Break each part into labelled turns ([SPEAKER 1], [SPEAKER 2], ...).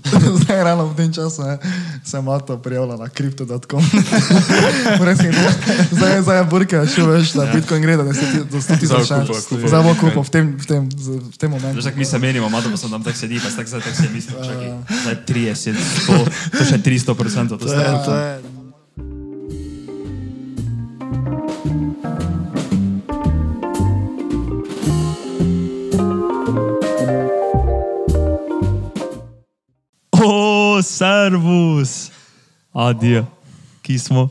[SPEAKER 1] zdaj ravno v tem času ne, se Mato prijavlja na kripto.com. zdaj, zdaj je burka, še veš, da Bitcoin gre do 10 do 100 tisoč.
[SPEAKER 2] Ja. Za okupo, okupo.
[SPEAKER 1] Za okupo, v tem, v tem, v tem momentu.
[SPEAKER 2] Veš, tako mi se menimo, malo pa sem tam tako sedi, pa se tako zdaj tako se mislim, čakaj, zdaj 30, 100, to še 300 procentov. To
[SPEAKER 3] To
[SPEAKER 2] ste,
[SPEAKER 3] je,
[SPEAKER 1] Ja.
[SPEAKER 3] to je.
[SPEAKER 2] o, servus, adijo, ki smo,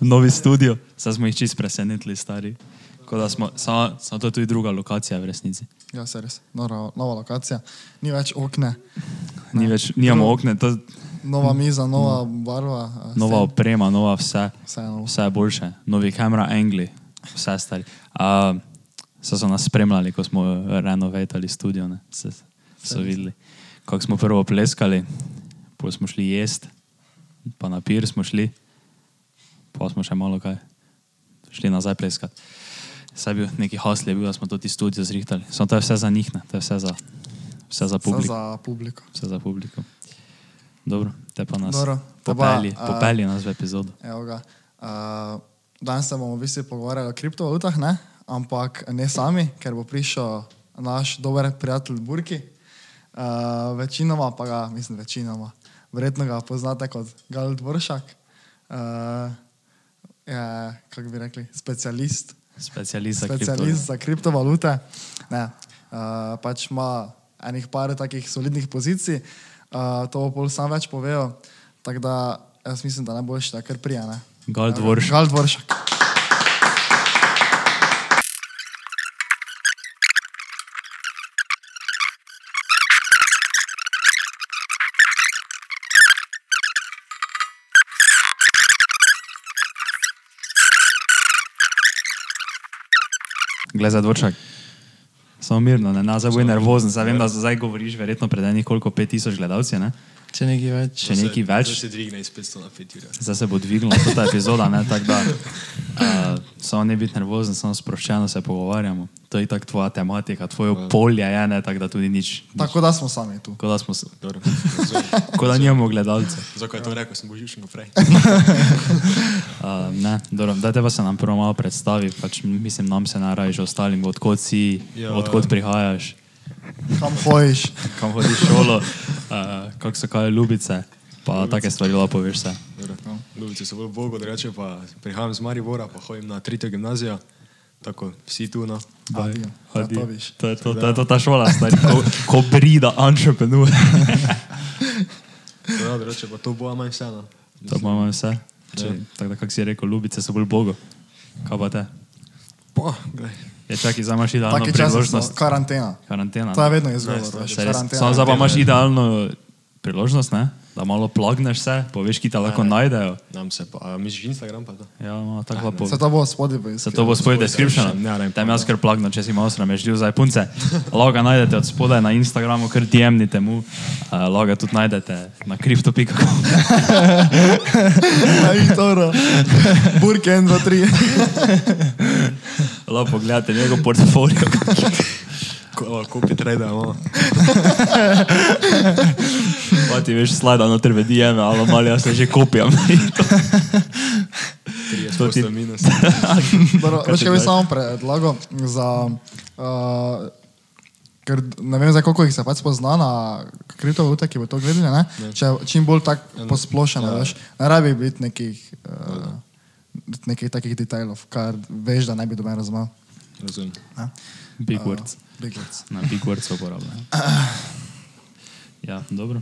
[SPEAKER 2] novi studio. Saj smo jih čist presenetili, stari. Tako da smo, samo samo to je tudi druga lokacija v resnici.
[SPEAKER 1] Ja, se res, nora, nova lokacija, ni več okne,
[SPEAKER 2] Ni
[SPEAKER 3] No.
[SPEAKER 2] več, nimamo okne, to je
[SPEAKER 1] nova miza, nova barva. eh,
[SPEAKER 2] nova
[SPEAKER 1] s tem,
[SPEAKER 2] oprema, nova vse.
[SPEAKER 1] Vse je novo.
[SPEAKER 2] Vse je boljše, novi kamera, angli, vse stari. Uh, so, so nas spremljali, ko smo renovirali studio, ne? se, so videli, kako smo prvo pleskali, potem smo šli jesti, pa na pir smo šli, pa smo še malo kaj, šli nazaj pleskat. Saj je bil neki hasli, je bil, da smo to ti studio zrihtali. Samo to je vse za njih, ne? to je vse za, vse
[SPEAKER 1] vse
[SPEAKER 2] za publiko.
[SPEAKER 1] za publiko.
[SPEAKER 2] Vse za publiko. Dobro, te pa nas
[SPEAKER 1] Dobro, te pa,
[SPEAKER 2] popelji,
[SPEAKER 1] a-
[SPEAKER 2] popelji nas v epizodo.
[SPEAKER 1] Evo ga. Uh, danes se bomo v bistvu pogovarjali o kriptovalutah, ne? ampak ne sami, ker bo prišel naš dober prijatelj Burki. Uh, večinoma pa ga, mislim, večinoma, verjetno ga poznate kot Gal Dvoršak, uh, je, kako bi rekli, specialist
[SPEAKER 2] Specialist za
[SPEAKER 1] specialist za kriptovalute. Ne, uh, pač ima enih par takih solidnih pozicij, uh, to bo pol sam več povejo. Tako da jaz mislim, da najboljše, da kar prijane.
[SPEAKER 2] Gal Dvoršak.
[SPEAKER 1] Gal Dvoršak.
[SPEAKER 2] Glej za dvorčak. Samo mirno, ne nazaj boj nervozen. Zdaj vem, da zdaj govoriš verjetno pred enih koliko 5000 gledalci, ne?
[SPEAKER 3] Če nekaj več.
[SPEAKER 2] Če nekaj več,
[SPEAKER 4] To se dvigne iz 500 na 5 ur.
[SPEAKER 2] zdaj se bo dvignila tudi ta epizoda, ne? Tako da, uh, samo ne biti nervozen, samo sproščeno se pogovarjamo. To je tako tvoja tematika, tvoje polje je, ne? Tako da tudi nič.
[SPEAKER 1] Tako da smo sami tu.
[SPEAKER 2] Kot da smo, s-
[SPEAKER 4] Dobro, razumem.
[SPEAKER 2] ko da nimamo gledalcev.
[SPEAKER 4] Zakaj je to rekel, sem božič naprej.
[SPEAKER 2] Uh, ne, dobro, da te pa se nam prvo malo predstavi, pač mislim, nam se naraj že ostalim, odkot si,
[SPEAKER 4] Ja.
[SPEAKER 2] odkot prihajaš,
[SPEAKER 1] Kam hojiš?
[SPEAKER 2] kam hodiš šolo, uh, kako so kaj ljubice, pa take stvari lahko poveš se.
[SPEAKER 4] No. Ljubice so bolj bogo, da reče pa prihajam iz Maribora, pa hodim na tretjo gimnazijo, tako vsi tu no.
[SPEAKER 1] Adijo. Ja, to viš.
[SPEAKER 2] To je to, to, je to ta šola, stari, ko, ko brida entrepreneur.
[SPEAKER 4] Tako Da, da reče Ja, pa to bo, a no. manj vseeno.
[SPEAKER 2] to imamo vse. Če, tako da, kako si rekel, ljubice so bolj bogo. Kaj pa te?
[SPEAKER 4] Pa, glej.
[SPEAKER 2] Je čakaj, zdaj imaš idealno
[SPEAKER 1] Taki čas smo,
[SPEAKER 2] priložnost.
[SPEAKER 1] karantena.
[SPEAKER 2] Karantena.
[SPEAKER 1] To je
[SPEAKER 2] ne?
[SPEAKER 1] vedno izgovor,
[SPEAKER 4] Ne,
[SPEAKER 1] veš,
[SPEAKER 2] Se res-
[SPEAKER 1] karantena.
[SPEAKER 2] Samo zdaj pa imaš idealno priložnost, ne? da malo plagneš se, poveš, ki te lahko
[SPEAKER 4] ne.
[SPEAKER 2] najdejo.
[SPEAKER 4] Nam se pa, a misliš Instagram pa to?
[SPEAKER 2] Ja, no, tako lepo.
[SPEAKER 1] Se to bo spodaj bo
[SPEAKER 2] Se to bo spodaj description,
[SPEAKER 4] Ja, ne,
[SPEAKER 2] tam jaz kar plagno, če si malo sramežljiv za punce. Loga najdete od spodaj na Instagramu, kar diemnite mu, Eh, loga tudi najdete na kripto.com.
[SPEAKER 1] Ajtoro. Burke 1, 2, 3.
[SPEAKER 2] Lahko pogledate njegov portfolio.
[SPEAKER 4] Ko, kupi trade, no.
[SPEAKER 2] Pa ti veš, slajda noter v DM, ali malo jaz se že kopijam.
[SPEAKER 4] 30 minus.
[SPEAKER 1] Dobro,
[SPEAKER 2] Kaj
[SPEAKER 1] Veš,
[SPEAKER 2] ti
[SPEAKER 1] kaj bi
[SPEAKER 2] daj?
[SPEAKER 1] samo predlagal za... Uh, Ker ne vem, zdaj, koliko jih se pač pozna na kriptovalute, ki bo to gledali. Ne? Če čim bolj tako posplošeno, ja. veš, ne rabi biti nekih, uh, nekih takih detajlov, kar veš, da ne bi domen razumel.
[SPEAKER 4] Razumem.
[SPEAKER 1] ne.
[SPEAKER 2] Big words.
[SPEAKER 1] Big words.
[SPEAKER 2] Na Big Words uporabljam. Ja, dobro.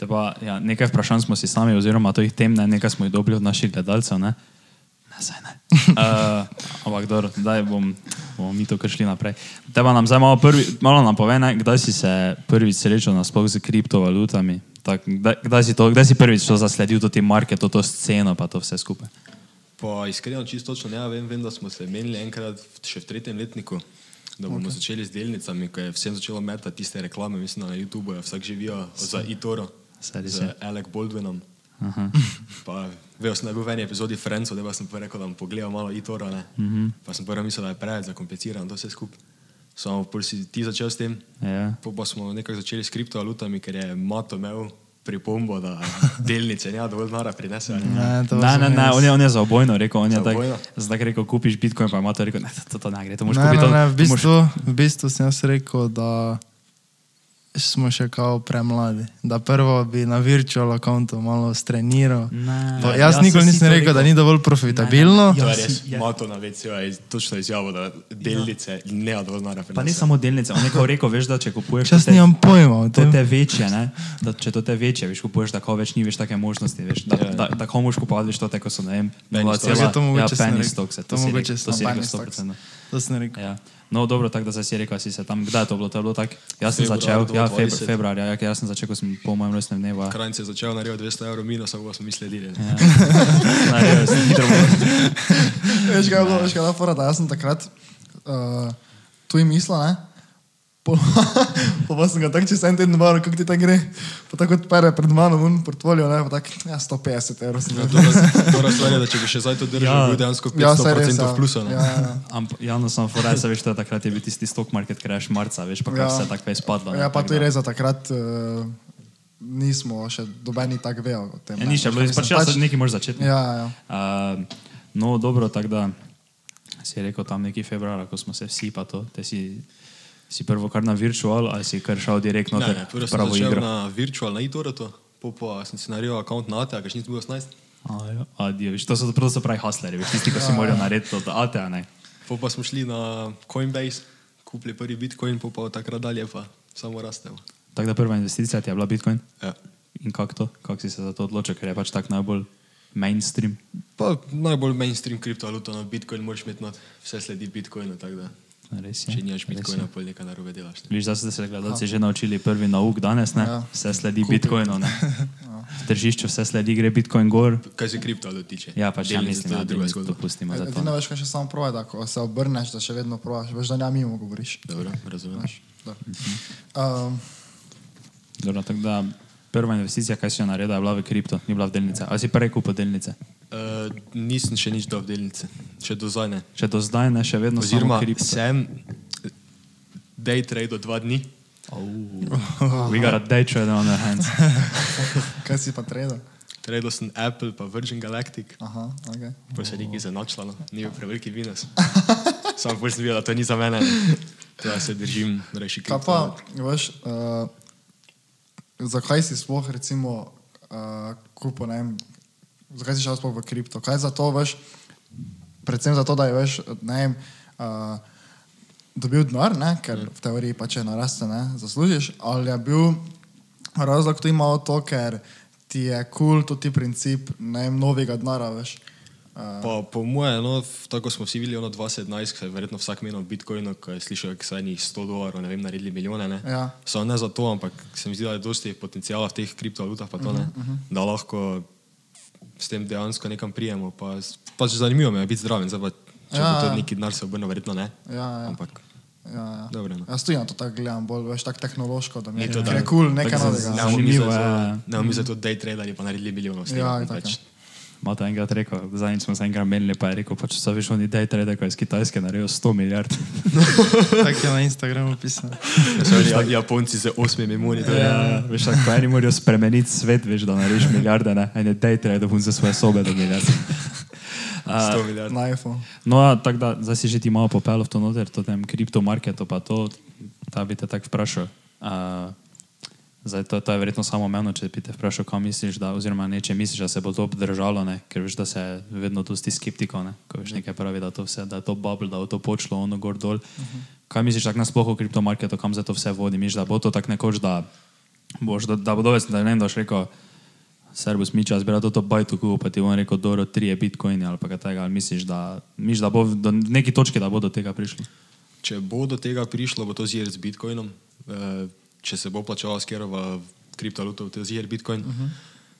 [SPEAKER 2] Te Pa, ja, nekaj vprašanj smo si sami, oziroma to jih tem, ne, nekaj smo jih dobili od naših gledalcev. Ne, ne, saj ne. Uh, ampak dobro, zdaj bom, bomo mi to kar šli naprej. Te pa nam zdaj malo, prvi, malo nam pove, ne, kdaj si se prvič srečal nasploh z kriptovalutami. Tak, kdaj, kdaj, si to, kdaj si prvič to zasledil, to ti market, to, to sceno, pa to vse skupaj.
[SPEAKER 4] Pa iskreno, čisto točno ne vem, vem, da smo se menili enkrat v- še v tretjem letniku, da bomo okay. začeli z delnicami, ko je vsem začelo metati tiste reklame, mislim, da na YouTubu je vsak živijo za eToro,
[SPEAKER 2] Saj res je.
[SPEAKER 4] z Alec Baldwinom.
[SPEAKER 2] Aha.
[SPEAKER 4] Pa, veš, sem da je bil v eni epizodi Friendsov, da pa sem pa rekel, da bom pogledal malo eToro, ne. Mm -hmm. Pa sem prvo mislil, da je preveč zakomplicirano to vse skupaj. Samo prvi si ti začel s tem,
[SPEAKER 2] Ja.
[SPEAKER 4] Po pa smo nekako začeli s kriptovalutami, ker je Mato imel pripombo, da delnice ne dovolj nara prinesejo.
[SPEAKER 1] Ne, to
[SPEAKER 2] Ne,
[SPEAKER 1] sem
[SPEAKER 2] ne, ne,
[SPEAKER 1] jaz.
[SPEAKER 2] on je, on je za obojno rekel, on je
[SPEAKER 4] Za
[SPEAKER 2] tako,
[SPEAKER 4] obojno?
[SPEAKER 2] zdaj rekel, kupiš bitcoin, pa ima to rekel, ne, to, to, to ne gre, to moraš
[SPEAKER 1] Ne,
[SPEAKER 2] kupiti.
[SPEAKER 1] ne,
[SPEAKER 2] to-
[SPEAKER 1] ne, v,
[SPEAKER 2] to moraš-
[SPEAKER 1] bistvu, v bistvu sem jaz rekel, da smo še kao premladi. Da prvo bi na virtual računu malo streniral.
[SPEAKER 2] Ne.
[SPEAKER 1] To, jaz nikoli
[SPEAKER 2] sem si
[SPEAKER 1] nisem
[SPEAKER 2] to
[SPEAKER 1] rekel, da ni dovolj profitabilno.
[SPEAKER 2] Ne, ne,
[SPEAKER 4] To
[SPEAKER 2] Ja,
[SPEAKER 4] je
[SPEAKER 2] si-
[SPEAKER 4] res.
[SPEAKER 2] ja.
[SPEAKER 4] Mato na VCO je točno izjavo, da delnice ne dovolj nara prinesejo.
[SPEAKER 2] Pa ne samo delnice, on je rekel, rekel, veš, da če kupuješ
[SPEAKER 1] Čas
[SPEAKER 2] to te-
[SPEAKER 1] nimam pojma o
[SPEAKER 2] ja, to
[SPEAKER 1] tem.
[SPEAKER 2] te večje, ne, da če to te večje, veš, kupuješ tako več, ni več take možnosti, veš, da,
[SPEAKER 4] Ja, ja.
[SPEAKER 2] da, tako moraš kupovati, veš, to te, ko so, ne vem,
[SPEAKER 4] Penny
[SPEAKER 2] nula
[SPEAKER 4] stocks.
[SPEAKER 2] cela-
[SPEAKER 1] Ja, to mogoče
[SPEAKER 2] ja,
[SPEAKER 1] sem
[SPEAKER 2] penny
[SPEAKER 1] rekel.
[SPEAKER 2] stocks, to
[SPEAKER 1] To
[SPEAKER 2] si
[SPEAKER 1] mogoče
[SPEAKER 2] rekel,
[SPEAKER 1] sem
[SPEAKER 2] to si
[SPEAKER 1] penny
[SPEAKER 2] rekel
[SPEAKER 1] stocks.
[SPEAKER 2] 100%.
[SPEAKER 1] To sem rekel.
[SPEAKER 2] Ja. No, dobro, tako da si si rekel, si se tam, kdaj je to bilo, to je bilo tako, jaz sem
[SPEAKER 4] Februar
[SPEAKER 2] začel, ja,
[SPEAKER 4] 2020.
[SPEAKER 2] februar, ja, jaz sem začel, ko sem po mojem rojstnem dnevu. ja.
[SPEAKER 4] Kranjce je začel narediti 200 evrov minusa, pa smo mi sledili.
[SPEAKER 2] Ja. Naredil sem hitro možnost.
[SPEAKER 1] Veš, kaj je bilo, veš, kaj je bila fora, da jaz sem takrat uh, tu in mislil, ne? Po- Pa pa sem ga tako čez en teden baro, kako ti tako gre. Pa tako odpere pred mano, un portfolio, ne, pa tako, ja, 150 evrov sem ga.
[SPEAKER 4] To raz- To razstvarja, da če bi še zdaj to držal,
[SPEAKER 2] Ja.
[SPEAKER 4] bi bil dejansko
[SPEAKER 1] Ja, saj res,
[SPEAKER 4] 500%
[SPEAKER 1] ja.
[SPEAKER 4] v plusu. ne.
[SPEAKER 1] Ja, ja.
[SPEAKER 2] Ampak no, javno sem foraj, veš, da takrat je bil tisti stock market crash marca, veš, pa kar
[SPEAKER 1] Ja.
[SPEAKER 2] vse tako je spadlo. ne,
[SPEAKER 1] Ja, pa
[SPEAKER 2] tako
[SPEAKER 1] to je
[SPEAKER 2] da-
[SPEAKER 1] res, da takrat uh, nismo še dobeni tako vejo o tem.
[SPEAKER 2] Ja,
[SPEAKER 1] ne.
[SPEAKER 2] ni še bilo,
[SPEAKER 1] Mislim,
[SPEAKER 2] pač ja, pač... nekaj moraš začeti. ne.
[SPEAKER 1] Ja, ja.
[SPEAKER 2] Uh, no, dobro, tako da si rekel tam neki februar, ko smo se vsi pa to, te si, si prvo kar na virtual ali si kar šel direktno
[SPEAKER 4] Ne,
[SPEAKER 2] ter
[SPEAKER 4] ne, prvo sem
[SPEAKER 2] pravo
[SPEAKER 4] začel
[SPEAKER 2] igro.
[SPEAKER 4] na virtual, na e-torretu, po pa sem si naredil račun na ATA, kaš nisem bil 18,
[SPEAKER 2] A, ja, adijo, veš, to so prav so pravi hustlerji, veš, tisti, ki
[SPEAKER 1] Ja.
[SPEAKER 2] si morajo narediti od ATA, ne.
[SPEAKER 4] po pa smo šli na Coinbase, kupili prvi bitcoin, po pa od takrat dalje pa samo rastemo.
[SPEAKER 2] Tako da prva investicija ti je bila Bitcoin.
[SPEAKER 4] Ja.
[SPEAKER 2] In kako to, kako si se za to odločil, ker je pač tako najbolj mainstream.
[SPEAKER 4] Pa najbolj mainstream kriptovaluto na bitcoin moraš imeti, not. vse sledi bitcoinu, tako da
[SPEAKER 2] Res je.
[SPEAKER 4] če nimaš
[SPEAKER 2] res je.
[SPEAKER 4] bitcoina, pol nekaj narobe delaš. ne.
[SPEAKER 2] Viš, da ste se gledalci že naučili prvi nauk danes, ne?
[SPEAKER 1] Ja.
[SPEAKER 2] Vse sledi Bitcoinu, ne? V tržišču vse sledi, gre Bitcoin gor.
[SPEAKER 4] Kaj se kriptovalut tiče?
[SPEAKER 2] Ja, pač ja
[SPEAKER 4] Delnice,
[SPEAKER 2] mislim,
[SPEAKER 4] to je
[SPEAKER 2] da druga
[SPEAKER 4] druga
[SPEAKER 2] to
[SPEAKER 4] zgodba.
[SPEAKER 2] pustimo za to.
[SPEAKER 1] Edino veš, kaj še samo provaj, da ko se obrneš, da še vedno provaš, veš, da ne mimo govoriš.
[SPEAKER 4] Dobro, razumem.
[SPEAKER 1] Da.
[SPEAKER 2] Mhm.
[SPEAKER 1] Um,
[SPEAKER 2] Dobro, tako da prva investicija, kaj si jo naredil, je bila v kripto, ni bila v delnice. Ali si prej kupil delnice?
[SPEAKER 4] Uh, nisem še nič dal v delnice, še do zdaj ne.
[SPEAKER 2] Še do zdaj ne, še vedno No, samo
[SPEAKER 4] Oziroma,
[SPEAKER 2] kripto.
[SPEAKER 4] sem day trade do dva dni.
[SPEAKER 2] Oh, we got a day trade on our hands.
[SPEAKER 1] kaj si pa treda?
[SPEAKER 4] Tradal sem Apple, pa Virgin Galactic,
[SPEAKER 1] Aha, ok.
[SPEAKER 4] pa se nekaj zanačila, no. ni bil preveliki minus. Sam bolj sem videl, da to ni za mene. Teda se držim, reši
[SPEAKER 1] Kaj pa, veš, uh, zakaj si sploh recimo uh, kupo, ne vem, zakaj si šel sploh v kripto? Kaj za to, veš, predvsem zato, da je, veš, ne vem, uh, dobil denar, ne, ker v teoriji pa če naraste, ne, zaslužiš, ali je bil razlog tudi malo to, ker ti je kul cool tudi princip, ne vem, novega denara, veš. Uh,
[SPEAKER 4] Pa, po moje, no, v- tako smo vsi videli, ono 2017, ko je verjetno vsak menil Bitcoinu, ko je slišal, da so enih 100 dolarjev, ne vem, naredili milijone. Ne.
[SPEAKER 1] Ja.
[SPEAKER 4] Samo ne zato, ampak se mi zdi, da je dosti potencijala v teh kriptovalutah, pa to ne,
[SPEAKER 1] Mhm,
[SPEAKER 4] da lahko s tem dejansko nekam prijemo. Pa, s- pač zanimivo me je biti zdraven, zdaj pa če
[SPEAKER 1] Ja,
[SPEAKER 4] ja, bo to
[SPEAKER 1] ja.
[SPEAKER 4] neki denar se obrnil, verjetno ne.
[SPEAKER 1] ja, ja.
[SPEAKER 4] Ampak
[SPEAKER 1] Ja, ja.
[SPEAKER 4] Dobro, no.
[SPEAKER 1] Jaz tudi na to tako gledam, bolj veš, tako tehnološko, da mi je
[SPEAKER 4] Ni to
[SPEAKER 1] ker
[SPEAKER 4] tako.
[SPEAKER 1] je kul, cool, nekaj
[SPEAKER 2] Tako za-
[SPEAKER 1] novega.
[SPEAKER 2] za-
[SPEAKER 4] ne
[SPEAKER 2] Zanimivo
[SPEAKER 4] bomo mi zdaj
[SPEAKER 2] je,
[SPEAKER 4] za-
[SPEAKER 2] ja.
[SPEAKER 4] ne bomo mi za to day tradali, pa naredili milijonov. s tem,
[SPEAKER 1] Ja,
[SPEAKER 4] ampak
[SPEAKER 1] itak,
[SPEAKER 4] pač-
[SPEAKER 2] Mata enkrat rekel, zadnjič smo se enkrat menili, pa je rekel, pač so veš oni day trade, ko je iz Kitajske naredil 100 milijard.
[SPEAKER 1] Tako je na Instagramu pisano.
[SPEAKER 4] Ja, so oni Ja, Japonci z osmimi moni. to je-
[SPEAKER 2] Ja, veš, tako pa eni morajo spremeniti svet, veš, da narediš milijarde, ne, ene dejtre, da bom za svoje sobe do milijarde.
[SPEAKER 4] sto
[SPEAKER 2] Uh,
[SPEAKER 4] milijard.
[SPEAKER 1] Na iPhone.
[SPEAKER 2] no, ja, tako da, zdaj si že ti malo popel v to noter, to tem kriptomarketu, pa to, ta bi te tako vprašal. Uh, zdaj, to, to je verjetno samo omejeno, če bi te vprašal, kam misliš, da, oziroma ne, če misliš, da se bo to obdržalo, ne, ker veš, da se vedno dosti skeptikov, ne, ko veš nekaj pravi, da, to vse, da je to bubble, da bo to počlo, ono gor dol. Uh -huh. Kaj misliš tako nasploh o kriptomarketu, kam se to vse vodi? Misliš, da bo to tako nekoč, da, boš, da, da bo dovesti, da ne vem, da boš rekel, Serbus mi čas, brat, to bajtu kupu, pa ti bom rekel, dobro, tri je bitcoin ali pa kaj tega, ali misliš, da, misliš, da bo v- do neki točki, da bo do tega prišlo?
[SPEAKER 4] Če bo do tega prišlo, bo to zir z Bitcoinom. Eh, Če se bo plačala skerova kriptovaluta, bo to zir Bitcoin. Uh -huh.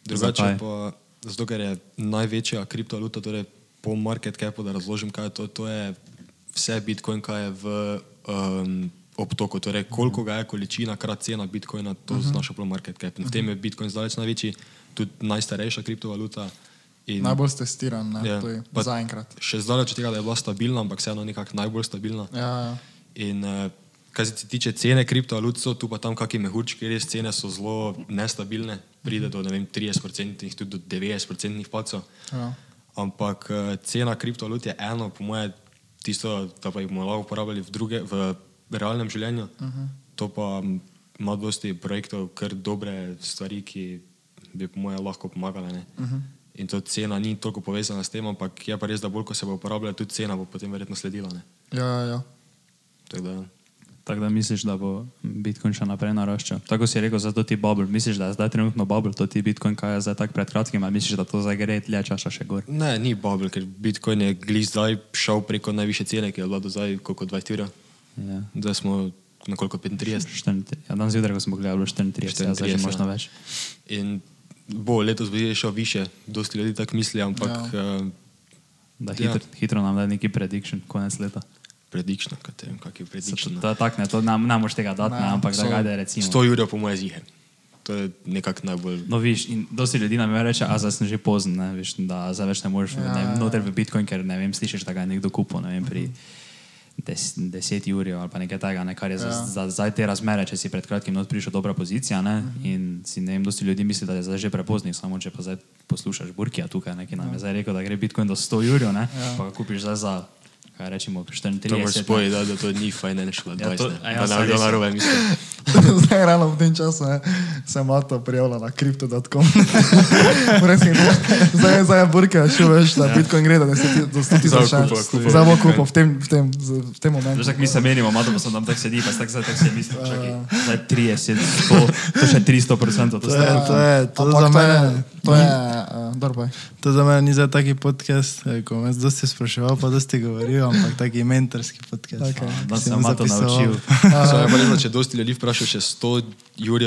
[SPEAKER 4] Drugače
[SPEAKER 2] Zakaj?
[SPEAKER 4] pa, zato ker je največja kriptovaluta, torej po market capu, da razložim, kaj je to, to je vse Bitcoin, kaj je v um, obtoku. Torej, koliko ga je količina krat cena Bitcoina, to uh -huh. znaša po market cap. In v tem je Bitcoin zdaleč največji, tudi najstarejša kriptovaluta. In
[SPEAKER 1] Najbolj testiran, ne,
[SPEAKER 4] Ja,
[SPEAKER 1] yeah, to je
[SPEAKER 4] pa-
[SPEAKER 1] zaenkrat.
[SPEAKER 4] Še zdaleč od tega, da je bila stabilna, ampak vseeno nekako najbolj stabilna.
[SPEAKER 1] Ja, ja.
[SPEAKER 4] In eh, Kar se tiče cene kriptovalut, so tu pa tam kakšni mehurčki, res cene so zelo nestabilne, pride do ne vem, 30%, tudi do 90% pacov.
[SPEAKER 1] Ja.
[SPEAKER 4] Ampak eh, cena kriptovalut je eno, po mojem, tisto, da pa jih bomo lahko uporabljali v, druge, v realnem življenju. Uh -huh. To pa m, ima dosti projektov, kar dobre stvari, ki bi po mojem lahko pomagale. Ne? Uh -huh. In to cena ni toliko povezana s tem, ampak je pa res, da bolj ko se bo uporabljala, tudi cena bo potem verjetno sledila. ne.
[SPEAKER 1] Ja, ja, ja.
[SPEAKER 4] Tako da,
[SPEAKER 2] Tako da misliš, da bo Bitcoin še naprej naraščal. Tako kot si rekel, zato ti bubble. Misliš, da je zdaj trenutno bubble, to ti Bitcoin, kaj je zdaj tako pred kratkim, ali misliš, da to zdaj gre dlje časa še gor?
[SPEAKER 4] Ne, ni bubble, ker Bitcoin je glih zdaj šel preko najviše cene, ki je bila do zdaj koliko 20 ur.
[SPEAKER 2] Ja.
[SPEAKER 4] Zdaj smo na koliko 35.
[SPEAKER 2] 34, ja, danes zjutraj, ko smo gledali, je bilo 34, ja, zdaj že
[SPEAKER 4] 34,
[SPEAKER 2] možno
[SPEAKER 4] ja.
[SPEAKER 2] več.
[SPEAKER 4] In bo letos bi šel više, dosti ljudi tako misli, ampak ja. uh,
[SPEAKER 2] Da
[SPEAKER 4] Ja.
[SPEAKER 2] hitro, ja. hitro nam da neki prediction, konec leta.
[SPEAKER 4] predično, kaj te vem, kak je
[SPEAKER 2] Se To,
[SPEAKER 4] predično. no.
[SPEAKER 2] to je tak, ne, to nam, nam moš tega dati, ne,
[SPEAKER 1] Ne,
[SPEAKER 2] ampak da
[SPEAKER 1] so-
[SPEAKER 2] ga da recimo.
[SPEAKER 4] 100 ur po moje zihe. To je nekako najbolj.
[SPEAKER 2] No, viš, in dosti ljudi nam je reče, a zdaj sem že pozen, ne, viš, da zdaj več ne moreš ja,
[SPEAKER 1] Ja,
[SPEAKER 2] ne, vem,
[SPEAKER 1] ja,
[SPEAKER 2] noter v Bitcoin, ker ne vem, slišiš, da ga je nekdo kupil, ne vem, pri 10 des, uri ali pa nekaj takega, ne, kar je ja.
[SPEAKER 1] Ja.
[SPEAKER 2] za, za, za te razmere, če si pred kratkim not prišel dobra pozicija, ne, in si ne vem, dosti ljudi misli, da je zdaj že prepoznih, samo če pa zdaj poslušaš Burkija tukaj, ne, ki nam je zdaj rekel, da gre Bitcoin do 100 ur, ja. pa ga kupiš zdaj za, kaj rečemo, 34
[SPEAKER 4] To
[SPEAKER 2] ur.
[SPEAKER 4] moraš spojiti, da, da to ni financial
[SPEAKER 2] Ja,
[SPEAKER 4] advice.
[SPEAKER 2] to-
[SPEAKER 4] ne.
[SPEAKER 2] a ja,
[SPEAKER 4] Da
[SPEAKER 2] saj
[SPEAKER 4] ne bi bilo
[SPEAKER 2] res.
[SPEAKER 4] narobe mislil.
[SPEAKER 1] Zdaj, ravno v tem času ne, se je Mato prijavila na kripto.com. Brez hipno. zdaj, zdaj je burka, še veš,
[SPEAKER 4] Ja.
[SPEAKER 1] da Bitcoin gre do 10 do 100 tisoč.
[SPEAKER 4] Zdaj bo kupil, kupil.
[SPEAKER 1] Zdaj bo kupil v tem, v tem, z- v tem momentu.
[SPEAKER 2] Veš, tako mi se menimo, malo pa sem tam tako sedi, pa se tako zdaj tako se mislim, čakaj, zdaj 30, 100, to še 300 procentov, to
[SPEAKER 3] To
[SPEAKER 2] ste.
[SPEAKER 3] je, to je, to
[SPEAKER 1] Ampak
[SPEAKER 3] za mene.
[SPEAKER 1] je- To je, eh, dobro pa je.
[SPEAKER 3] To za mene ni za taki podcast, eh, ko me dosti spraševal, pa dosti govoril, ampak taki mentorski podcast.
[SPEAKER 1] Okej.
[SPEAKER 3] Ki
[SPEAKER 2] Da
[SPEAKER 3] si
[SPEAKER 2] sem
[SPEAKER 3] bom
[SPEAKER 2] malo
[SPEAKER 3] zapisoval.
[SPEAKER 2] naučil.
[SPEAKER 4] Samo je pa res, da če dosti ljudi vpraša, če 100 ur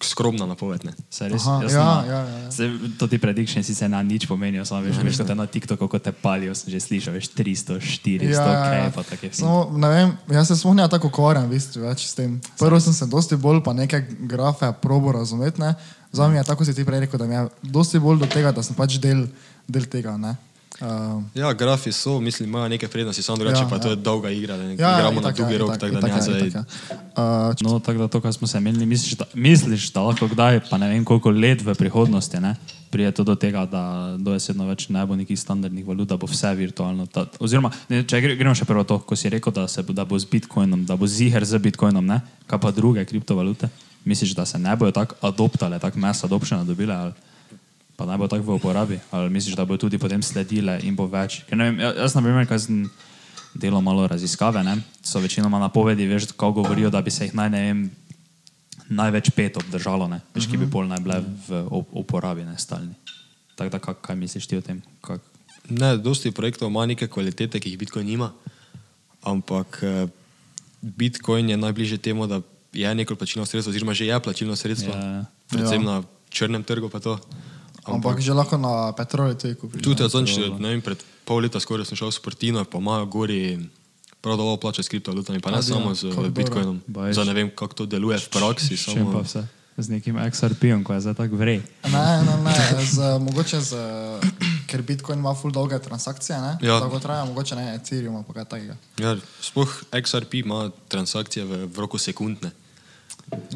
[SPEAKER 4] skromna napoved. Ne?
[SPEAKER 2] Se res,
[SPEAKER 1] Aha,
[SPEAKER 2] jaz
[SPEAKER 1] ja,
[SPEAKER 2] nema-
[SPEAKER 1] ja, ja, ja.
[SPEAKER 2] Se, to ti prediction sicer na nič pomenijo, samo veš, veš kot na TikToku, ko te palijo, sem že slišal, veš 300, 400, kaj pa take
[SPEAKER 1] Ja,
[SPEAKER 2] fine.
[SPEAKER 1] Samo, ne vem, jaz se sploh ne tako ukvarjam, v bistvu, več s tem. Prvo sem se dosti bolj pa neke grafe probo razumeti, ne. Za me je tako, kot si ti prej rekel, da mi je dosti bolj do tega, da sem pač del, del tega, ne. Uh,
[SPEAKER 4] Ja, grafi so, mislim, imajo neke prednosti, samo drugače
[SPEAKER 1] Ja,
[SPEAKER 4] pa to
[SPEAKER 1] ja.
[SPEAKER 4] je dolga igra, da ne
[SPEAKER 1] ja,
[SPEAKER 4] igramo na
[SPEAKER 1] itak, ja,
[SPEAKER 4] dolgi rok,
[SPEAKER 1] itak,
[SPEAKER 4] tako da
[SPEAKER 1] itak,
[SPEAKER 4] ne
[SPEAKER 1] ja,
[SPEAKER 4] zdaj.
[SPEAKER 1] itak, ja. Uh,
[SPEAKER 2] No, tako da to, kar smo se menili, misliš, da, misliš, da lahko kdaj, pa ne vem koliko let v prihodnosti, ne, prije to do tega, da dojesedno več ne bo nekih standardnih valut, da bo vse virtualno. Ta, oziroma, ne, če gre- gremo še prvo to, ko si rekel, da, se, bo- da bo z Bitcoinom, da bo ziher z Bitcoinom, ne, kaj pa druge kriptovalute, misliš, da se ne bojo tako adoptale, tako mass adoptiona dobile, ali pa ne bo tako v uporabi, ali misliš, da bojo tudi potem sledile in bo več. Ker, ne vem, ja- jaz na primer, kaj sem delal malo raziskave, ne, so večinoma napovedi, veš, kako govorijo, da bi se jih naj, ne vem, največ pet obdržalo, ne? veš,
[SPEAKER 4] Mhm.
[SPEAKER 2] ki bi bolj naj bile v op- uporabi, ne stalni. Tako da, kak, kaj misliš ti o tem? Kak?
[SPEAKER 4] Ne, dosti projektov ima neke kvalitete, ki jih Bitcoin nima, ampak eh, Bitcoin je najbližje temu, da je neko plačilno sredstvo, oziroma že je plačilno sredstvo,
[SPEAKER 2] Ja, ja.
[SPEAKER 4] predvsem
[SPEAKER 1] Ja.
[SPEAKER 4] na črnem trgu pa to.
[SPEAKER 1] Ampak že lahko na petrolu tudi kupiš.
[SPEAKER 4] Tudi
[SPEAKER 2] Ja,
[SPEAKER 4] jaz zadnjič, ne vem, pred pol leta skoraj sem šel v Sportino, pa imajo gori prav dovolj plače s kriptovalutami, pa ne
[SPEAKER 1] Adijo,
[SPEAKER 4] samo z
[SPEAKER 1] kako ja, dobro.
[SPEAKER 4] Bitcoinom.
[SPEAKER 2] Baješ.
[SPEAKER 4] Zdaj ne vem, kako to deluje v praksi.
[SPEAKER 2] Še pa
[SPEAKER 4] Samo...
[SPEAKER 2] vse. Z nekim XRP-om, ko je zdaj tako vrej.
[SPEAKER 1] Ne, ne, ne, z, mogoče z, ker Bitcoin ima full dolge transakcije, ne?
[SPEAKER 4] Ja.
[SPEAKER 1] Dolgo traja, mogoče ne Ethereum, pa kaj takega.
[SPEAKER 4] Ja, sploh XRP ima transakcije v, v roku sekundne.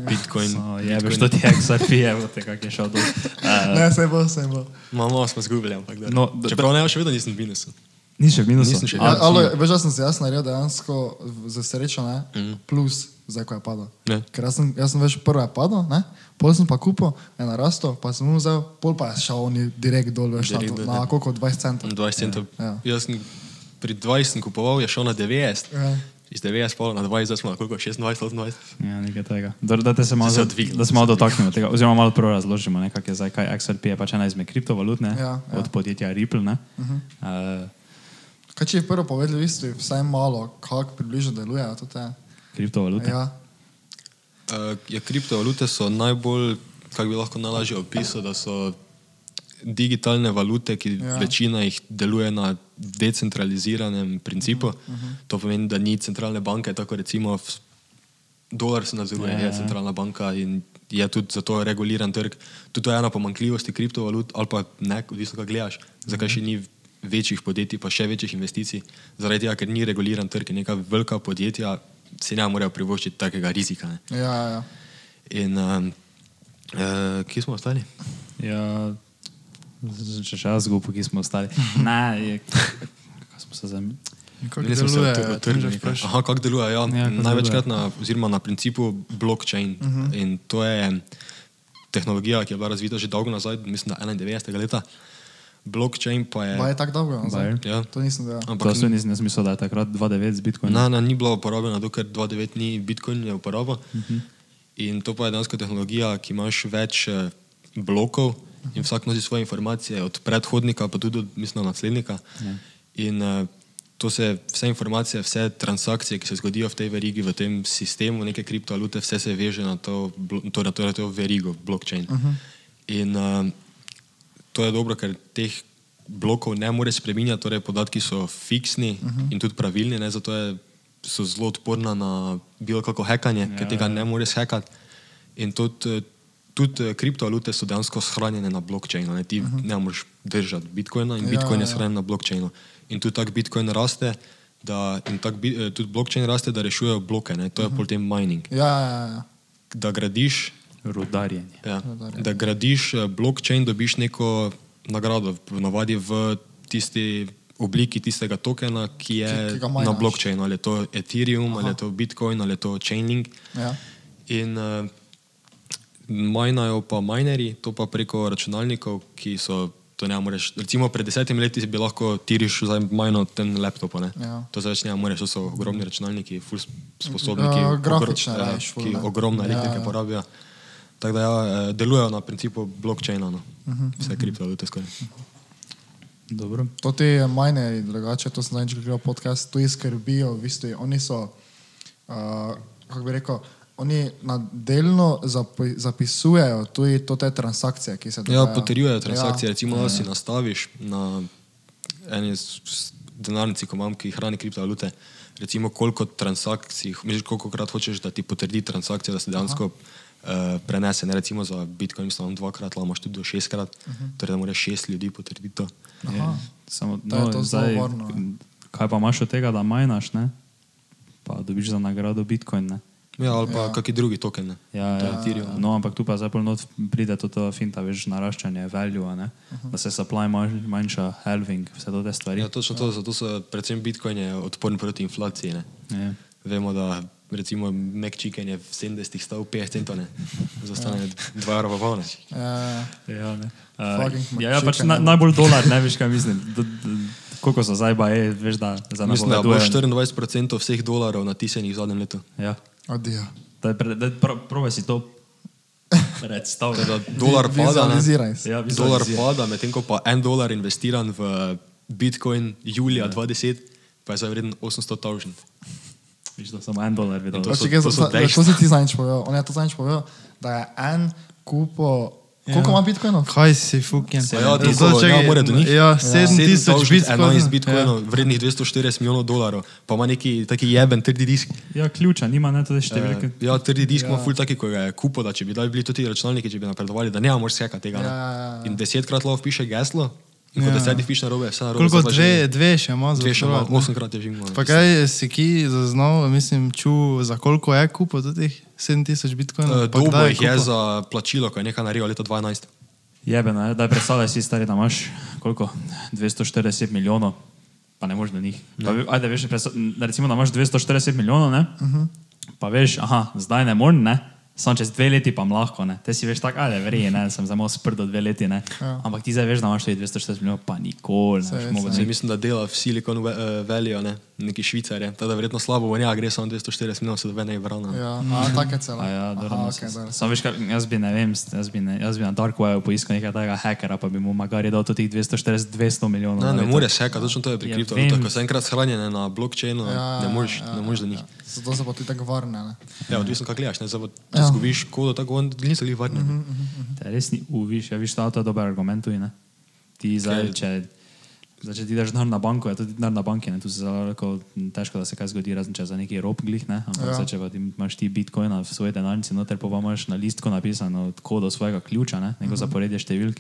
[SPEAKER 4] Bitcoin.
[SPEAKER 2] No, je, veš, to ti je XRP, je, veste, kak je šel dol. Uh,
[SPEAKER 1] Ne, se bo, se bo.
[SPEAKER 4] Malo smo zgubili, ampak da.
[SPEAKER 2] No,
[SPEAKER 4] No,
[SPEAKER 2] da-
[SPEAKER 4] Čeprav ne, še vedno nisem v minusu.
[SPEAKER 2] ni še v minusu.
[SPEAKER 4] Nisem še v
[SPEAKER 2] A,
[SPEAKER 1] Ja, alo,
[SPEAKER 2] si-
[SPEAKER 1] veš, da sem se jaz naredil dejansko za srečo, ne? Mm. Plus, zdaj ko je padel.
[SPEAKER 4] Ja.
[SPEAKER 1] Ker jaz sem, jaz sem veš prvo je padel, ne? Pol sem pa kupil, je narastel, pa sem mu vzel, pol pa je šel on direkt dol, veš,
[SPEAKER 4] Direkt dol, ja.
[SPEAKER 1] na, na
[SPEAKER 4] ne.
[SPEAKER 1] koliko 20 centov.
[SPEAKER 4] 20 centov.
[SPEAKER 1] Ja.
[SPEAKER 4] Jaz sem pri 20 sem kupoval, je šel na 90.
[SPEAKER 1] Ja.
[SPEAKER 4] Iz 90 pa na 20, zdaj smo na koliko? 26, 28.
[SPEAKER 2] Ja, nekaj tega. Dobro, Da, te se malo,
[SPEAKER 4] Se
[SPEAKER 2] za-
[SPEAKER 4] odvigne,
[SPEAKER 2] da se
[SPEAKER 4] se
[SPEAKER 2] malo
[SPEAKER 4] odvigne.
[SPEAKER 2] dotaknemo tega, oziroma malo prav razložimo, ne, kak je zdaj, kaj XRP je pač ena izmed kriptovalut, ne,
[SPEAKER 1] Ja, ja. Mhm.
[SPEAKER 2] od podjetja Ripple. Ne, uh -huh. uh,
[SPEAKER 1] Kaj če je prvo povedali, v bistvu, vsaj malo, kako približno deluje, to te.
[SPEAKER 2] kriptovalute.
[SPEAKER 1] Ja.
[SPEAKER 4] Uh, ja, kriptovalute so najbolj, kako bi lahko najlažje opisal, da so digitalne valute, ki
[SPEAKER 1] Ja.
[SPEAKER 4] ja. večina jih deluje na decentraliziranem principu. Uh -huh. To pomeni, da ni centralne banke, tako recimo v- dolar se nadzoruje,
[SPEAKER 2] Ja,
[SPEAKER 4] ja,
[SPEAKER 2] ja.
[SPEAKER 4] je centralna banka in je tudi zato reguliran trg. Tudi to je ena pomankljivost kriptovalut, ali pa ne, odvisno kaj gledaš. Zakaj še ni večjih podjetij, pa še večjih investicij? Zaradi tega, ker ni reguliran trg in neka velika podjetja si ne morejo privoščiti takega rizika. Ne.
[SPEAKER 1] Ja, ja, ja.
[SPEAKER 4] In um, uh, kje smo ostali?
[SPEAKER 2] Ja, zdaj če še jaz zgubo, ki smo ostali. Ne, je, kako smo se zamenjali.
[SPEAKER 3] Kako
[SPEAKER 4] Bili smo se
[SPEAKER 3] deluje,
[SPEAKER 4] od-
[SPEAKER 3] to
[SPEAKER 4] odtrgli.
[SPEAKER 3] že vprašal.
[SPEAKER 4] Aha, kako deluje? Ja.
[SPEAKER 2] Ja,
[SPEAKER 4] Ja,
[SPEAKER 2] kako
[SPEAKER 4] Največkrat na, oziroma na principu blockchain. Uh -huh. In to je tehnologija, ki je bila razvita že dolgo nazaj, mislim, da 91. leta. Blockchain pa Ja. je.
[SPEAKER 1] Pa je tako dolgo, no, zdaj.
[SPEAKER 2] Bajer.
[SPEAKER 4] Ja.
[SPEAKER 1] To nisem delal.
[SPEAKER 2] To
[SPEAKER 4] Ampak
[SPEAKER 2] se nisem jaz mislil, da je takrat 2,9 z Bitcoinom.
[SPEAKER 4] na, na, ni bila uporabljena, dokler 2.9 ni Bitcoin je uporabil. Uh -huh. In to pa je dejansko tehnologija, ki imaš več eh, blokov in vsak nosi svoje informacije od predhodnika, pa tudi od mislim, naslednika. Ja. In eh, to se vse informacije, vse transakcije, ki se zgodijo v tej verigi, v tem sistemu, neke kriptovalute, vse se veže na to, blo- torej, torej to verigo, blockchain. Uh -huh. In eh, to je dobro, ker teh blokov ne more spreminjati, torej podatki so fiksni uh
[SPEAKER 1] Mhm.
[SPEAKER 4] -huh. in tudi pravilni, ne, zato je, so zelo odporna na bilo kako hekanje, ja, ker tega ne more hekati. In tudi, eh, tudi eh, kriptovalute so dejansko shranjene na blokčinu, ne, ti uh -huh. ne moreš držati bitcoina in
[SPEAKER 1] Ja,
[SPEAKER 4] ja, bitcoin je
[SPEAKER 1] Mhm. ja.
[SPEAKER 4] shranjen na blokčinu. In tudi tako bitcoin raste. Da, in tako bi- eh, tudi blokčin raste, da rešujejo bloke, ne? to je uh -huh. potem mining.
[SPEAKER 1] Ja, ja, ja.
[SPEAKER 4] Da gradiš
[SPEAKER 2] Rudarjenje.
[SPEAKER 4] Ja.
[SPEAKER 1] No, torej.
[SPEAKER 4] Da gradiš eh, blockchain, dobiš neko nagrado, ponovadi v tisti obliki tistega tokena, ki je
[SPEAKER 1] Ki- ki ga
[SPEAKER 4] na
[SPEAKER 1] mineš.
[SPEAKER 4] blockchainu, ali je to Ethereum, Aha. ali je to Bitcoin, ali je to Chainlink.
[SPEAKER 1] ja.
[SPEAKER 4] In uh, majnajo pa minerji, to pa preko računalnikov, ki so. To ne moreš. Recimo pred desetimi leti bi lahko tiriš za majno ten laptop.
[SPEAKER 1] Ja.
[SPEAKER 4] Ja. To zdaj več ne moreš, to so ogromni računalniki, ful sp- sposobni, ki,
[SPEAKER 1] Ja, grafične
[SPEAKER 4] ja,
[SPEAKER 1] rabiš ful,
[SPEAKER 4] ki
[SPEAKER 1] ne.
[SPEAKER 4] ogromne
[SPEAKER 1] Ja,
[SPEAKER 4] elektrike
[SPEAKER 1] ja.
[SPEAKER 4] porabijo. Tako da ja, eh, delujejo na principu blockchaina, no. uh
[SPEAKER 1] Mhm.
[SPEAKER 4] -huh, vse kriptovalute skoraj.
[SPEAKER 2] Dobro.
[SPEAKER 1] To ti minerji, drugače, to sem zadnjič gledal podcast, tu skrbijo, v bistvu oni so, uh, kako bi rekel, oni nadelno zapi, zapisujejo tudi to te transakcije, ki se dogajajo.
[SPEAKER 4] Ja, potrjujejo transakcije.
[SPEAKER 1] torej.
[SPEAKER 4] Ja. Recimo, da si nastaviš na eni s- s- denarnici, ko imam, ki hrani kriptovalute, recimo koliko transakcij, misliš, koliko krat hočeš, da ti potrdi transakcijo, da se dejansko uh, prenese. Ne, recimo za Bitcoin, mislim, da imam dvakrat, lahko imaš tudi do šestkrat, uh -huh. torej da moraš šest ljudi potrditi to.
[SPEAKER 1] Aha.
[SPEAKER 2] Samo,
[SPEAKER 1] To je
[SPEAKER 2] no,
[SPEAKER 1] to zelo no.
[SPEAKER 2] zdaj,
[SPEAKER 1] varno, ne.
[SPEAKER 2] kaj pa imaš od tega, da majnaš, ne? pa dobiš za nagrado Bitcoin? Ne?
[SPEAKER 4] Ja, ali pa
[SPEAKER 1] Ja.
[SPEAKER 4] ja. kakšen drugi token. Ne.
[SPEAKER 2] Ja,
[SPEAKER 4] To je
[SPEAKER 2] ja.
[SPEAKER 4] Ethereum.
[SPEAKER 2] No, ampak tu pa zdaj polno pride to, to finta, veš, naraščanje value, a ne? da se supply manj- manjša, halving, vse to te stvari.
[SPEAKER 4] Mhm. Ja, točno to, zato so predvsem Bitcoin je odporen proti inflaciji. Ne.
[SPEAKER 2] Ja.
[SPEAKER 4] Vemo, da recimo McChicken je v 70-ih stal 50 centov, ne. zastane 2 evra pa polneč.
[SPEAKER 1] Ja,
[SPEAKER 2] Ja, ne.
[SPEAKER 1] Fucking
[SPEAKER 2] Uh, ja, ja, pač
[SPEAKER 1] McChicken,
[SPEAKER 2] na,
[SPEAKER 1] ne.
[SPEAKER 2] najbolj dolar, ne veš, kaj mislim. D, d, koliko za zdaj pa je, veš, da za nas
[SPEAKER 4] Mislim, da je bilo 24% vseh dolarjev natisanih v zadnjem letu.
[SPEAKER 2] Ja.
[SPEAKER 1] odijo.
[SPEAKER 2] Daj, pre, daj, pro, probaj si to predstavljati.
[SPEAKER 4] Da dolar pada, ne?
[SPEAKER 1] Vizualiziraj se.
[SPEAKER 2] Ja,
[SPEAKER 4] dolar
[SPEAKER 2] vizualiziraj.
[SPEAKER 4] pada, medtem ko pa en dolar investiran v Bitcoin julija
[SPEAKER 2] Ja.
[SPEAKER 4] 2010, pa je zdaj vreden 800 tavžen.
[SPEAKER 2] Viš, da samo en dolar videl.
[SPEAKER 4] to
[SPEAKER 1] To,
[SPEAKER 4] so-
[SPEAKER 1] to,
[SPEAKER 4] to so
[SPEAKER 1] to,
[SPEAKER 4] dejstva.
[SPEAKER 1] to si ti zadnjič povedal. On je to zadnjič povedal, da je en kupo, koliko
[SPEAKER 3] Ja.
[SPEAKER 1] ima bitcoinov?
[SPEAKER 3] Kaj si fucking?
[SPEAKER 4] Pa ja, to
[SPEAKER 3] Zdaj,
[SPEAKER 4] so-
[SPEAKER 3] čakaj,
[SPEAKER 4] ja, more do njih.
[SPEAKER 3] Ja, 7000 bitcoinov. Ja.
[SPEAKER 4] 11 bitcoinov, vrednih 240 milijonov dolarjev, pa ima neki taki jeben trdi disk.
[SPEAKER 2] Ja, ključa, nima ne te številke.
[SPEAKER 4] Eh, Ja, trdi disk ima ful taki, ko ga je kupo, da če bi dali bili tudi računalniki, če bi napredovali, da ne moreš sekati tega. ne.
[SPEAKER 1] Ja, ja, ja.
[SPEAKER 4] In desetkrat lahko piše geslo, in ko
[SPEAKER 3] Ja.
[SPEAKER 4] desetih piše narobe, vse narobe.
[SPEAKER 3] Koliko
[SPEAKER 4] zdaj pa že
[SPEAKER 3] dve, dve še ima za
[SPEAKER 4] Dve še malo,
[SPEAKER 3] prodati, ne?
[SPEAKER 4] osemkrat je že imel. Eh,
[SPEAKER 3] Pa kaj si ki zaznal, mislim, ču, za koliko je kupil teh 7000 bitcoinov? Pa
[SPEAKER 4] Dobo
[SPEAKER 3] kdaj
[SPEAKER 4] E, jih je
[SPEAKER 3] kupil?
[SPEAKER 4] za plačilo, ko je nekaj naredil leta 2012.
[SPEAKER 2] Jebeno, je, no, daj predstavljaj si stari, da imaš koliko? 240 milijonov, pa ne moreš do njih. Pa, ve- ajde, veš, predstav- n- recimo, da imaš 240 milijonov, ne? Uh
[SPEAKER 1] Mhm.
[SPEAKER 2] -huh. Pa veš, aha, zdaj ne morem, ne? Sam čez dve leti pa bom lahko, ne? Te si veš tako, ajde, verji, ne? Sem samo sprdo dve leti, ne?
[SPEAKER 1] Ja.
[SPEAKER 2] Ampak ti zdaj veš, da imaš tudi 240 milijonov, pa nikoli ne
[SPEAKER 1] Saj,
[SPEAKER 2] boš mogel
[SPEAKER 1] saj.
[SPEAKER 4] Zdaj
[SPEAKER 2] zimiti.
[SPEAKER 4] mislim, da dela v Silicon Valley, ne? neki švicarje. Tada verjetno slabo bo njega, gre samo 240 milijonov, se dobe ne vrana.
[SPEAKER 1] Ja, a, take celo.
[SPEAKER 2] A ja, dobro,
[SPEAKER 1] Aha,
[SPEAKER 2] no,
[SPEAKER 1] okay, dobro.
[SPEAKER 2] okay, Sam veš, kaj, jaz bi ne vem, jaz bi, ne, jaz bi na Dark Webu poiskal nekaj takega hekera, pa bi mu magari dal tudi 240-200 milijonov.
[SPEAKER 4] Ne,
[SPEAKER 2] na
[SPEAKER 4] ne
[SPEAKER 2] leto.
[SPEAKER 4] moreš sekati, točno to je pri
[SPEAKER 2] Ja,
[SPEAKER 4] kriptovalutah.
[SPEAKER 2] vem.
[SPEAKER 4] Ko so enkrat shranjene na blockchainu,
[SPEAKER 1] Ja,
[SPEAKER 4] ne moreš,
[SPEAKER 1] ja,
[SPEAKER 4] ne moreš do njih.
[SPEAKER 1] Zato so pa ti tako varne. Ne?
[SPEAKER 4] Ja, odvisno kako gledaš, ne? Zdaj, pa, če
[SPEAKER 1] Ja.
[SPEAKER 4] zgubiš kodo, tako on niso bili varni. ne.
[SPEAKER 2] Te res ni uviš, ja, viš, ta avto je dober argument tudi, ne? Ti zdaj,
[SPEAKER 4] Kaj?
[SPEAKER 2] če, zdaj, če ti daš denar na banko, je to denar na banki, ne? Tu se zelo lahko, m, težko, da se kaj zgodi, razen če za neki rob glih, ne? Ampak
[SPEAKER 1] Ja.
[SPEAKER 2] ja. zdaj, če pa ti imaš ti bitcoina v svoji denarnici
[SPEAKER 4] Mhm.
[SPEAKER 2] noter, pa pa imaš na listku napisano kodo svojega ključa, ne? Neko zaporedje številk.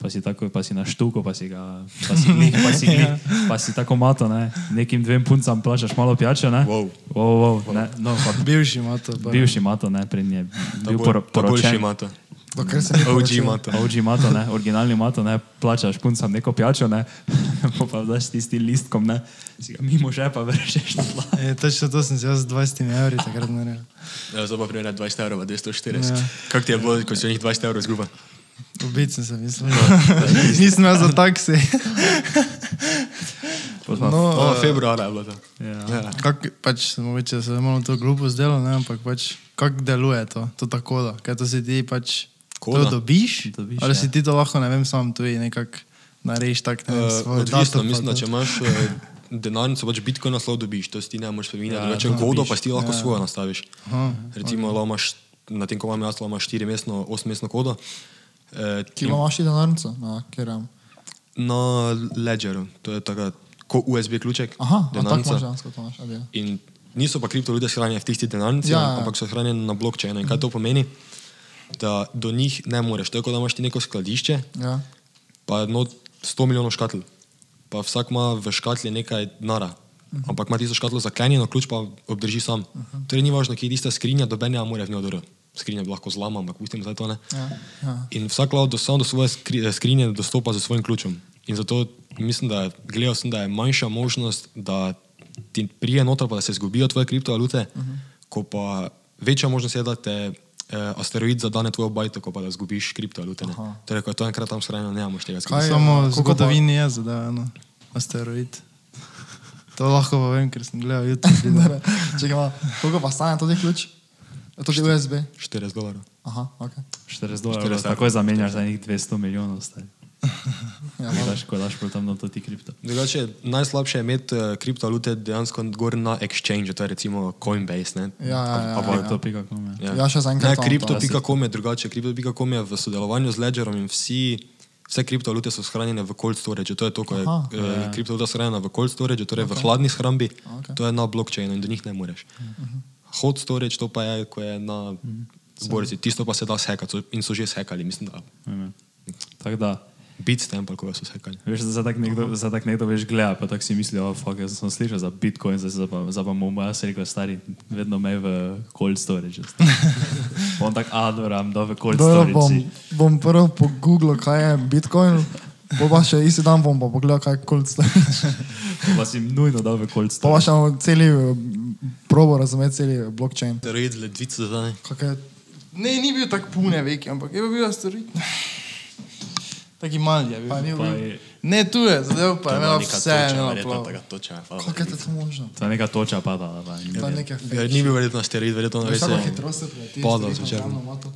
[SPEAKER 2] pa si tako, pa si na štuko, pa si ga, pa si glih, pa si glih, pa si tako mato, ne? nekim dvem puncam plačaš malo pijače, ne?
[SPEAKER 4] Wow.
[SPEAKER 2] wow, wow ne? No, pa
[SPEAKER 3] Bivši mato. Pa.
[SPEAKER 2] bivši mato, ne, pred njim je bil
[SPEAKER 4] bolj-
[SPEAKER 2] poro,
[SPEAKER 4] boljši
[SPEAKER 2] poročen.
[SPEAKER 4] mata.
[SPEAKER 1] Dokler se ni
[SPEAKER 4] OG
[SPEAKER 1] poročil.
[SPEAKER 4] mata.
[SPEAKER 2] OG mato, ne, originalni mato, ne, plačaš puncam neko pijačo, ne, pa pa daš tisti listkom, ne, si ga mimo žepa vržeš na tla.
[SPEAKER 3] E, točno to sem si jaz z 20 evri takrat naredil.
[SPEAKER 4] Ja, zdaj pa primerjaj 20 evrov, 240.
[SPEAKER 3] Ja.
[SPEAKER 4] Ja. Kako ti je bilo, ko si njih 20 evrov izgubil?
[SPEAKER 3] Ubit sem se mislil. Nisem jaz za taksi.
[SPEAKER 1] No,
[SPEAKER 4] O, februarja je bilo to.
[SPEAKER 2] Ja.
[SPEAKER 3] Kak, pač sem mogoče se malo to glupo zdelo, ne, ampak pač kako deluje to, to ta koda, kaj to si ti pač
[SPEAKER 4] Koda?
[SPEAKER 3] to dobiš,
[SPEAKER 2] Dobiš,
[SPEAKER 3] ali
[SPEAKER 2] ja.
[SPEAKER 3] si ti to lahko, ne vem, sam tu je nekak narediš tak, ne vem,
[SPEAKER 4] Uh,
[SPEAKER 3] svoj
[SPEAKER 4] odvisno,
[SPEAKER 3] datum pa
[SPEAKER 4] mislim, da
[SPEAKER 3] to.
[SPEAKER 4] če imaš uh, denarnico, pač bitcoin naslov dobiš, to si ti ne moreš spremeniti. Ja, če
[SPEAKER 2] to
[SPEAKER 4] kodo,
[SPEAKER 2] dobiš.
[SPEAKER 4] pa si ti lahko ja. svojo nastaviš.
[SPEAKER 3] Aha,
[SPEAKER 4] Recimo, okay. imaš, na tem, ko imam jaz, lahko imaš 4-mestno, 8-mestno kodo. Eh,
[SPEAKER 1] Ki ima vaši denarnico, No, na katerem.
[SPEAKER 4] Na Ledgeru, to je tako kot USB ključek,
[SPEAKER 1] Aha, a tako imaš ja.
[SPEAKER 4] denarnica.
[SPEAKER 1] dejansko to imaš. ajde.
[SPEAKER 4] In niso pa kriptovalute shranjene v tistih denarnicah,
[SPEAKER 1] Ja, ja.
[SPEAKER 4] ja. ampak so shranjene na blokčajnu. In kaj to pomeni? Da do njih ne moreš. To je kot da imaš ti neko skladišče,
[SPEAKER 1] Ja.
[SPEAKER 4] pa no 100 milijonov škatl. Pa vsak ima v škatli nekaj nara.
[SPEAKER 1] Mhm.
[SPEAKER 4] Ampak ima tisto škatlo zaklenjeno, ključ pa obdrži sam. Torej ni važno, kje je tista skrinja, doben ne more v njo drž. Skrinja bi lahko zlama, ampak pustim zdaj to ne.
[SPEAKER 1] Ja, ja.
[SPEAKER 4] In vsak lahko do, sam do svoje skri, eh, skrinje dostopa z svojim ključem. In zato mislim, da je- gledal sem, da je manjša možnost, da ti prije noter, pa da se izgubijo tvoje kriptovalute, uh -huh. ko pa večja možnost je, da te eh, asteroid zadane tvojo bajto, ko pa da izgubiš kriptovalute. ne. Torej, ko je to enkrat tam skrajno, ne moreš tega
[SPEAKER 1] Kaj
[SPEAKER 4] skrbeti.
[SPEAKER 1] je,
[SPEAKER 3] Samo
[SPEAKER 1] koliko pa-
[SPEAKER 3] zgodovini je zadeva, no, asteroid. To lahko pa vem, ker sem gledal YouTube. video.
[SPEAKER 1] Če ga ima, koliko pa stane tudi ključ? Je To že USB.
[SPEAKER 4] 40 dolarjev.
[SPEAKER 1] Aha, ok.
[SPEAKER 2] 40 dolarjev,
[SPEAKER 4] 40
[SPEAKER 2] takoj zamenjaš za nekih 200 milijonov, stari.
[SPEAKER 1] Ja,
[SPEAKER 2] Ko
[SPEAKER 1] malo.
[SPEAKER 2] daš, ko daš prav tam noto ti kripto.
[SPEAKER 4] Drugače, najslabše je imeti eh, kriptovalute dejansko gor na exchange, to je recimo Coinbase. Ne?
[SPEAKER 1] ja, ja, ja,
[SPEAKER 4] A- a pa
[SPEAKER 1] ja,
[SPEAKER 4] je
[SPEAKER 1] ja.
[SPEAKER 2] To pika kome.
[SPEAKER 4] Ja,
[SPEAKER 1] Ja, še zaenkrat imamo to.
[SPEAKER 4] Ne, kripto.com je drugače. Kripto.com je v sodelovanju z Ledgerom in vsi, vse kriptovalute so shranjene v cold storage. To je to, ko je
[SPEAKER 1] Aha.
[SPEAKER 4] eh, kriptovaluta shranjena v cold storage, torej okay. v hladni shrambi.
[SPEAKER 1] Okej. Mhm.
[SPEAKER 4] Okay. To je na blockchainu in do njih ne moreš. Hot storage to pa je, ko je na zbornici. Tisto pa se da shekati so- in so že shekali. Mislim, da
[SPEAKER 2] Tako da,
[SPEAKER 4] Bitstamp ali koga so shekali.
[SPEAKER 2] veš, da tak nekdo, za tak nekdo veš gleda, pa tako si misli, oh, fuck, jaz sem slišal za Bitcoin, zdaj se pa, zdaj pa mu jaz rekel, stari, vedno me v cold storage. Pa On tak, a, dobro, am da v cold
[SPEAKER 1] Dobro,
[SPEAKER 2] storage.
[SPEAKER 1] bom,
[SPEAKER 2] si."
[SPEAKER 1] bom prvo pogooglil, kaj je Bitcoin, po pa še isti dan bom pa pogledal, kaj je cold storage.
[SPEAKER 2] Pa si nujno da v cold
[SPEAKER 1] Po pa
[SPEAKER 2] storage.
[SPEAKER 1] še bom celi, eh, probo razumeti celi blockchain.
[SPEAKER 4] Steroid, ledvice, zdaj.
[SPEAKER 1] Kak je, ne, ni bil tak pune veki, ampak je bil asteroid.
[SPEAKER 3] Taki mali je bil.
[SPEAKER 1] Pa ni
[SPEAKER 2] Pa
[SPEAKER 1] bil.
[SPEAKER 2] je-
[SPEAKER 3] Ne, tu je, zadev pa je imel vse.
[SPEAKER 1] no,
[SPEAKER 3] imel plav.
[SPEAKER 4] toča.
[SPEAKER 1] Kako je to možno?
[SPEAKER 2] To je neka toča padala. Pa, in-
[SPEAKER 1] To je nekaj
[SPEAKER 4] Ja,
[SPEAKER 1] fake.
[SPEAKER 4] ni bil verjetno steroid, verjetno ne
[SPEAKER 1] Veš,
[SPEAKER 4] veš.
[SPEAKER 1] kakšna hitrost se preleti?
[SPEAKER 4] Padal
[SPEAKER 1] asteroid na
[SPEAKER 4] zvečer.
[SPEAKER 1] glavno mato?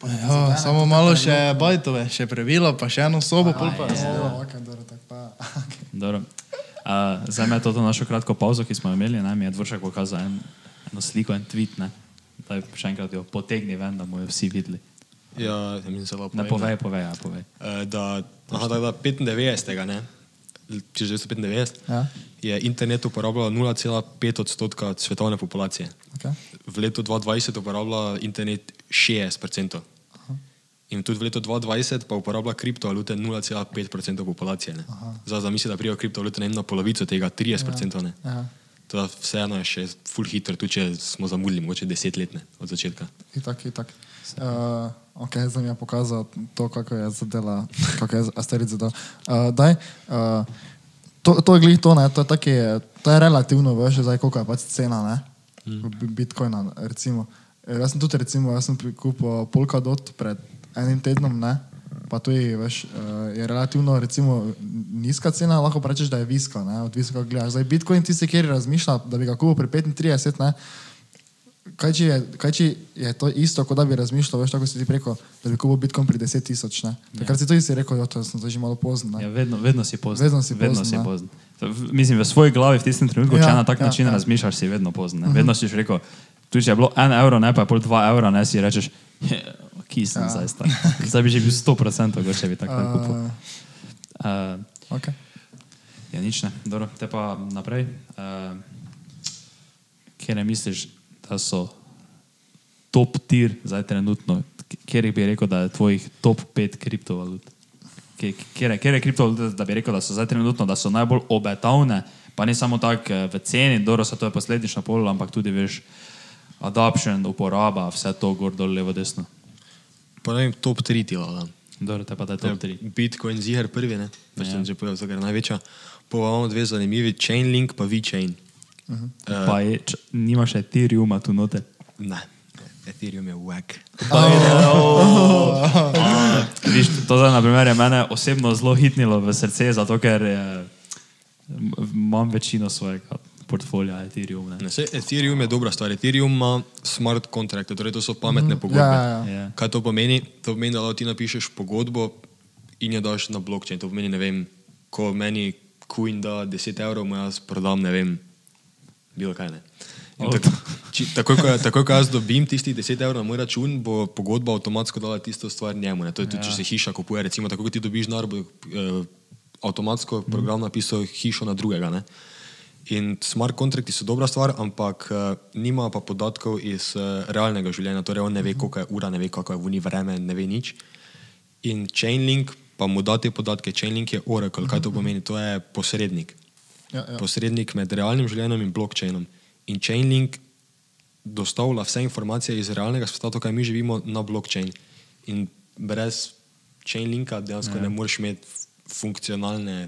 [SPEAKER 1] Pa ne
[SPEAKER 3] Ja,
[SPEAKER 1] zadene,
[SPEAKER 3] samo
[SPEAKER 1] to
[SPEAKER 3] malo
[SPEAKER 1] tako je
[SPEAKER 3] še bajtove, še pravilo, pa še eno sobo, pol pa.
[SPEAKER 1] bilo. Ja, ok, dobro, tako pa.
[SPEAKER 2] Dobro. Uh, zdaj me to našo kratko pauzo, ki smo jo imeli, naj mi je dvoršek pokazal en, eno sliko, en tweet, ne? da še enkrat jo potegni ven, da mu jo vsi videli.
[SPEAKER 4] Ja, mislim, zelo
[SPEAKER 2] Ne povej, povej, ja, povej.
[SPEAKER 4] Eh, da, aha, tako da 95. Ne? 1995
[SPEAKER 1] Ja.
[SPEAKER 4] je internet uporabljal 0,5 odstotka svetovne populacije.
[SPEAKER 1] Okay.
[SPEAKER 4] V letu 2020 uporablja internet 60%. In tudi v letu 2020 pa uporablja kriptovalute 0,5% populacije. ne. Zdaj zamisli, da prijo kriptovalute ne vem, na polovico tega, 30%. Ne?
[SPEAKER 1] Ja,
[SPEAKER 4] Teda vseeno je še full hitro, tudi če smo zamudili mogoče 10 let ne, od začetka.
[SPEAKER 1] itak, itak. Uh, ok, zdaj mi je pokazal to, kako je zadela, kako je asterit zadel. Uh, daj, uh, to, to je glih to, ne, to je taki, to je relativno, veš, zdaj koliko je pač cena, ne, mm. bitcoina, recimo. Eh, Jaz sem tudi, recimo, jaz sem prikupil Polkadot pred enim tednom, ne, pa tudi, veš, eh, je relativno, recimo, nizka cena, lahko pa rečeš, da je viska, ne, odvisno kako gledaš. Zdaj, bitcoin tisti, kjer razmišlja, da bi ga kupil pri 35, ne, Kaj če, je, kaj če je to isto, kot da bi razmišljal, veš, tako si ti rekel, da bi kupil Bitcoin pri 10 tisoč, ne? Takrat si tudi si rekel, jo, to sem zdaj že malo pozno,
[SPEAKER 2] Ja,
[SPEAKER 1] ne?
[SPEAKER 2] vedno, vedno si pozno.
[SPEAKER 1] Vedno si
[SPEAKER 2] vedno
[SPEAKER 1] pozen,
[SPEAKER 2] si
[SPEAKER 1] ja.
[SPEAKER 2] pozno. To v- Mislim, v svoji glavi v tistem trenutku, ja, če
[SPEAKER 1] Ja,
[SPEAKER 2] na tak
[SPEAKER 1] ja,
[SPEAKER 2] ja, način
[SPEAKER 1] ja. Mhm.
[SPEAKER 2] ja. razmišljaš, si vedno pozno. ne. Vedno si že rekel, tudi če je bilo en evro, ne pa je pol dva evra, ne si rečeš, ki sem ja. zdaj star. Zdaj bi že bil 100%, gor, če bi tako uh. kupil.
[SPEAKER 1] Uh,
[SPEAKER 2] Uh,
[SPEAKER 1] okay.
[SPEAKER 2] Ja, nič ne. Dobro, te pa naprej. Uh, kje ne misliš, da so top tir zdaj trenutno, kjer bi rekel, da je tvojih top 5 kriptovalut? kjer je, kjer je kriptovalute, da bi rekel, da so zdaj trenutno, da so najbolj obetavne, pa ne samo tako eh, v ceni, dobro, se to je posledično pol, ampak tudi veš, adoption, uporaba, vse to gor, dol, levo, desno.
[SPEAKER 4] Pa ne vem, top 3 ti lahko. dam.
[SPEAKER 2] Dobro, te pa da je
[SPEAKER 4] Ja,
[SPEAKER 2] top 3.
[SPEAKER 4] Bitcoin ziger prvi, ne? Pač sem že povedal, zakaj je največja. Pa imamo dve zanimivi, Chainlink pa VeChain.
[SPEAKER 2] Uh, pa je, če, nimaš Ethereuma tu noter.
[SPEAKER 4] Ne, Ethereum je wack.
[SPEAKER 2] A, Viš, to zdaj, na primer, je mene osebno zelo hitnilo v srce, zato ker eh, m- imam večino svojega portfolija Ethereum. Ne.
[SPEAKER 4] Ne, saj Ethereum je dobra stvar. Ethereum ima smart kontrakte, torej to so pametne pogodbe.
[SPEAKER 1] Ja, ja,
[SPEAKER 2] ja. Ja.
[SPEAKER 4] Kaj to pomeni? To pomeni, da lahko ti napišeš pogodbo in jo daš na blockchain. To pomeni, ne vem, ko meni Queen da 10 evrov, mu jaz prodam, ne vem, bilo kaj ne. In
[SPEAKER 2] Oh.
[SPEAKER 4] Tako, či, takoj, ko, ja, takoj, ko jaz dobim tistih 10 evrov na moj račun, bo pogodba avtomatsko dala tisto stvar njemu. Ne? To je tudi, ja. če se hiša kupuje, recimo, tako kot ti dobiš denar, bo eh, avtomatsko program napisal hišo na drugega. Ne? In smart kontrakti so dobra stvar, ampak uh, nima pa podatkov iz uh, realnega življenja, torej on ne ve, koliko je ura, ne ve, kako je vuni vreme, ne ve nič. In Chainlink pa mu da te podatke. Chainlink je Oracle, kaj to pomeni? To je posrednik
[SPEAKER 1] Ja, ja.
[SPEAKER 4] posrednik med realnim življenjem in blockchainom. In Chainlink dostavlja vse informacije iz realnega sveta, to, kaj mi živimo, na blockchain. In brez Chainlinka dejansko ne, ne moreš imeti funkcionalne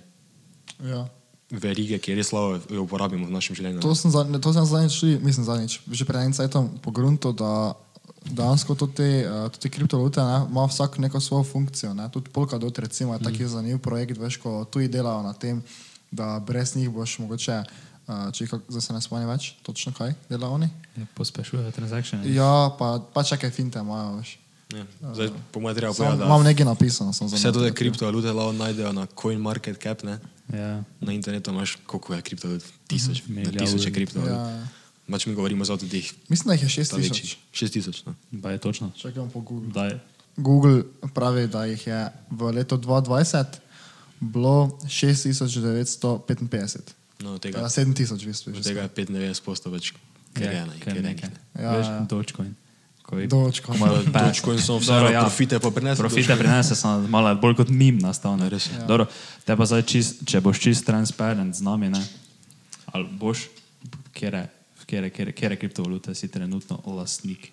[SPEAKER 1] Ja.
[SPEAKER 4] verige, ki res lahko jo uporabimo v našem življenju.
[SPEAKER 1] To sem, za, to sem zadnjič, tudi- mislim zadnjič, že pred enim cajtom pogrunto, da dejansko tudi te, eh, tudi te kriptovalute ne, ima vsak neko svojo funkcijo. Ne. Tudi Polkadot recimo je
[SPEAKER 2] Mhm.
[SPEAKER 1] taki zanimiv projekt, veš, ko tuji delajo na tem, da brez njih boš mogoče, eh, če jih kako- zdaj se ne spomnim več, točno kaj delajo oni.
[SPEAKER 2] Pospešuje transakcije.
[SPEAKER 1] Ja, pa, pa čakaj, finte imajo, veš.
[SPEAKER 4] Ja. Zdaj, po mojem, treba
[SPEAKER 1] Sam,
[SPEAKER 4] povedati,
[SPEAKER 1] imam
[SPEAKER 4] da
[SPEAKER 1] nekaj napisano, sem
[SPEAKER 4] vse te kriptovalute lahko najdejo na CoinMarketCap, ne?
[SPEAKER 2] Ja.
[SPEAKER 4] na internetu imaš koliko je kriptovalut, tisoč, na
[SPEAKER 2] Milijarde.
[SPEAKER 4] tisoče kriptovalut.
[SPEAKER 1] Ja,
[SPEAKER 4] Ja.
[SPEAKER 1] ja.
[SPEAKER 4] Mač mi govorimo zato, da jih
[SPEAKER 1] Mislim, da jih je 6000.
[SPEAKER 4] 6000. No.
[SPEAKER 2] Pa je točno.
[SPEAKER 1] Čakaj, bom pogooglil.
[SPEAKER 2] Da je.
[SPEAKER 1] Google pravi, da jih je v letu 2020 bilo 6955.
[SPEAKER 4] No, tega
[SPEAKER 1] Ja, 7000 v bistvu.
[SPEAKER 4] Od
[SPEAKER 1] že
[SPEAKER 4] tega je 95 posto več, ker je ena,
[SPEAKER 2] Ker
[SPEAKER 4] ker je
[SPEAKER 2] nekaj.
[SPEAKER 4] nekaj.
[SPEAKER 1] Ja,
[SPEAKER 2] Veš,
[SPEAKER 1] ja.
[SPEAKER 2] Dogecoin. Ko je-
[SPEAKER 1] Dogecoin.
[SPEAKER 2] ko malo pe-
[SPEAKER 4] Dogecoin so vse,
[SPEAKER 2] Dobro,
[SPEAKER 4] ja, profite pa prinese
[SPEAKER 2] Profite
[SPEAKER 4] Dogecoin.
[SPEAKER 2] prinese, samo malo bolj kot mim nastal. Ne?
[SPEAKER 4] Res je.
[SPEAKER 2] Ja. Dobro, te pa zdaj, čist, če boš čist transparent z nami, ne? ali boš, kjere, kjere, kjere, kjere kriptovalute si trenutno lastnik,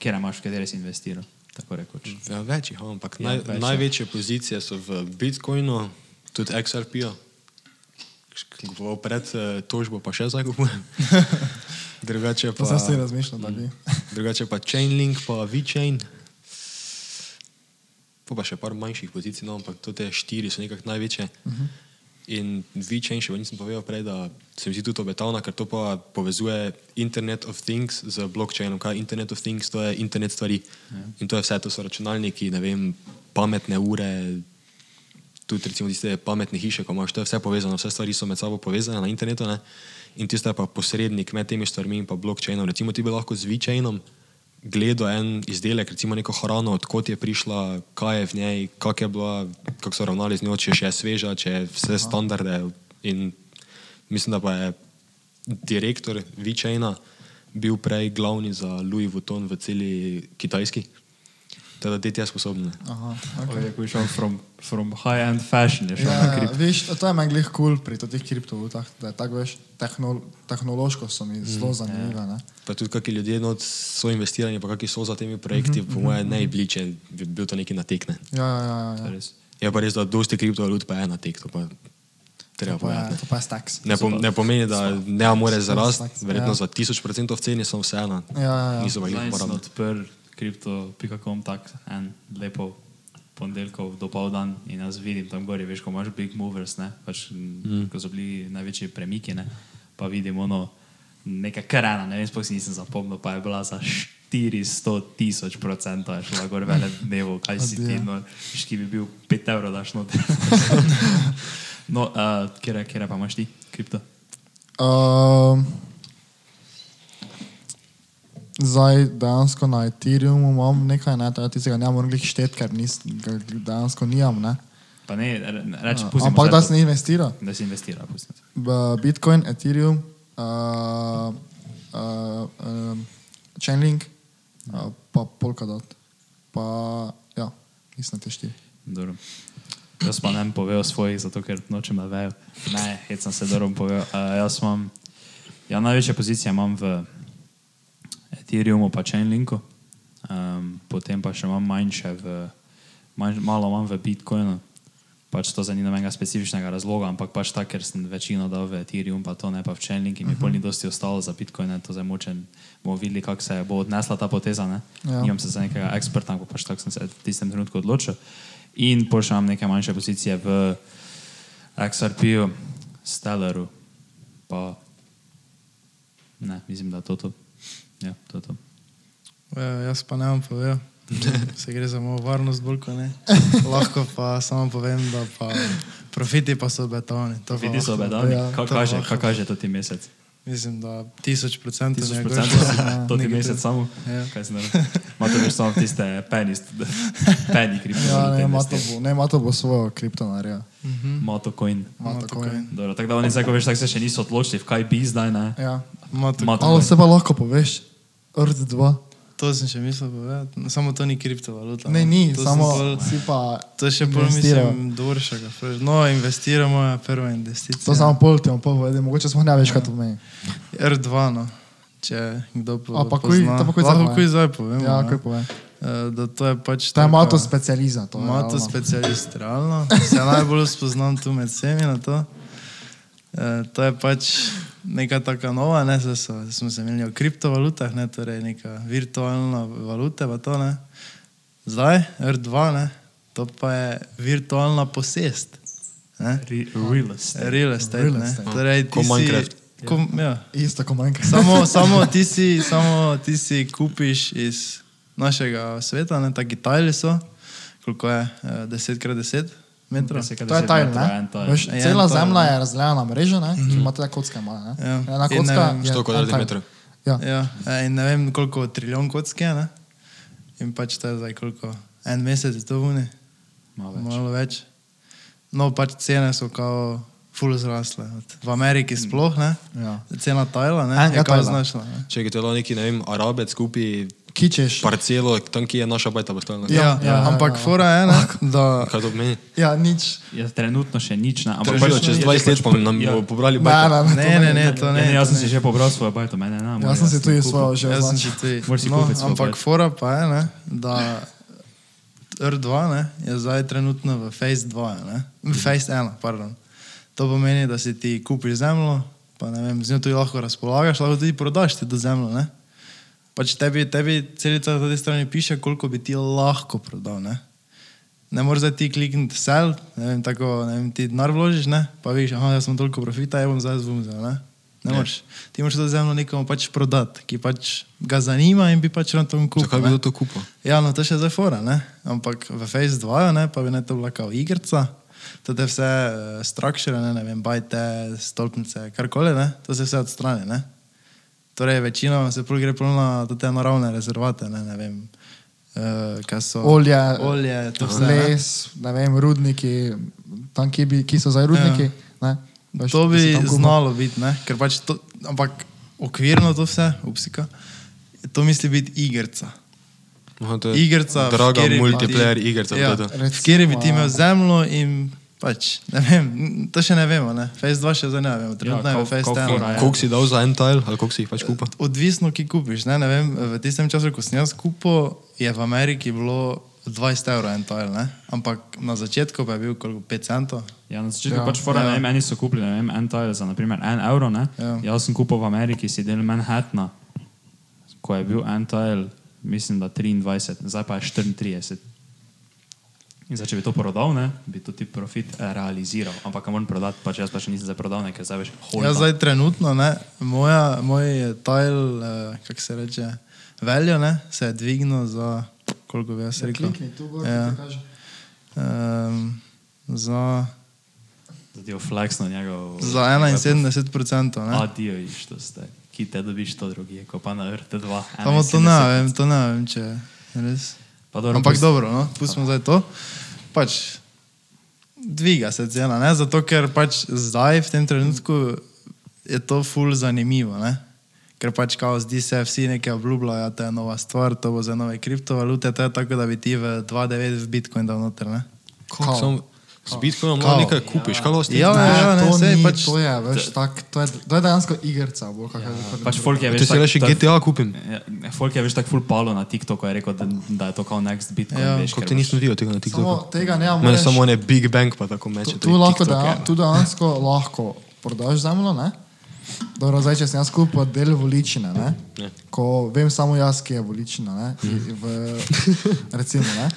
[SPEAKER 2] kjere imaš, v katere si investiral, tako rekoč.
[SPEAKER 4] Ja, več jih, imam, ampak
[SPEAKER 2] Ja,
[SPEAKER 4] naj,
[SPEAKER 2] več je.
[SPEAKER 4] največje pozicije so v Bitcoinu, tudi XRP-ju. Kupoval pred eh, tožbo, pa še zdaj kupujem. drugače
[SPEAKER 1] To sem
[SPEAKER 4] pa, Mm.
[SPEAKER 1] si razmišljal, da bi.
[SPEAKER 4] drugače pa Chainlink, pa VeChain. Pa, pa še par manjših pozicij, no, ampak to te štiri so nekako največje. Uh -huh. In VeChain še nisem povedal prej, da se mi zdi tudi obetavna, ker to pa povezuje Internet of Things z blockchainom. Kaj je Internet of Things? To je internet stvari. Ja. In to je vse, to so računalniki, ne vem, pametne ure, tudi recimo tiste pametne hiše, ko imaš, to je vse povezano, vse stvari so med sabo povezane na internetu. Ne? In tisto je pa posrednik med temi stvarmi in pa blockchainom. Recimo ti bi lahko z VeChainom gledal en izdelek, recimo neko hrano, odkot je prišla, kaj je v njej, kako je bila, kako so ravnali z njo, če je še sveža, če je vse standarde. In mislim, da pa je direktor VeChaina bil prej glavni za Louis Vuitton v celi Kitajski. Teda deti je sposobne.
[SPEAKER 1] Aha,
[SPEAKER 4] Oh,
[SPEAKER 1] okay.
[SPEAKER 2] Okay. Okay, šel from, from high-end fashion, je šel ja, na
[SPEAKER 1] Ja, ja,
[SPEAKER 2] kripto.
[SPEAKER 1] veš, to je meni glih kul cool pri teh kriptovalutah, da je tako veš, tehnol, tehnološko so mi
[SPEAKER 4] Mm, ja.
[SPEAKER 1] zelo zanimive. ne.
[SPEAKER 4] Pa tudi, kakšni ljudje not so investirani, pa kakšni so za temi projekti, po mojem, najbližje bi bil to neki natekne.
[SPEAKER 1] Ja, ja, ja. ja,
[SPEAKER 2] Ja.
[SPEAKER 1] ja.
[SPEAKER 2] Res.
[SPEAKER 4] Je pa res, da dosti kriptovalut pa je natek, to pa treba
[SPEAKER 1] To pa je-
[SPEAKER 4] povedati.
[SPEAKER 1] Ja, To pa je staks.
[SPEAKER 4] Ne, pom, ne pomeni, da ne more zarasti,
[SPEAKER 1] Staks,
[SPEAKER 4] verjetno
[SPEAKER 1] ja.
[SPEAKER 4] za 1000% ceni so vseeno,
[SPEAKER 1] Ja, ja, ja.
[SPEAKER 4] niso pa jih
[SPEAKER 2] Zdaj sem
[SPEAKER 4] uporabljali.
[SPEAKER 2] odprl kripto.com tak en lepo ponedeljkov do pol dan in jaz vidim tam gori, veš, ko imaš big movers, ne, pač, mm. ko so bili največji premiki, ne, pa vidim ono neka krana, ne vem, sploh si nisem zapomnil, pa je bila za 400 tisoč procentov, je šla gor vele dnevo, kaj si ti,
[SPEAKER 1] Adijo.
[SPEAKER 2] no, viš, ki bi bil 5 evrov daš noter. no, uh, kjer, kjer pa imaš ti kripto?
[SPEAKER 1] Um, zdaj dejansko na Ethereumu imam nekaj, ne, to je tistega, ne morem glih šteti, ker nis, ga dejansko nimam. Ne.
[SPEAKER 2] Pa ne, re- reči,
[SPEAKER 1] Uh,
[SPEAKER 2] pustimo.
[SPEAKER 1] Ampak
[SPEAKER 2] zdaj
[SPEAKER 1] da
[SPEAKER 2] to,
[SPEAKER 1] se ne investira.
[SPEAKER 2] Da si investira, pustimo.
[SPEAKER 1] B- Bitcoin, Ethereum, uh, uh, um, Chainlink, uh, pa Polkadot. Pa ja, mislim te štiri.
[SPEAKER 2] Dobro. Jaz pa ne bom povedal svojih, zato ker nočem, da vejo. Ne, hecam se, da bom povedal. Uh, jaz imam, ja, največje pozicije imam v Ethereumu pa Chainlinku, um, potem pa še imam manjše, v, manj, malo imam v Bitcoinu. Pač to za ni nobenega specifičnega razloga, ampak pač ta, ker sem večino dal v Ethereum, pa to ne pa v Chainlink in mi pol ni dosti ostalo za Bitcoin, ne, to zdaj močem, bomo videli, kako se bo odnesla ta poteza. Ne?
[SPEAKER 1] Ja.
[SPEAKER 2] Nimam se za nekega eksperta, ampak pač tako sem se v tistem trenutku odločil. In pol še imam neke manjše pozicije v XRP-ju, Stellaru, pa ne, mislim, da to to. Ja, to je to.
[SPEAKER 3] Ja, jaz pa ne vam povem. Se gre za mojo varnost, bolj kot ne. Lahko pa samo povem, da pa profiti pa so betovni. To pa
[SPEAKER 2] Vidi so
[SPEAKER 3] lahko-
[SPEAKER 2] bedani,
[SPEAKER 1] ja,
[SPEAKER 2] kako
[SPEAKER 3] to
[SPEAKER 2] kaže,
[SPEAKER 3] lahko.
[SPEAKER 2] kak kaže to ti mesec.
[SPEAKER 3] Mislim, da tisoč procentov.
[SPEAKER 2] Tisoč
[SPEAKER 3] ne,
[SPEAKER 2] procentov
[SPEAKER 3] gor-
[SPEAKER 2] si
[SPEAKER 1] no,
[SPEAKER 2] to ti
[SPEAKER 3] Nekaj
[SPEAKER 2] mesec
[SPEAKER 3] tega.
[SPEAKER 2] samo.
[SPEAKER 3] Ja.
[SPEAKER 2] Kaj se naredi? Mato veš samo tiste peni, st- peni kripto.
[SPEAKER 1] Ja, ne, Mato bo, ne, Mato bo svojo kripto naredil.
[SPEAKER 2] Mato coin.
[SPEAKER 1] Mato
[SPEAKER 3] Mato
[SPEAKER 1] coin.
[SPEAKER 3] coin.
[SPEAKER 2] Dobro, tako da oni zdaj, ko veš, tako se še niso odločili, v kaj bi zdaj, ne?
[SPEAKER 1] Ja.
[SPEAKER 3] Mato-
[SPEAKER 2] Mato
[SPEAKER 1] Malo
[SPEAKER 2] coin.
[SPEAKER 1] se pa lahko poveš. RD2.
[SPEAKER 3] To sem še mislil povedati. No, Samo to ni kriptovaluta.
[SPEAKER 1] Ne,
[SPEAKER 3] no.
[SPEAKER 1] ni,
[SPEAKER 3] To sem
[SPEAKER 1] samo
[SPEAKER 3] bolj-
[SPEAKER 1] si pa.
[SPEAKER 3] To je še bolj
[SPEAKER 1] investiral.
[SPEAKER 3] mislim, doršega. No, investiramo je prva investicija.
[SPEAKER 1] To samo pol ti bom povedal, mogoče smo ne več kaj
[SPEAKER 3] Ja.
[SPEAKER 1] to meni.
[SPEAKER 3] R2, no. če kdo po,
[SPEAKER 1] A, pa kuj-
[SPEAKER 3] pozna.
[SPEAKER 1] to pa kuj zdaj
[SPEAKER 3] Lahko
[SPEAKER 1] povem.
[SPEAKER 3] kuj zdaj povem.
[SPEAKER 1] Ja, kaj povem.
[SPEAKER 3] Da no. to je pač
[SPEAKER 1] To je
[SPEAKER 3] taka-
[SPEAKER 1] Mato specializa. To je ja, no.
[SPEAKER 3] Mato
[SPEAKER 1] realno.
[SPEAKER 3] specialist, realno. Se najbolj spoznam tu med vsemi na to. E, to je pač neka taka nova, ne, zdaj so, smo se imeli o kriptovalutah, ne, torej neka virtualna valuta, pa to ne. Zdaj, R2, ne, to pa je virtualna posest. Ne.
[SPEAKER 2] Re- Real estate.
[SPEAKER 3] Real estate,
[SPEAKER 1] Real
[SPEAKER 3] ne.
[SPEAKER 1] estate.
[SPEAKER 3] Torej, ti
[SPEAKER 4] Ko
[SPEAKER 3] si-
[SPEAKER 4] Minecraft.
[SPEAKER 3] Ko, ja.
[SPEAKER 1] Isto kot manjka.
[SPEAKER 3] Samo, samo, ti si, samo ti si kupiš iz našega sveta, ne taki tajli so, koliko je, eh, 10x10 metrov.
[SPEAKER 2] Deset-
[SPEAKER 1] To je tajl,
[SPEAKER 2] metrov, en
[SPEAKER 1] ne?
[SPEAKER 2] tile.
[SPEAKER 1] Veš,
[SPEAKER 3] En
[SPEAKER 1] cela
[SPEAKER 3] tile,
[SPEAKER 1] zemlja
[SPEAKER 3] ja.
[SPEAKER 1] je razdeljena na mreže, ne? Ki ima te kocke male, ne?
[SPEAKER 3] Ja.
[SPEAKER 1] Ena
[SPEAKER 3] In ne
[SPEAKER 1] kocka
[SPEAKER 3] vem,
[SPEAKER 1] je
[SPEAKER 4] 100
[SPEAKER 1] en
[SPEAKER 4] kvadratnih
[SPEAKER 1] tile.
[SPEAKER 4] metrov.
[SPEAKER 1] Ja.
[SPEAKER 3] Ja, eh, in ne vem koliko trilijon kocke je, ne? in pač to je zdaj koliko, en mesec je to vune,
[SPEAKER 2] Malo več.
[SPEAKER 3] malo več. No, pač cene so kao full zrasle, od- v Ameriki sploh ne,
[SPEAKER 1] Ja.
[SPEAKER 3] cena tajla ne,
[SPEAKER 1] Enega
[SPEAKER 3] je kao
[SPEAKER 1] tajla.
[SPEAKER 3] znašla. Ne?
[SPEAKER 4] Če je telo neki, ne vem, arabec kupi
[SPEAKER 1] Kičeš.
[SPEAKER 4] parcelo, tam ki je naša bajta postavljena.
[SPEAKER 1] Ja,
[SPEAKER 3] Ja,
[SPEAKER 1] ja,
[SPEAKER 3] ja, ampak
[SPEAKER 1] ja, ja.
[SPEAKER 3] fora je, ne, da
[SPEAKER 4] Kaj to pomeni?
[SPEAKER 1] Ja, nič.
[SPEAKER 2] Ja, trenutno še nič, ne? Ampak
[SPEAKER 4] Pač čez 20 let pa nam
[SPEAKER 2] Ja.
[SPEAKER 4] bomo pobrali
[SPEAKER 1] Ne,
[SPEAKER 4] bajto.
[SPEAKER 1] ne, ne. to
[SPEAKER 3] Ne, ne, ne, to
[SPEAKER 2] Ja,
[SPEAKER 3] ne.
[SPEAKER 2] ne,
[SPEAKER 3] to
[SPEAKER 2] jaz sem
[SPEAKER 3] ne.
[SPEAKER 2] si že pobral svojo bajto, mene ne.
[SPEAKER 1] Jaz sem si tudi svojo že
[SPEAKER 3] Jaz sem
[SPEAKER 1] označil.
[SPEAKER 3] že tudi.
[SPEAKER 2] Moraš si
[SPEAKER 3] No,
[SPEAKER 2] kupiti svoj
[SPEAKER 3] ampak
[SPEAKER 2] bajt.
[SPEAKER 3] fora pa je, ne, da R2 ne, je zdaj trenutno v Face 2, ne, v Face 1, pardon. To pomeni, da si ti kupiš zemljo, pa ne vem, z njo tudi lahko razpolagaš, lahko tudi prodaš ti to zemljo, ne. Pač tebi, tebi celica na tej strani piše, koliko bi ti lahko prodal, ne. Ne moreš zdaj ti klikniti sell, ne vem, tako, ne vem, ti denar vložiš, ne, pa vidiš, aha, jaz sem toliko profita, jaz bom zdaj zvumzel, ne. Ne
[SPEAKER 4] Ja.
[SPEAKER 3] moreš. Ti moraš to zemljo nekomu pač prodati, ki pač ga zanima in bi pač na tom kupil.
[SPEAKER 4] Zakaj bi
[SPEAKER 3] ne.
[SPEAKER 4] kdo to kupil?
[SPEAKER 3] Ja, no to še zdaj fora, ne? ampak v Face 2 ne, pa bi ne to bila kao igrica, to je vse uh, strukture, ne, ne vem, bajte, stolpnice, karkoli, ne? to se vse odstrani. Ne? Torej, večinoma se pol gre polno na te naravne rezervate, ne, ne vem, uh, kaj so
[SPEAKER 1] Olje,
[SPEAKER 3] olje to vse. ne.
[SPEAKER 1] les, ne vem, rudniki, tam, ki, bi, ki so zdaj rudniki. Ne, Veš,
[SPEAKER 3] Ja. To
[SPEAKER 1] ki si
[SPEAKER 3] bi
[SPEAKER 1] tam kupil.
[SPEAKER 3] znalo biti, ne? ker pač to, ampak okvirno to vse, upsika, to misli biti igrica.
[SPEAKER 4] Aha, to je
[SPEAKER 3] igrica. v
[SPEAKER 4] Draga
[SPEAKER 3] kateri bi
[SPEAKER 4] multiplayer
[SPEAKER 3] ti-
[SPEAKER 4] igrica,
[SPEAKER 3] Ja,
[SPEAKER 4] to je to.
[SPEAKER 1] Recimo,
[SPEAKER 3] v kateri bi
[SPEAKER 1] ja.
[SPEAKER 3] ti imel zemljo in pač, ne vem, n- to še ne vemo, ne. Face 2 še zdaj ne vemo, trenutno
[SPEAKER 2] Ja,
[SPEAKER 3] je
[SPEAKER 2] kol-
[SPEAKER 3] Face
[SPEAKER 2] koliko
[SPEAKER 3] 1.
[SPEAKER 2] fora je?
[SPEAKER 3] ne.
[SPEAKER 4] Koliko si dal za en tile, ali koliko si jih pač kupil?
[SPEAKER 3] Odvisno, ki kupiš, ne, ne vem, v tistem času, ko sem jaz kupil, je v Ameriki bilo 20 evrov en tile, ne, ampak na začetku pa je bil koliko 5 centov.
[SPEAKER 2] Ja, na začetku
[SPEAKER 1] Ja,
[SPEAKER 2] ja, pač fora,
[SPEAKER 3] ja.
[SPEAKER 2] ja. ne vem, eni so kupili, ne vem, en tile za naprimer en evro, ne?
[SPEAKER 3] Ja.
[SPEAKER 2] Ja. Jaz sem kupil v Ameriki, si del Manhattna, ko je bil en tile, mislim, da 23, zdaj pa je 34. In zdaj, če bi to prodal, ne, bi tudi profit eh, realiziral, ampak ga moram prodati, pač jaz pač nisem zdaj prodal, ne, ker zdaj veš, hočeš.
[SPEAKER 3] Jaz Ja, zdaj trenutno, ne, moja, moj tile, eh, kako se reče, veljo, ne, se je dvignil za, koliko bi jaz
[SPEAKER 1] Ja,
[SPEAKER 3] rekel,
[SPEAKER 1] Klikni tu gor,
[SPEAKER 3] Ja.
[SPEAKER 1] ti kaže.
[SPEAKER 3] um, za
[SPEAKER 2] Zadijo flex na oh, njegov.
[SPEAKER 3] Za 71%. Ne?
[SPEAKER 2] Adijo, iš to zdaj. Ki te dobiš to drugi, ko pa na RT2.
[SPEAKER 3] Samo to ne vem, to ne vem, če je res.
[SPEAKER 2] Pa dobro,
[SPEAKER 3] Ampak
[SPEAKER 2] pust-
[SPEAKER 3] dobro, no, pustimo zdaj to. Pač dviga se cena, ne? zato ker pač zdaj v tem trenutku je to ful zanimivo. Ne? Ker pač kao zdi se, vsi nekaj obljubljajo, to je nova stvar, to bo za nove kriptovalute, to je tako, da bi ti v 2.9 v Bitcoin dal noter. Ne?
[SPEAKER 1] Kao.
[SPEAKER 4] Samo- Z Bitcoinom
[SPEAKER 3] Kao.
[SPEAKER 4] lahko nekaj kupiš, kaj lahko s tem
[SPEAKER 3] Ja,
[SPEAKER 4] kupiš?
[SPEAKER 3] ja. ne,
[SPEAKER 1] to,
[SPEAKER 3] sej
[SPEAKER 1] ni,
[SPEAKER 3] pač- Ja.
[SPEAKER 1] to, je, veš, tak, to, je, to je dejansko igrica. Bolj, kako je rekel.
[SPEAKER 2] Pač folk je
[SPEAKER 4] Če
[SPEAKER 2] več
[SPEAKER 4] si reče GTA kupim,
[SPEAKER 2] Ja, Folk je več tako full palo na TikToku, je rekel, da, da je to kao next Bitcoin.
[SPEAKER 3] Ja,
[SPEAKER 2] veš,
[SPEAKER 4] kako
[SPEAKER 2] ker pač
[SPEAKER 4] ti
[SPEAKER 2] boš-
[SPEAKER 4] nisem videl tega na
[SPEAKER 1] Samo
[SPEAKER 4] TikToku.
[SPEAKER 1] tega ne
[SPEAKER 4] Mene
[SPEAKER 1] moreš.
[SPEAKER 4] samo one Big Bang pa tako
[SPEAKER 1] Tu,
[SPEAKER 4] meče.
[SPEAKER 1] tu, lahko
[SPEAKER 4] TikToke,
[SPEAKER 1] deja,
[SPEAKER 4] ne.
[SPEAKER 1] tu dejansko lahko prodaš zemljo. Ne? Dobro, zdaj, če sem jaz kupil del voličine, ne?
[SPEAKER 4] Ne.
[SPEAKER 3] Ja.
[SPEAKER 1] ko vem samo jaz, ki je voličina, ne?
[SPEAKER 3] Mhm.
[SPEAKER 1] I- V, recimo, ne?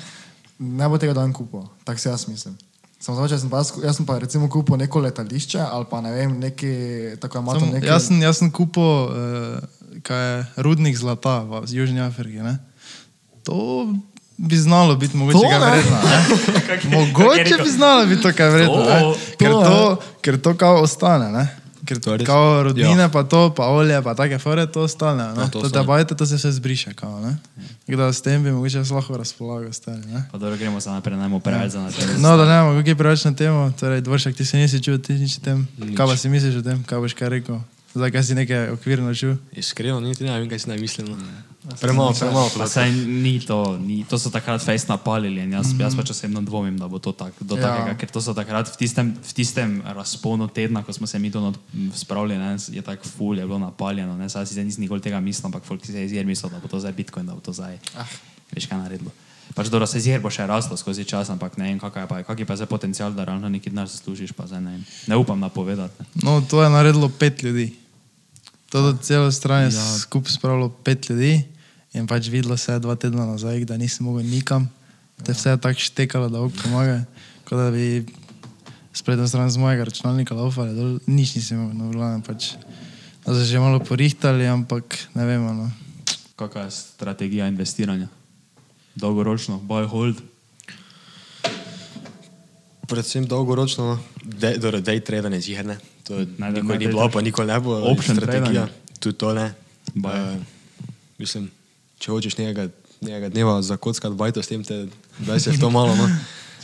[SPEAKER 1] ne bo tega dan kupil, tako se jaz mislim. Samo zato, če sem pa, jaz ku- jaz sem pa recimo kupil neko letališče ali pa ne vem, neki tako imamo
[SPEAKER 3] Samo,
[SPEAKER 1] neki.
[SPEAKER 3] jaz, sem, jaz sem kupil uh, je, rudnik zlata v Južni Afriki. Ne? To bi znalo biti mogoče
[SPEAKER 1] To
[SPEAKER 3] kaj
[SPEAKER 1] ne.
[SPEAKER 3] vredno. ne. Mogoče bi znalo biti to kaj vredno.
[SPEAKER 2] To,
[SPEAKER 3] ne. Ker
[SPEAKER 1] to ne.
[SPEAKER 3] to, ker to kao ostane. Ne? Ker
[SPEAKER 4] To je res.
[SPEAKER 3] kao rudnine,
[SPEAKER 4] Ja.
[SPEAKER 3] ja. pa to, pa olje, pa take fore, to ostane.
[SPEAKER 4] Ja,
[SPEAKER 3] no. Ne?
[SPEAKER 4] to
[SPEAKER 3] to
[SPEAKER 4] ostane.
[SPEAKER 3] debajte, to se vse zbriše. Kao, ne? Tako da s tem bi mogoče jaz lahko razpolagal. Stari, ne?
[SPEAKER 2] Pa dobro, gremo za naprej, najmo preveč za naprej.
[SPEAKER 3] No, da ne imamo kakšne preveč na temo, torej dvoršek, ti se nisi čutil, ti nič o tem. Kaj pa si misliš o tem, kaj boš kaj rekel? Zdaj, kaj si nekaj okvirno čutil?
[SPEAKER 4] Iskreno, niti ne vem, kaj si naj mislim. no. Premalo, premalo.
[SPEAKER 2] Pa saj ni to, ni, to so takrat fejst napalili in jaz, mm -hmm. jaz pač osebno dvomim, da bo to tak, do
[SPEAKER 1] Ja.
[SPEAKER 2] ja. takega, ker to so takrat v tistem, v tistem razponu tedna, ko smo se mi to not- m, spravili, ne, je tako ful, je bilo napaljeno, ne, saj si zdaj nisem nikoli tega mislil, ampak folk si je izjer mislil, da bo to zdaj Bitcoin, da bo to zdaj, ah. veš kaj naredilo. Pač dobro, se izjer bo še raslo skozi čas, ampak ne vem, kak je pa, kak je pa zdaj potencial, da ravno neki denar zaslužiš, pa zdaj ne vem. Ne upam napovedati. ne.
[SPEAKER 3] No, to je naredilo pet ljudi. To do celo stranje ja. skupaj spravilo pet ljudi in pač videlo se je dva tedna nazaj, da nisem mogel nikam, te vse je tako štekalo, da ok pomaga, kot da bi sprednjo stran z mojega računalnika laufali, dol, nič nisem mogel, no, v glavnem pač. Da so že malo porihtali, ampak ne vemo. No.
[SPEAKER 2] Kakšna je strategija investiranja? Dolgoročno, buy hold.
[SPEAKER 4] Predvsem dolgoročno, day, dobro, day trading je ziherne. To je
[SPEAKER 2] Ne, da
[SPEAKER 4] nikoli
[SPEAKER 2] ne
[SPEAKER 4] ni bilo,
[SPEAKER 2] tradaš.
[SPEAKER 4] pa nikoli ne bo.
[SPEAKER 2] Option
[SPEAKER 4] strategija.
[SPEAKER 2] trading.
[SPEAKER 4] Tudi to ne.
[SPEAKER 2] Buy.
[SPEAKER 4] Eh, mislim, če hočeš nekega, nekega dneva zakockati bajto s tem, te, daj se v to malo.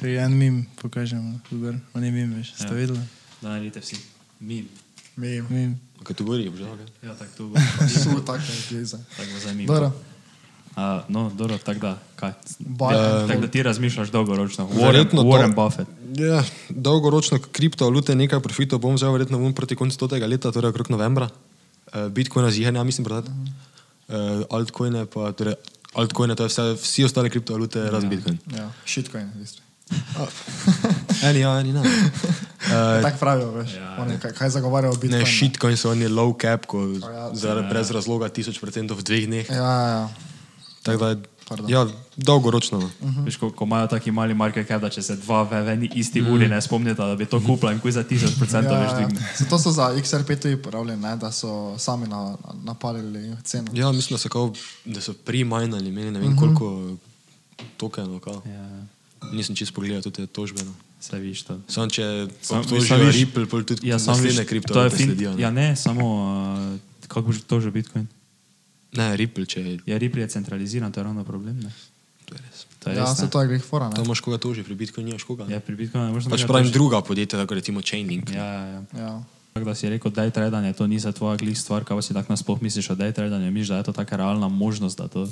[SPEAKER 4] No.
[SPEAKER 3] Če en mim pokažem, dober, on je mim, veš, ste
[SPEAKER 2] Ja.
[SPEAKER 3] videli?
[SPEAKER 2] Da naredite vsi. Mi.
[SPEAKER 1] Mi,
[SPEAKER 3] Mim.
[SPEAKER 4] Kaj tu gori, že okay.
[SPEAKER 2] Ja, tako to bo.
[SPEAKER 1] so takšne zveze.
[SPEAKER 2] Tako bo zanimivo.
[SPEAKER 1] Dobro,
[SPEAKER 2] A, no, dobro, tako da, kaj?
[SPEAKER 1] Buy
[SPEAKER 2] Ja,
[SPEAKER 1] and
[SPEAKER 2] tako da ti razmišljaš dolgoročno. Warren,
[SPEAKER 4] Verjetno to-
[SPEAKER 2] Warren Buffett.
[SPEAKER 4] Ja, dolgoročno kriptovalute nekaj profitov bom vzel verjetno bom proti koncu tega leta, torej okrog novembra. Uh, Bitcoina zihanja, ja mislim prodati. Uh, altcoine pa, torej altcoine, to je vse, vsi ostale kriptovalute ja. razen Bitcoin.
[SPEAKER 1] ja, shitcoin, v bistvu.
[SPEAKER 4] Eni ja, eni ne. Uh,
[SPEAKER 1] Ja, Tako pravijo, veš.
[SPEAKER 2] Ja,
[SPEAKER 1] Oni, kaj, kaj zagovarjajo biti.
[SPEAKER 4] ne, shitcoin so oni low cap, ko
[SPEAKER 1] ja.
[SPEAKER 4] zaradi brez razloga 1000% v dveh dneh.
[SPEAKER 1] Ja, ja, ja.
[SPEAKER 4] Tako da,
[SPEAKER 1] Pardon. Mhm.
[SPEAKER 4] ja, dolgoročno. no.
[SPEAKER 2] Veš, ko, ko imajo taki mali market cap, da če se dva v eni isti
[SPEAKER 4] Mhm.
[SPEAKER 2] uri ne spomnita, da bi to kupila in kuj za 1000% ja, več dvigne.
[SPEAKER 1] Zato so za XR5 tudi pravili, ne, da so sami na, napalili ceno.
[SPEAKER 4] Ja, mislim, da so, kao- da so pre-minali, imeli ne
[SPEAKER 1] Mhm.
[SPEAKER 4] vem koliko tokenov. kao.
[SPEAKER 2] Ja,
[SPEAKER 4] Nisem čisto pogledal tudi te tožbe. No.
[SPEAKER 2] se viš to.
[SPEAKER 4] Sam če
[SPEAKER 2] Sam-
[SPEAKER 4] obtožijo
[SPEAKER 2] sam viš-
[SPEAKER 4] Ripple, pol tudi ja,
[SPEAKER 2] samo
[SPEAKER 4] naslednje
[SPEAKER 2] viš-
[SPEAKER 4] kripto,
[SPEAKER 2] to je
[SPEAKER 4] to
[SPEAKER 2] fin-
[SPEAKER 4] sledijo. Ne?
[SPEAKER 2] Ja,
[SPEAKER 4] Ja.
[SPEAKER 2] ne, samo, uh, kako bo že to že Bitcoin?
[SPEAKER 4] ne, Ripple, če je,
[SPEAKER 2] Ja, Ripple je centraliziran, to je ravno problem. Ne?
[SPEAKER 4] to je res.
[SPEAKER 2] To je
[SPEAKER 1] Ja,
[SPEAKER 2] res,
[SPEAKER 1] se
[SPEAKER 2] ne.
[SPEAKER 1] to je greh fora,
[SPEAKER 4] Tam
[SPEAKER 1] ne.
[SPEAKER 4] imaš koga toži, pri Bitcoinu nimaš koga.
[SPEAKER 2] Ja, pri Bitcoinu ne moreš
[SPEAKER 4] pač
[SPEAKER 2] nobenega
[SPEAKER 4] pravim
[SPEAKER 2] tožiti.
[SPEAKER 4] druga podjetja, tako recimo Chainlink.
[SPEAKER 2] Ja, ja, ja.
[SPEAKER 1] Ja.
[SPEAKER 2] Tako da si rekel, da je tradanje, to ni za tvoja glih stvar, kaj pa si tako nasploh misliš o day tradanju, misliš, da je to taka realna možnost, da to,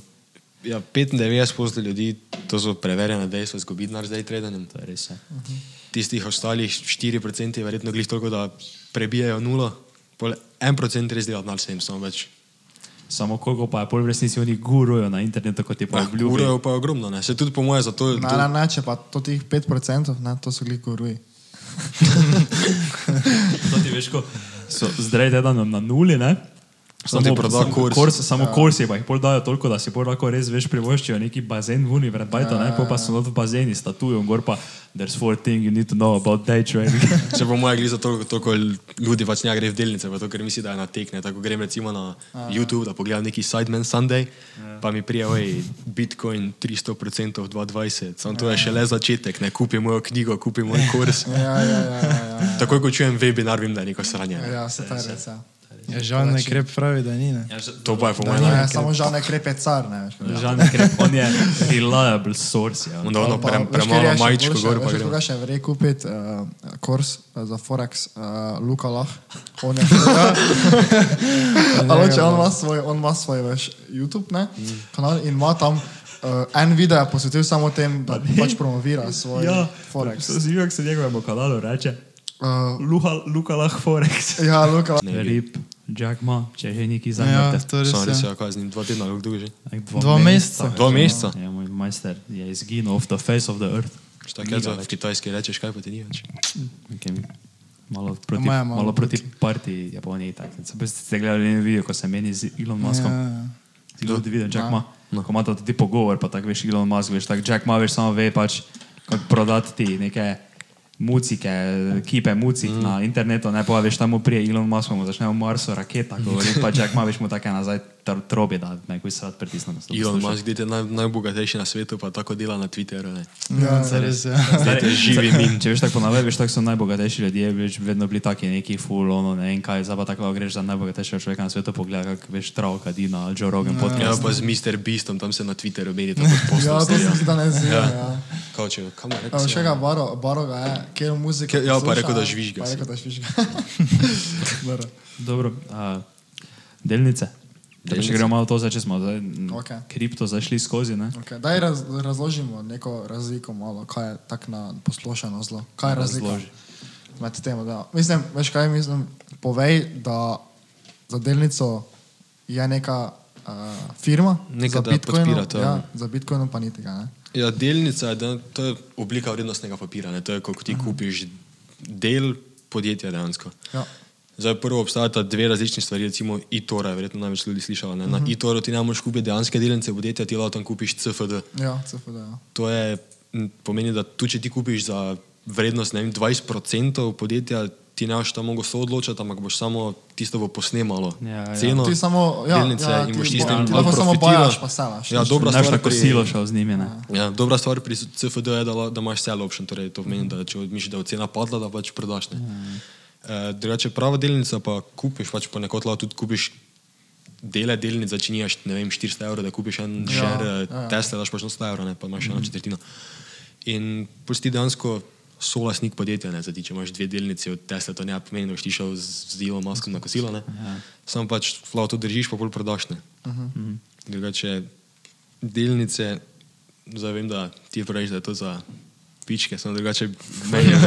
[SPEAKER 4] Ja, 95% ljudi, to so preverjene dejstva, izgubi denar zdaj tradanjem.
[SPEAKER 2] to je res. ja." je.
[SPEAKER 4] Tistih ostalih 4% je verjetno glih toliko, da prebijajo nulo, pol 1% res dela denar s tem, samo več.
[SPEAKER 2] Samo koliko pa je pol v resnici oni gurujo na internetu, kot je pa
[SPEAKER 4] Ah,
[SPEAKER 2] obljubil.
[SPEAKER 4] Uro je pa ogromno, ne? se tudi po moje zato.
[SPEAKER 1] Ne, ne, ne, če pa to tih 5%, ne, to so glih guruji.
[SPEAKER 2] To ti veš, ko so zdaj tradanjem na nuli, ne?
[SPEAKER 4] Samo ti proda kurs.
[SPEAKER 2] kurs samo ja. kursi, pa jih pol dajo toliko, da si pol lahko res veš privoščijo neki bazen v uni, pred bajta, ja, ne, pol pa so not v bazeni, statujo, gor pa there's four things you need to know about day trading.
[SPEAKER 4] Če po mojem gre za to, koliko ljudi pač ne gre v delnice, pa to, ker misli, da je na tekne. Tako grem recimo na
[SPEAKER 1] ja.
[SPEAKER 4] YouTube, da pogledam neki Sideman Sunday, pa mi prije, oj, Bitcoin 300% 220, samo to je šele začetek, ne kupim mojo knjigo, kupim moj kurs.
[SPEAKER 1] Ja, ja, ja, ja,
[SPEAKER 4] Takoj, ko čujem webinar, vem, da je neko sranje.
[SPEAKER 1] ja,
[SPEAKER 4] ne.
[SPEAKER 1] ja se ta res. Ja.
[SPEAKER 3] Ja, žal ne krep pravi, da ni. Ne?
[SPEAKER 2] Ja, že-
[SPEAKER 4] To pa je po
[SPEAKER 1] Ja,
[SPEAKER 4] mojem
[SPEAKER 1] ne,
[SPEAKER 4] najbolj.
[SPEAKER 1] ne, samo žal ne krepe car, ne veš.
[SPEAKER 2] Žal ne gre, on je reliable source. Ja.
[SPEAKER 4] Onda ono
[SPEAKER 1] Ali pa,
[SPEAKER 4] pre,
[SPEAKER 1] veš, kjer je
[SPEAKER 4] No, premalo
[SPEAKER 1] še
[SPEAKER 4] majčko
[SPEAKER 1] boljše,
[SPEAKER 4] gor
[SPEAKER 1] veš,
[SPEAKER 4] pa
[SPEAKER 1] veš,
[SPEAKER 4] grem.
[SPEAKER 1] Koga še vre kupiti uh, kurs eh, za Forex, uh, Luka Lah. On je.
[SPEAKER 4] Ja. Mm.
[SPEAKER 1] Ali če on ima svoj, on ima svoj, veš, YouTube, ne? Kanal in ima tam uh, en video je posvetil samo tem, da pač promovira svoj
[SPEAKER 2] Ja,
[SPEAKER 1] Forex.
[SPEAKER 2] Zivek se njegovemu kanalu reče,
[SPEAKER 4] Ja.
[SPEAKER 1] Uh,
[SPEAKER 2] Luha, Luka lah Forex.
[SPEAKER 1] ja, Luka,
[SPEAKER 4] Ne,
[SPEAKER 2] Rip, Jack Ma, če že neki
[SPEAKER 3] Ja,
[SPEAKER 2] zanimate.
[SPEAKER 3] to res
[SPEAKER 4] Sam res
[SPEAKER 3] je.
[SPEAKER 4] je, kaj z njim, dva tedna, kako dolgo že.
[SPEAKER 2] Like Dva,
[SPEAKER 3] Dva meseca.
[SPEAKER 4] Dva meseca?
[SPEAKER 2] Ja, moj majster je izginil off the face of the earth.
[SPEAKER 4] Še tako je, da v kitajski rečeš, kaj pa ti ni več.
[SPEAKER 2] Nekem, malo proti,
[SPEAKER 3] Imajo
[SPEAKER 2] Ja, malo,
[SPEAKER 3] malo
[SPEAKER 2] malo proti partiji Japoniji. tak. Se pa ste gledali en video, ko se meni z Elon Muskom.
[SPEAKER 3] Ja, ja.
[SPEAKER 2] Ti ljudi vidiš, Jack Ma. No. Ko imate ti pogovor, pa tako veš, Elon Musk, veš, tako Jack Ma veš, samo ve pač, kako prodati ti neke mucike, kipe mucik mm. na internetu, ne pa veš, tam mu prije Elon Musk, mu začne v Marsu raketa, govori pa Jack Ma, veš mu take nazaj tr- trobi, da nekoj se rad pritisne. da se to
[SPEAKER 4] Elon
[SPEAKER 2] posluša.
[SPEAKER 4] Musk, dite naj, najbogatejši na svetu, pa tako dela na Twitterju. Ne?
[SPEAKER 3] Ja, to res je.
[SPEAKER 2] Zdaj,
[SPEAKER 4] to je živi min.
[SPEAKER 2] Če veš tako ponavadi, veš tako so najbogatejši ljudje, veš, vedno bili taki neki full, ono ne vem kaj, zdaj pa tako lahko greš za najbogatejšega človeka na svetu, pogleda, kak veš, travka, Dina, ali Joe Rogan
[SPEAKER 4] Ja,
[SPEAKER 2] podcast.
[SPEAKER 4] pa z Mr. Beastom, tam se na Twitterju meni tako
[SPEAKER 1] ja, to
[SPEAKER 4] postavi.
[SPEAKER 1] sem si danes zjutraj. Ja. Ja.
[SPEAKER 4] Kao če, kam je
[SPEAKER 1] Evo,
[SPEAKER 4] rekel?
[SPEAKER 1] še ga baro, baro ga je, kjer muzika.
[SPEAKER 4] Ke- ja, pa
[SPEAKER 1] posluša, eh,
[SPEAKER 4] rekel, da žvižga
[SPEAKER 1] Pa
[SPEAKER 4] si.
[SPEAKER 1] rekel, da žvižga. Dobro.
[SPEAKER 2] Dobro, a, delnice. delnice. Če gremo malo to, zdaj, če smo zdaj, okay.
[SPEAKER 1] Okej.
[SPEAKER 2] kripto zašli skozi, ne?
[SPEAKER 1] okay. Daj raz, razložimo neko razliko malo, kaj je tak na poslušano zlo. Kaj je razlika
[SPEAKER 2] Razloži.
[SPEAKER 1] med tem? Da. Mislim, veš kaj mislim? Povej, da za delnico je neka uh, firma,
[SPEAKER 4] Neka,
[SPEAKER 1] za
[SPEAKER 4] da
[SPEAKER 1] Bitcoinom-
[SPEAKER 4] podpira to, ja.
[SPEAKER 1] Ja, za Bitcoinom pa ni tega. Ne?
[SPEAKER 4] Ja, delnica je, da, to je oblika vrednostnega papira, ne? to je, ko ti
[SPEAKER 2] Mhm.
[SPEAKER 4] kupiš del podjetja dejansko.
[SPEAKER 1] Ja.
[SPEAKER 4] Zdaj, prvo obstajata dve različni stvari, recimo e-tora, verjetno največ ljudi slišala. Ne? Na
[SPEAKER 2] Mhm.
[SPEAKER 4] uh -huh. e-toru ti ne moreš kupiti dejanske delnice podjetja, ti lahko tam kupiš CFD.
[SPEAKER 1] Ja, CFD. Ja.
[SPEAKER 4] To je, m, pomeni, da tudi če ti kupiš za vrednost ne vem, 20% podjetja, ti ne boš tam mogel soodločati, ampak boš samo tisto bo posnemalo.
[SPEAKER 2] Ja, ja.
[SPEAKER 4] Ceno,
[SPEAKER 1] Ti samo, ja,
[SPEAKER 4] delnice
[SPEAKER 1] ja,
[SPEAKER 4] in
[SPEAKER 1] ti
[SPEAKER 4] boš
[SPEAKER 1] bo-
[SPEAKER 4] tisti,
[SPEAKER 1] ti
[SPEAKER 4] ki
[SPEAKER 1] lahko samo bajaš pa selaš.
[SPEAKER 4] Ja, dobra
[SPEAKER 2] Naš
[SPEAKER 4] stvar,
[SPEAKER 2] tako
[SPEAKER 4] pri-
[SPEAKER 2] silo šel z njimi, ne?
[SPEAKER 4] Ja, dobra stvar pri CFD je, da, la- da imaš sell option, torej to pomeni, da če misliš, da je cena padla, da pač prodaš. Mm. E, drugače, prava delnica pa kupiš, pač ponekod lahko tudi kupiš dele delnic, če nimaš ne vem 400 evrov, da kupiš en
[SPEAKER 1] Ja,
[SPEAKER 4] ja, share ja,
[SPEAKER 1] ja.
[SPEAKER 4] ja. Tesla, daš pač 100 evrov, ne, pa imaš mm. eno četrtino. In pusti dejansko so lastnik podjetja, ne, zdaj ti, če imaš dve delnici od Tesla, to ne pomeni, da boš ti šel z z Elonom Muskom na kosilo, ne. Ja. Sam pač lahko to držiš, pa bolj prodaš, ne. Uh -huh. Drugače, delnice, zdaj vem, da ti praviš, da je to za pičke, samo drugače meni je.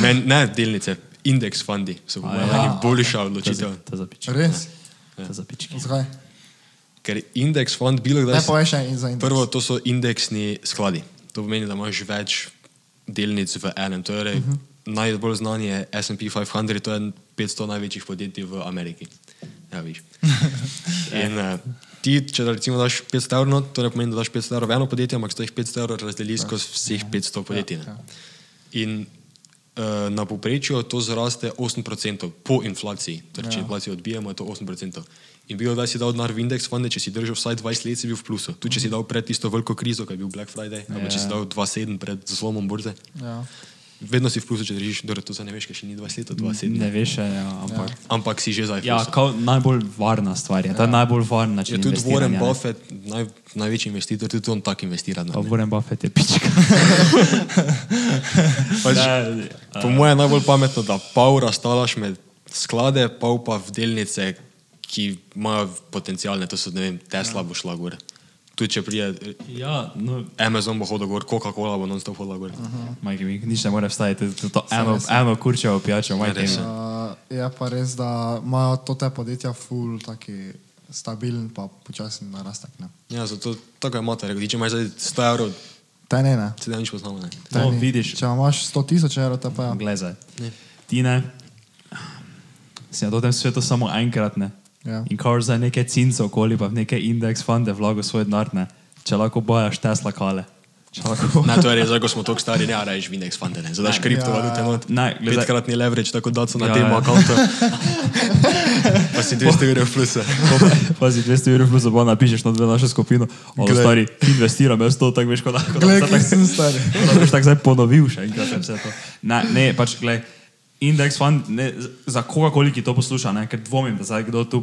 [SPEAKER 4] Men, ne, delnice, indeks fundi so po mojem
[SPEAKER 2] ja.
[SPEAKER 4] najboljša
[SPEAKER 2] To za-
[SPEAKER 4] odločitev.
[SPEAKER 2] To zapiči.
[SPEAKER 1] Res?
[SPEAKER 2] To zapiči.
[SPEAKER 1] Zakaj?
[SPEAKER 4] Ker indeks fund bilo
[SPEAKER 1] Ne
[SPEAKER 4] kdaj...
[SPEAKER 1] poveš še in za indeks.
[SPEAKER 4] Prvo, to so indeksni skladi. To pomeni, da imaš več delnic v enem. Torej, uh -huh. Najbolj znan je SP 500, to je 500 največjih podjetij v Ameriki. Ja, viš. In uh, ti, če da recimo daš 500 evrov, not, to ne pomeni, da daš 500 evrov v eno podjetje, ampak se teh 500 evrov razdeli skozi vseh 500 podjetij. ne. In uh, na povprečju to zraste 8% po inflaciji. Torej,
[SPEAKER 2] Ja.
[SPEAKER 4] če inflacijo odbijemo, je to 8%. In bilo je, da si dal denar v indeks, fande, če si držal vsaj 20 let, si bil v plusu. Tudi
[SPEAKER 2] Mhm.
[SPEAKER 4] če si dal pred tisto veliko krizo, ki je bil Black Friday, ali pa
[SPEAKER 2] Ja.
[SPEAKER 4] če si dal 2,7 pred zlomom borze.
[SPEAKER 1] Ja.
[SPEAKER 4] Vedno si v plusu, če držiš, torej to zdaj ne veš, kaj še ni 20 let, od 2,7.
[SPEAKER 2] Ne veš, še, ja, ampak.
[SPEAKER 4] Ampak si že zdaj. v
[SPEAKER 2] Ja,
[SPEAKER 4] plusu.
[SPEAKER 2] kao najbolj varna stvar je, ta najbolj varna način.
[SPEAKER 4] Ja. je tudi Warren
[SPEAKER 2] investiranja, ne.
[SPEAKER 4] Buffett, naj, največji investitor, tudi on tako investira.
[SPEAKER 2] Pa
[SPEAKER 4] no.
[SPEAKER 2] Warren Buffett je pička.
[SPEAKER 4] Pač,
[SPEAKER 2] Ne,
[SPEAKER 4] Po mojem je najbolj pametno, da pol razstalaš med sklade, pol pa v delnice, ki imajo potencijalne, to so ne vem, Tesla bo šla gor. Tu če prije,
[SPEAKER 2] Ja, no,
[SPEAKER 4] Amazon bo hodil gor, Coca-Cola bo non-stop hodila gor. Aha.
[SPEAKER 2] Majke, mi nič ne more vstajati, to, to eno, eno kurčevo pijačo, majke. No,
[SPEAKER 4] res je.
[SPEAKER 1] Uh, je pa res, da imajo to te podjetja ful, taki stabilen pa počasen narastek. Ne?
[SPEAKER 4] Ja, zato tako je mater, rekel, ti če imaš zdaj 100 evrov,
[SPEAKER 1] Te ne, ne.
[SPEAKER 4] se da nič poznamo. Ne?
[SPEAKER 1] Te
[SPEAKER 2] No,
[SPEAKER 1] ni.
[SPEAKER 2] vidiš.
[SPEAKER 1] Če imaš 100 tisoč evrov, te pa ja.
[SPEAKER 2] No, Glej zdaj. Ti ne, si na tem svetu samo enkrat ne.
[SPEAKER 1] Ja.
[SPEAKER 2] In kar za neke cince okoli, pa v neke indeks funde vlago svoj denar ne. Če lahko bojaš Tesla kale. Če lahko.
[SPEAKER 4] Ne, to je res, zdaj ko smo tako stari, ne rajš v indeks fante, ne, zadaš kriptovalute not.
[SPEAKER 2] Ja. Ne, glej, zdaj-
[SPEAKER 4] Petkratni leverage, tako da so na
[SPEAKER 2] Ja,
[SPEAKER 4] tem
[SPEAKER 2] ja.
[SPEAKER 4] akontu. Pa si 200 evrov plusa.
[SPEAKER 2] Pazi, 200 evrov plus bo napišeš na dve našo skupino. Ono
[SPEAKER 4] Glej.
[SPEAKER 2] stari, investiram, jaz to tako veš kot lahko.
[SPEAKER 1] Glej, kaj sem star.
[SPEAKER 2] Da boš pač tako zdaj ponovil še enkrat vse to. Ne, ne pač gled, indeks fund, ne, za koga koli, ki to posluša, ne, ker dvomim, da zdaj kdo tu,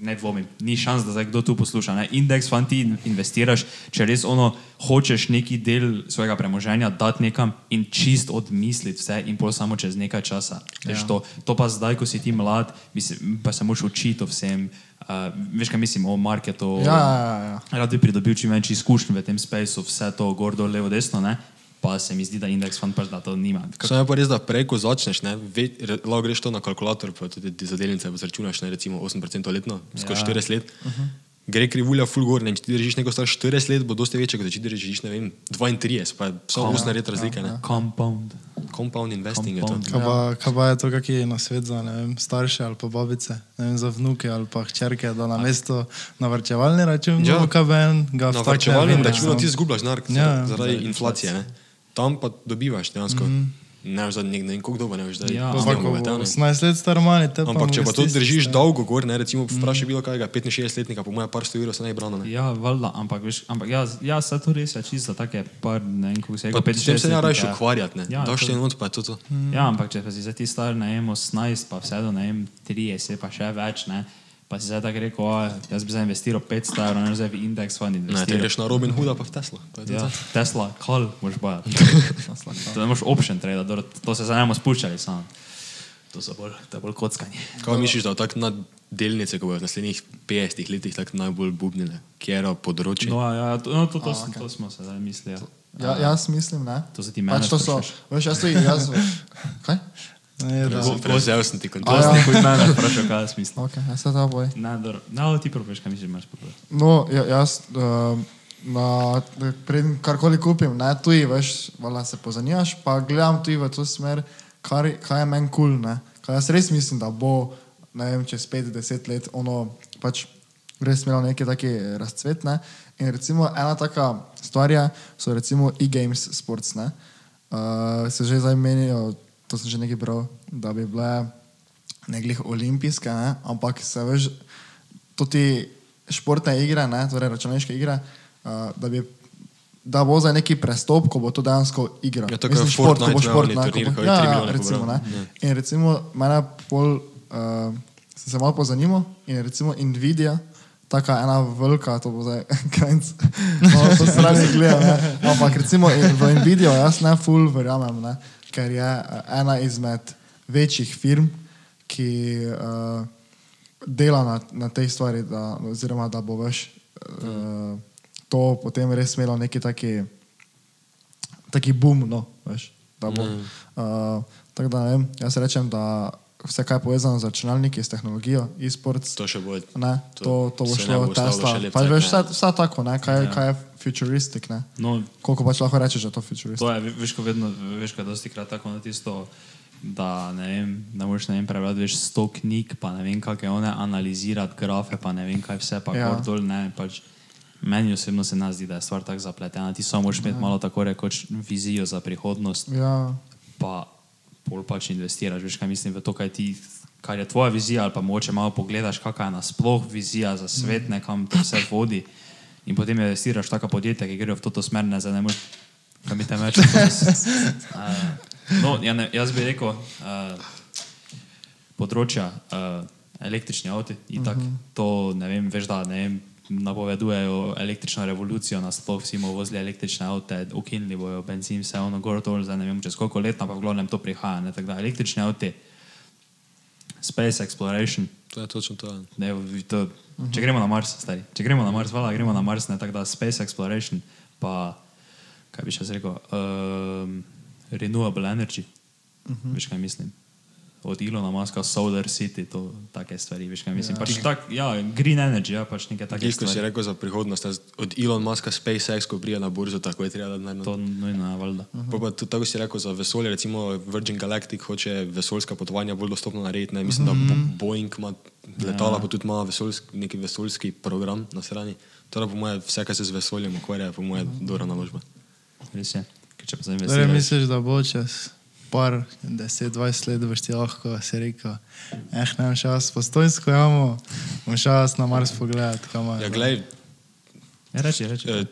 [SPEAKER 2] ne dvomim, ni šans, da zdaj kdo tu posluša. Ne? Indeks, fanti, in- investiraš, če res ono, hočeš neki del svojega premoženja dati nekam in čist odmisliti vse, in pol samo čez nekaj časa. Ja. To, to pa zdaj, ko si ti mlad, mislim, pa se moraš učiti o vsem. Uh, veš, kaj mislim o marketu,
[SPEAKER 1] Ja, ja, ja.
[SPEAKER 2] rad bi pridobil čim več izkušenj v tem spaceu, vse to gor, dol, levo, desno, ne? pa se mi zdi, da indeks fant pač da to nima. Kako-
[SPEAKER 4] Kaj je pa res, da prej, ko začneš, ne, ve, re, lahko greš to na kalkulator, pa tudi za delnice izračunaš, ne, recimo 8% letno, skozi
[SPEAKER 2] Ja.
[SPEAKER 4] ja. 40 let. Uh -huh. Gre krivulja full gore, ne, in če ti držiš neko stvar 40 let, bo dosti večja, kot če ti držiš, ne vem, 32, pa je samo 8 let razlike, ne.
[SPEAKER 2] Compound.
[SPEAKER 4] Compound investing
[SPEAKER 2] ja, Compound.
[SPEAKER 4] je to.
[SPEAKER 3] Kaj pa, kaj pa je to, kak je na svet za ne vem, starše ali pa babice, ne vem, za vnuke ali pa hčerke, da na mesto na vrčevalni račun,
[SPEAKER 4] Ja.
[SPEAKER 3] ja. KBN, ga
[SPEAKER 4] Na
[SPEAKER 3] vtakne v
[SPEAKER 4] varčevalnem
[SPEAKER 3] indeks,
[SPEAKER 4] računu
[SPEAKER 3] no.
[SPEAKER 4] ti izgubljaš denar
[SPEAKER 3] Ja,
[SPEAKER 4] ja,
[SPEAKER 3] ja.
[SPEAKER 4] zaradi inflacije, ne. Tam pa dobivaš dejansko. Mm -hmm. Ne veš, da ne vem, koliko dolgo ne veš, da je
[SPEAKER 2] Ja,
[SPEAKER 4] zdaj
[SPEAKER 3] Ampak, ko
[SPEAKER 4] bomo
[SPEAKER 3] bo
[SPEAKER 4] metali.
[SPEAKER 3] 18 let star mali, te pa
[SPEAKER 4] Ampak
[SPEAKER 3] mu
[SPEAKER 4] če pa
[SPEAKER 3] ga
[SPEAKER 4] to
[SPEAKER 3] stisneš,
[SPEAKER 4] držiš
[SPEAKER 3] ne.
[SPEAKER 4] dolgo gor, ne, recimo vprašaj bilo kaj, 65-letnika, po mojem, par sto evrov se ne brano. Ne.
[SPEAKER 2] Ja, valjda, ampak veš, ampak ja, z- ja se to res je čisto za take par, ne vem, kako se je
[SPEAKER 4] Pa
[SPEAKER 2] rekel,
[SPEAKER 4] pet,
[SPEAKER 2] 5-6
[SPEAKER 4] s tem se ne rabiš
[SPEAKER 2] letnike.
[SPEAKER 4] ukvarjati, ne.
[SPEAKER 2] Ja,
[SPEAKER 4] Ja, Daš
[SPEAKER 2] to-
[SPEAKER 4] te not, pa je to to.
[SPEAKER 2] Ja, ampak če pa si zdaj ti star, ne vem, 18, pa vse do ne vem, 30, pa še več, ne, pa si zdaj tako rekel, "A, jaz bi zdaj investiral 500 evrov, ne zdaj bi indeks fund
[SPEAKER 4] Ne, ti
[SPEAKER 2] investiral.
[SPEAKER 4] greš na Robin Hooda, pa v Tesla. Pa je to
[SPEAKER 2] Ja,
[SPEAKER 4] to.
[SPEAKER 2] Tesla, kol, moraš bajati. to ne moreš option trade, dobro, to se zdaj ne bomo spuščali samo. To so bolj, to je bolj kockanje.
[SPEAKER 4] Kaj misliš, da tako na delnice, ko bojo v naslednjih 50 letih tako najbolj bubnile, kjero področje?
[SPEAKER 2] No, ja, ja, to, no, to, to,
[SPEAKER 1] A,
[SPEAKER 2] s-
[SPEAKER 1] okej.
[SPEAKER 2] to smo se zdaj mislili. Ja.
[SPEAKER 1] Ja, jaz mislim, ne.
[SPEAKER 2] To se ti mene
[SPEAKER 1] pač to so,
[SPEAKER 2] sprašuješ.
[SPEAKER 1] veš, jaz tudi, jaz, kaj?
[SPEAKER 3] Ne, je, da,
[SPEAKER 4] Sem Prevzel sem ti
[SPEAKER 1] A,
[SPEAKER 4] kontrast.
[SPEAKER 1] ja.
[SPEAKER 2] Zdaj, ko mene vprašaš, kaj jaz mislim.
[SPEAKER 1] Ok, jaz se ta boj.
[SPEAKER 2] Ne, dobro, no, ti probiš, kaj misliš, imaš problem.
[SPEAKER 1] No, ja, jaz, um, na, preden karkoli kupim, ne, tuji, veš, vala se pozanimaš, pa gledam tuji v to smer, kar, kaj je meni kul, cool, ne. Kaj jaz res mislim, da bo, ne vem, čez 5-10 let, ono, pač res imelo neki taki razcvet, ne. In recimo ena taka stvar je, so recimo e-games sports, ne. Uh, se že zdaj menijo, to sem že nekaj bral, da bi bile ne glih olimpijske, ne, ampak se veš, tudi športne igre, ne, torej računalniške igre, uh, da, bi, da bo za neki prestop, ko bo to dejansko igra.
[SPEAKER 4] Ja, tako
[SPEAKER 1] Mislim,
[SPEAKER 4] je
[SPEAKER 1] šport, ko bo
[SPEAKER 4] Fortnite, ne,
[SPEAKER 1] šport,
[SPEAKER 4] oni
[SPEAKER 1] ne,
[SPEAKER 4] turnir,
[SPEAKER 1] ko
[SPEAKER 4] ko
[SPEAKER 1] bo,
[SPEAKER 4] je
[SPEAKER 1] ja,
[SPEAKER 4] tri
[SPEAKER 1] ja,
[SPEAKER 4] milijone
[SPEAKER 1] recimo, ne.
[SPEAKER 4] pobral.
[SPEAKER 1] In recimo, mene pol, uh, sem se malo pozanimal in recimo Nvidia, taka ena velika, to bo zdaj krajnc, malo to strani gleda, ne. ampak recimo in- v Nvidia jaz ne full verjamem, ne, ker je eh, ena izmed večjih firm, ki uh, dela na, na tej stvari, da, oziroma da bo veš, uh, to potem res imelo neki taki taki boom, no, veš. Da bo.
[SPEAKER 4] Mm.
[SPEAKER 1] Uh, tako da ne vem, jaz rečem, da vse, kar je povezano z računalniki, s tehnologijo, e-sports,
[SPEAKER 4] To še bo.
[SPEAKER 1] ne,
[SPEAKER 4] to
[SPEAKER 1] to, to bo
[SPEAKER 4] se ne
[SPEAKER 1] šlo
[SPEAKER 4] bo
[SPEAKER 1] v
[SPEAKER 4] ustavilo še
[SPEAKER 1] Tesla.
[SPEAKER 4] lep
[SPEAKER 1] Pač
[SPEAKER 4] cajt,
[SPEAKER 1] veš,
[SPEAKER 4] ne.
[SPEAKER 1] vse, vse tako, ne, kaj,
[SPEAKER 2] Ja.
[SPEAKER 1] kaj je futuristik, ne.
[SPEAKER 2] No,
[SPEAKER 1] Koliko pač lahko rečeš, da je to futuristik.
[SPEAKER 2] To je, ve- veš, ko vedno, veš, ko dosti krat tako na tisto, da ne vem, da moraš ne vem prebrati več sto knjig, pa ne vem, kako je one analizirati grafe, pa ne vem, kaj vse, pa
[SPEAKER 1] Ja.
[SPEAKER 2] ja. gor dol, ne, pač meni osebno se nas zdi, da je stvar tako zapletena, ti samo moraš imeti ja. malo tako rekoč vizijo za prihodnost,
[SPEAKER 1] Ja,
[SPEAKER 2] pa pol pač investiraš, veš, kaj mislim, v to, kaj ti, kar je tvoja vizija, ali pa mogoče malo pogledaš, kakšna je nasploh vizija za svet, ne, kam to vse vodi. In potem investiraš v taka podjetja, ki grejo v to smer, ne zdaj ne moreš, kaj mi tam rečeš. Uh, no, ja ne, jaz bi rekel, uh, področja, uh, električni avto, itak, uh -huh. to ne vem, veš, da ne vem. Napovedujejo električno revolucijo, nasploh vsi bomo vozili električne avte, ukinili bojo benzin, vse ono gor dol, zdaj ne vem čez koliko let, ampak v glavnem to prihaja. Ne? Tako da električni avti, space exploration,
[SPEAKER 4] To je točno to. ja.
[SPEAKER 2] ne, vi to, če gremo na Mars, stari, če gremo na Mars, vala, gremo na Mars, ne tako da space exploration, pa kaj bi še jaz rekel, um, renewable energy, uh
[SPEAKER 4] Mhm.
[SPEAKER 2] -huh. veš kaj mislim. Od Ilona Maska, Solar City, to take stvari, veš kaj mislim. Ja. Pač tak, ja, green energy, ja, pač neke take
[SPEAKER 4] Tisto, ko si
[SPEAKER 2] stvari.
[SPEAKER 4] rekel za prihodnost, ne, od Elon Muska, SpaceX, ko prija na borzo, tako je treba, da ne
[SPEAKER 2] To nujno je valjda.
[SPEAKER 4] Pol Pa tudi tako si rekel za vesolje, recimo Virgin Galactic hoče vesoljska potovanja bolj dostopno narediti. Ne? Mislim, mm -hmm. da Bo- Boeing ima letala, ja. pa tudi ima vesoljski, neki vesoljski program na strani. Torej, po mojem, vse, kar se z vesoljem ukvarja, po mojem, dobra naložba.
[SPEAKER 2] Res je. Ker če pa zdaj
[SPEAKER 3] Torej,
[SPEAKER 2] investiraš.
[SPEAKER 3] misliš, da bo čez par, 10-20 let boš ti lahko si rekel, eh, ne vem, šas postojsko jamo, bom šas na Mars pogledat, kam je.
[SPEAKER 4] Ja, glej,
[SPEAKER 2] Ja, reči, reči.
[SPEAKER 4] eh,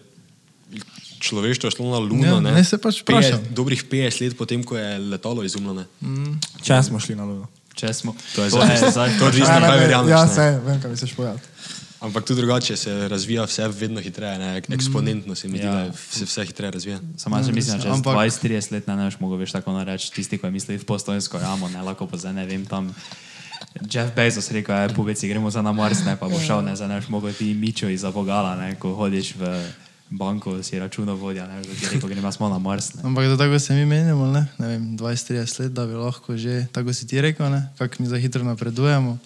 [SPEAKER 4] človeštvo je šlo na Luno.
[SPEAKER 3] Ja,
[SPEAKER 4] ne,
[SPEAKER 3] ne, se pač vprašam.
[SPEAKER 4] Pet- Dobrih 50 let potem, ko je letalo izumljeno. ne.
[SPEAKER 1] če smo šli na luno.
[SPEAKER 2] Če smo,
[SPEAKER 4] To je zdaj- to je odvisno,
[SPEAKER 1] Ja,
[SPEAKER 4] kaj
[SPEAKER 1] ne,
[SPEAKER 4] verjameš,
[SPEAKER 1] Ja,
[SPEAKER 4] ne.
[SPEAKER 1] saj, vem, kaj misliš povedati.
[SPEAKER 4] Ampak tudi drugače se razvija vse vedno hitreje, ne? eksponentno se mi zdi,
[SPEAKER 2] Ja.
[SPEAKER 4] da se vse hitreje razvija.
[SPEAKER 2] Samo jaz mislim, da čez
[SPEAKER 3] Mm, Ampak-
[SPEAKER 2] 20-30 let ne, ne boš mogel več tako nareči, tisti, ki misli v postojsko ramo, ne lahko pa zdaj ne vem tam. Jeff Bezos rekel, da poveci gremo za na Mars, ne pa bo šel, ne zdaj ne boš mogel ti mičo iz abogala, ne, ko hodiš v banko, si računovodja, ne boš rekel, gremo samo na Mars. Ne.
[SPEAKER 3] Ampak da tako se mi menimo, ne, ne vem, 20-30 let, da bi lahko že, tako si ti rekel, ne, kako mi za hitro napredujemo.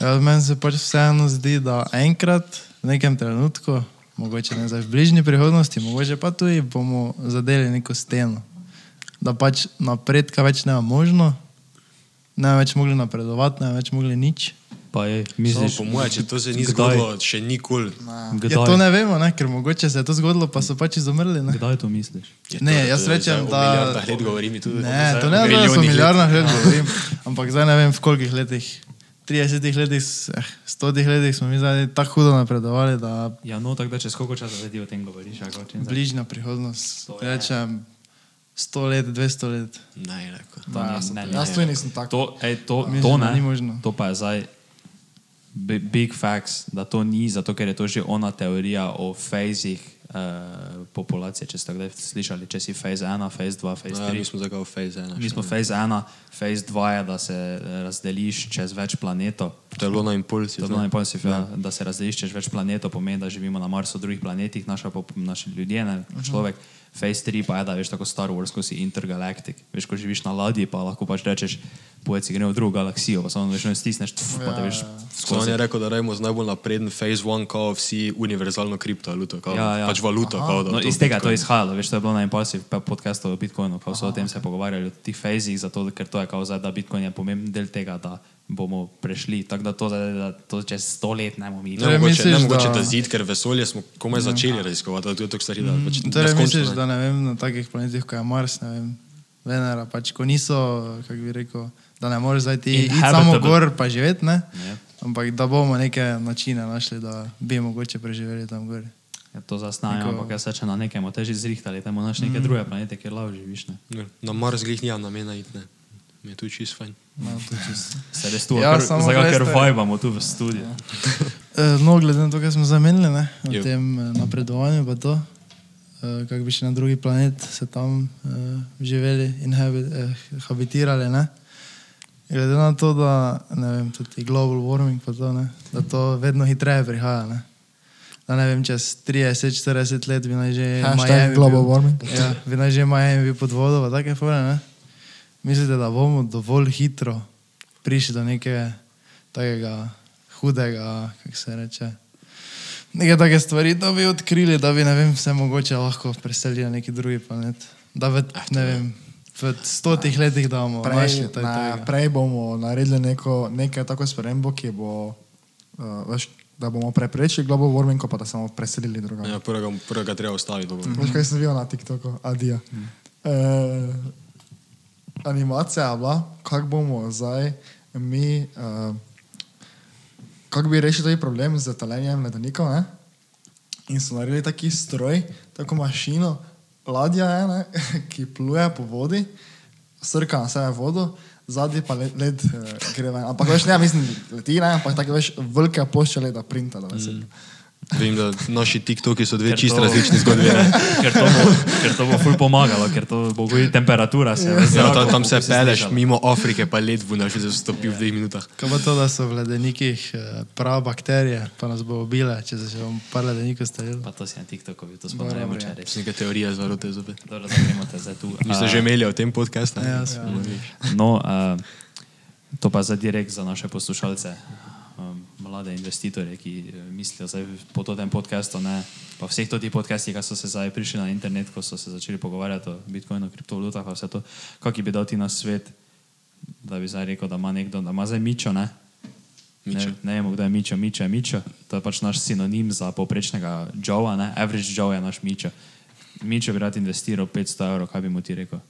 [SPEAKER 3] Ja, meni se pač vseeno zdi, da enkrat, v nekem trenutku, mogoče ne zdaj v bližnji prihodnosti, mogoče pa tudi bomo zadeli neko steno. Da pač napredka več ne bo možno, ne bomo več mogli napredovati, ne bomo več mogli nič.
[SPEAKER 2] Pa je,
[SPEAKER 4] Samo
[SPEAKER 2] misliš,
[SPEAKER 4] No, Po mojem, če to se ni
[SPEAKER 2] kdaj?
[SPEAKER 4] zgodilo, še nikoli.
[SPEAKER 2] kdaj,
[SPEAKER 3] Ja, to ne vemo, ne, ker mogoče se je to zgodilo, pa so pač izumrli. Ne?
[SPEAKER 2] kdaj to misliš?
[SPEAKER 4] Je to-
[SPEAKER 3] Ne, jaz
[SPEAKER 4] to je
[SPEAKER 3] rečem,
[SPEAKER 4] zdaj o
[SPEAKER 3] da-
[SPEAKER 4] milijardah let govorim tudi.
[SPEAKER 3] Ne,
[SPEAKER 4] zdaj
[SPEAKER 3] to
[SPEAKER 4] o
[SPEAKER 3] ne vem, da so
[SPEAKER 4] milijonih let.
[SPEAKER 3] milijarde let govorim, ampak zdaj ne vem v kolikih letih. 30 letih, s- eh, 100 letih smo mi zdaj tako hudo napredovali, da
[SPEAKER 2] Ja, no, tako da čez koliko časa zdaj ti o tem govoriš? a kako, če ne znaš?
[SPEAKER 3] bližnja prihodnost,
[SPEAKER 2] To
[SPEAKER 4] ja.
[SPEAKER 2] je.
[SPEAKER 3] rečem 100 let, 200 let.
[SPEAKER 4] Ne, rekel.
[SPEAKER 2] To
[SPEAKER 1] Ja,
[SPEAKER 2] ne,
[SPEAKER 1] jaz-
[SPEAKER 2] ne, ne,
[SPEAKER 1] Jaz
[SPEAKER 2] ne.
[SPEAKER 1] tudi nisem tak.
[SPEAKER 2] To, ej, to,
[SPEAKER 3] Mislim,
[SPEAKER 2] to,
[SPEAKER 3] da
[SPEAKER 2] ne,
[SPEAKER 3] ni možno.
[SPEAKER 2] to pa je zdaj bi- big facts, da to ni, zato ker je to že ona teorija o fazih eh, populacije. Če ste kdaj slišali, če si faze 1, faze 2, faze
[SPEAKER 4] Ja, mi
[SPEAKER 2] 3.
[SPEAKER 4] smo zakaj v Phase 1.
[SPEAKER 2] Mi smo faze 1, faze 2 je, da se eh, razdeliš čez več planetov.
[SPEAKER 4] To je bilo na impulsu.
[SPEAKER 2] To je bilo najbolj si, ja. da se razdeliš čez več planetov, pomeni, da živimo na Marsu, drugih planetih, naša, pop- naši ljudje, ne,
[SPEAKER 4] Mhm.
[SPEAKER 2] človek. Phase 3 pa je, da veš tako Star Wars, ko si intergalaktik. Veš, ko živiš na ladji, pa lahko pač rečeš, pojdi si gremo v drugo galaksijo, pa samo veš, ne stisneš, tf, pa te veš
[SPEAKER 4] Slovan
[SPEAKER 2] skozi.
[SPEAKER 4] Ja, je rekel, da rajmo z najbolj napreden Phase 1, kao vsi univerzalno kriptovaluto, kao
[SPEAKER 2] Ja, ja.
[SPEAKER 4] pač valuto, kao da.
[SPEAKER 2] No,
[SPEAKER 4] to
[SPEAKER 2] iz tega je to
[SPEAKER 4] Bitcoin.
[SPEAKER 2] izhajalo, veš, to je bilo na Impulsive pa podcastu o Bitcoinu, ko so o tem se pogovarjali, o tih fazih, zato ker to je kao zdaj, da Bitcoin je pomemben del tega, da bomo prešli. Tako da to, zdaj, da to čez sto let ne bomo mi.
[SPEAKER 4] Ne mogoče,
[SPEAKER 3] Torej, misliš,
[SPEAKER 4] ne mogoče
[SPEAKER 3] da-
[SPEAKER 4] da zid, ker vesolje smo komaj začeli raziskovati, da to je tako stari, da pač
[SPEAKER 3] Torej,
[SPEAKER 4] neskončno,
[SPEAKER 3] misliš,
[SPEAKER 4] ne.
[SPEAKER 3] da ne vem, na takih planetih, kot je Mars, ne vem, Venera, pač ko niso, kako bi rekel, da ne moreš zdaj ti iti samo
[SPEAKER 2] Inhabitable.
[SPEAKER 3] gor pa živeti, ne?
[SPEAKER 2] Ja.
[SPEAKER 3] Ampak da bomo neke načine našli, da bi mogoče preživeli tam gor.
[SPEAKER 2] Ja, to zasname,
[SPEAKER 3] Neko-
[SPEAKER 2] ampak jaz se če na nekem teži zrihtali, tam imaš neke mm. druge planete, kjer lav živiš. Ne?
[SPEAKER 4] Ne, Na Mars glih nija namena iti, ne. Mi je tu čist fajn.
[SPEAKER 3] No, to je čisto.
[SPEAKER 2] Se res tu,
[SPEAKER 3] Ja,
[SPEAKER 2] ja,
[SPEAKER 3] samo
[SPEAKER 2] zdaj ga kar
[SPEAKER 3] veste-
[SPEAKER 2] vajbamo tu v studiu.
[SPEAKER 3] Eh, No, glede na to, kar smo zamenjali, ne, o
[SPEAKER 4] Ja.
[SPEAKER 3] tem eh, napredovanju, pa to, eh, kako bi še na drugi planet se tam eh, živeli in habi- eh, habitirali. Ne. Glede na to, da ne vem, tudi global warming, pa to, ne, da to vedno hitreje prihaja. Ne. Da ne vem, čez 30-40 let bi naj že
[SPEAKER 1] Hashtag
[SPEAKER 3] Miami
[SPEAKER 1] global
[SPEAKER 3] bil-
[SPEAKER 1] warming.
[SPEAKER 3] Ja, bi naj že Miami bil pod vodo, pa take fore, ne? Mislite, da bomo dovolj hitro prišli do nekega takega hudega, kako se reče, neke take stvari, da bi odkrili, da bi, ne vem, vse mogoče lahko preselili na neki drugi planet. Da v, ne vem, v stotih letih, da bomo našli
[SPEAKER 1] Prej,
[SPEAKER 3] taj
[SPEAKER 1] ne,
[SPEAKER 3] tega.
[SPEAKER 1] prej bomo naredili neko, nekaj tako spremembo, ki bo, uh, veš, da bomo preprečili global warming, ko pa da se bomo preselili drugam.
[SPEAKER 4] Ja, prvega, prvega treba ustaviti, dobro.
[SPEAKER 3] Mhm.
[SPEAKER 1] Veš, kaj sem videl na TikToku, adijo. Eh, Animacija je bila, kako bomo zdaj mi, eh, kako bi rešili ta problem z taljenjem ledenikov. Ne? In so naredili taki stroj, tako mašino, ladja je, ne, ki pluje po vodi, srka na sebe vodo, zadnji pa led, led eh, gre ven. Ampak veš, ne, mislim, leti, ne, ampak tako veš, velike plošče leda printa. Da,
[SPEAKER 3] Mhm.
[SPEAKER 1] mm.
[SPEAKER 4] Vem, da naši TikToki so dve
[SPEAKER 2] Ker
[SPEAKER 4] čisto
[SPEAKER 2] to-
[SPEAKER 4] različni zgodbi. ne.
[SPEAKER 2] Ker to bo, ker to bo ful pomagalo, ker to bo gori temperatura. Se, v
[SPEAKER 4] Ja,
[SPEAKER 2] zraku,
[SPEAKER 4] tam, tam se
[SPEAKER 2] koliko si
[SPEAKER 4] peleš
[SPEAKER 2] slišala.
[SPEAKER 4] mimo Afrike, pa led bo naš zastopil v dveh minutah.
[SPEAKER 3] Kaj pa to, da so v ledenikih eh, prav bakterije, pa nas bo ubile, če se še bomo par ledenikov stalili.
[SPEAKER 2] Pa to si na TikToku, to sploh ne
[SPEAKER 3] Ja,
[SPEAKER 2] moreš
[SPEAKER 4] To
[SPEAKER 2] reči.
[SPEAKER 4] so neke teorije za rote zopet.
[SPEAKER 2] Dobro, zdaj gremo te zdaj tu.
[SPEAKER 4] Mi ste
[SPEAKER 2] A,
[SPEAKER 4] že imeli o tem podkastu?
[SPEAKER 3] Ja, smo.
[SPEAKER 2] No, uh, to pa zdaj direkt za naše poslušalce, um, mlade investitorje, ki eh, mislijo zdaj po tem podkastu, ne, pa vseh teh podcastih, ki so se zdaj prišli na internet, ko so se začeli pogovarjati o bitcoinu, kriptovalutah, pa vse to, kaki bi dal ti na svet, da bi zdaj rekel, da ima nekdo, da ima zdaj mičo, ne?
[SPEAKER 4] Mičo.
[SPEAKER 2] Ne, ne vemo, kdo je mičo, mičo je mičo. To je pač naš sinonim za povprečnega Joea, ne? Average Joe je naš mičo. Mičo bi rad investiral 500 evrov, kaj bi mu ti rekel?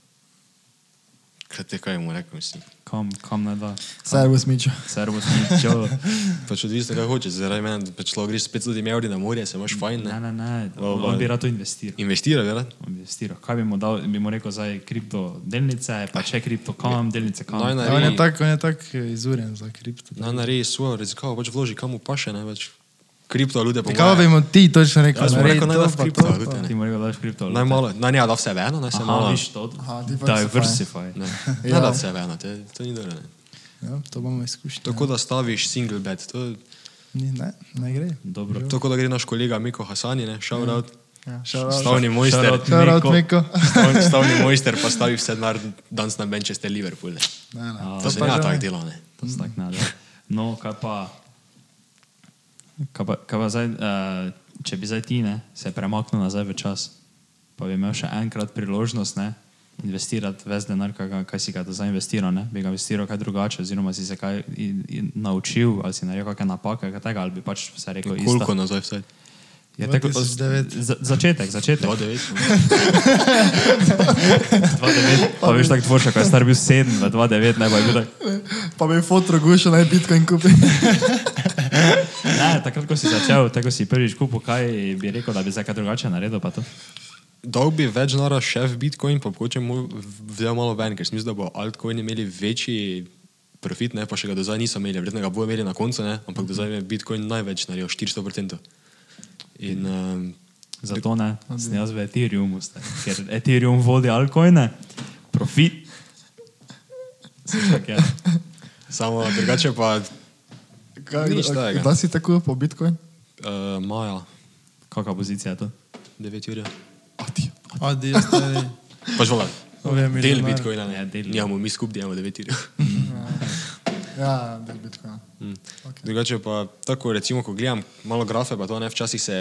[SPEAKER 4] Kaj te kaj mu rekel, mislim?
[SPEAKER 2] Kam, kam naj da?
[SPEAKER 1] Servus, Mičo.
[SPEAKER 2] Servus, ni čelo.
[SPEAKER 4] Pač odvisno, kaj hočeš. Zaradi mene, pač lahko greš s 500 evri na morje, se imaš fajn.
[SPEAKER 2] Ne,
[SPEAKER 4] Ne?
[SPEAKER 2] ne, ne. No,
[SPEAKER 4] Lol,
[SPEAKER 2] On
[SPEAKER 4] lol.
[SPEAKER 2] bi rad to investiral.
[SPEAKER 4] Investira, verjetno.
[SPEAKER 2] investiral. Kaj bi mu dal, bi mu rekel, zdaj kripto delnice, pa če kripto kam, delnice kam.
[SPEAKER 4] Naj
[SPEAKER 3] Ja, on je
[SPEAKER 4] naredi,
[SPEAKER 3] tako tak eh, izurjen za kripto.
[SPEAKER 4] naj naredi svojo riziko, pač vloži kam upaše, ne več. Kripto ljudje pa
[SPEAKER 3] Kaj bi mu ti točno rekel?
[SPEAKER 4] Jaz bi mu
[SPEAKER 3] naredi
[SPEAKER 4] rekel, naj
[SPEAKER 3] to,
[SPEAKER 4] da
[SPEAKER 3] pa to,
[SPEAKER 4] kripto,
[SPEAKER 3] pa
[SPEAKER 4] lute,
[SPEAKER 2] Ti mu rekel, da daš kripto.
[SPEAKER 4] Naj malo, naj ne da vse eno, naj se
[SPEAKER 2] Aha,
[SPEAKER 4] malo.
[SPEAKER 2] viš to.
[SPEAKER 1] Aha, diversify.
[SPEAKER 2] Diversify.
[SPEAKER 4] Ne,
[SPEAKER 1] Ja.
[SPEAKER 4] ne da vse eno, te- to ni dobro. ne.
[SPEAKER 3] Ja, to bomo izkušali.
[SPEAKER 4] Tako da staviš single bed, to,
[SPEAKER 3] Ni, ne, ne gre.
[SPEAKER 2] Dobro.
[SPEAKER 4] tako da gre naš kolega Miko Hasani, ne, Ja. shout out,
[SPEAKER 3] Šarot,
[SPEAKER 4] stavni mojster.
[SPEAKER 2] Shout out.
[SPEAKER 3] Meko.
[SPEAKER 4] Stavni, stavni mojster pa stavi vse denar danes na Manchester Liverpool. Ne.
[SPEAKER 3] Ne, ne.
[SPEAKER 2] A,
[SPEAKER 4] To se
[SPEAKER 3] pa
[SPEAKER 4] ja
[SPEAKER 3] že
[SPEAKER 4] tako
[SPEAKER 3] ne.
[SPEAKER 4] dela, ne.
[SPEAKER 2] To se tako nada. No, kaj pa, kaj pa, kaj pa zdaj, uh, če bi zdaj ti ne, se premaknil nazaj v čas, pa bi imel še enkrat priložnost ne, investirati ves denar, kaj, ga- kaj si ga do zdaj investiral, ne, bi ga investiral kaj drugače, oziroma si se kaj in, in naučil, ali si naredil kakšne napake, kaj tega, ali bi pač vse rekel isto.
[SPEAKER 4] Koliko nazaj vse?
[SPEAKER 2] Je tako,
[SPEAKER 3] 2009.
[SPEAKER 2] za, začetek, začetek.
[SPEAKER 4] 2,9.
[SPEAKER 2] 2009, pa veš tako tvorša, kaj je star bil 7, 2009, ne pa je bil tak.
[SPEAKER 1] Pa bi fotro gušil, naj Bitcoin kupi.
[SPEAKER 2] Ne, takrat, ko si začel, tako si prvič kupil, kaj bi rekel, da bi zdaj kaj drugače naredil, pa to.
[SPEAKER 4] Dal bi več nara še v Bitcoin, pa mogoče mu vzel malo ven, ker sem mislil, da bo altcoin imeli večji profit, ne, pa še ga do zdaj niso imeli, verjetno ga bodo imeli na koncu, ne, ampak do zdaj je Bitcoin največ naredil, 400%. In um,
[SPEAKER 2] Zato ne, sem jaz v Ethereumu, zdaj, ker Ethereum vodi altcoine, profit. Saj tako je.
[SPEAKER 4] samo drugače pa Nič takega.
[SPEAKER 1] Da si tako po Bitcoin?
[SPEAKER 4] uh, maja,
[SPEAKER 2] Kakšna pozicija je to?
[SPEAKER 4] 9 ur.
[SPEAKER 3] Adi, stari.
[SPEAKER 4] Pač vola, del
[SPEAKER 3] Ove milijonarje.
[SPEAKER 4] Bitcoina,
[SPEAKER 2] Ja,
[SPEAKER 4] ne,
[SPEAKER 2] del.
[SPEAKER 4] Njamo, mi skupaj delamo 9 ur.
[SPEAKER 1] Ja, del Bitcoina.
[SPEAKER 4] Okay. Drugače pa tako, recimo, ko gledam malo grafe, pa to ne včasih se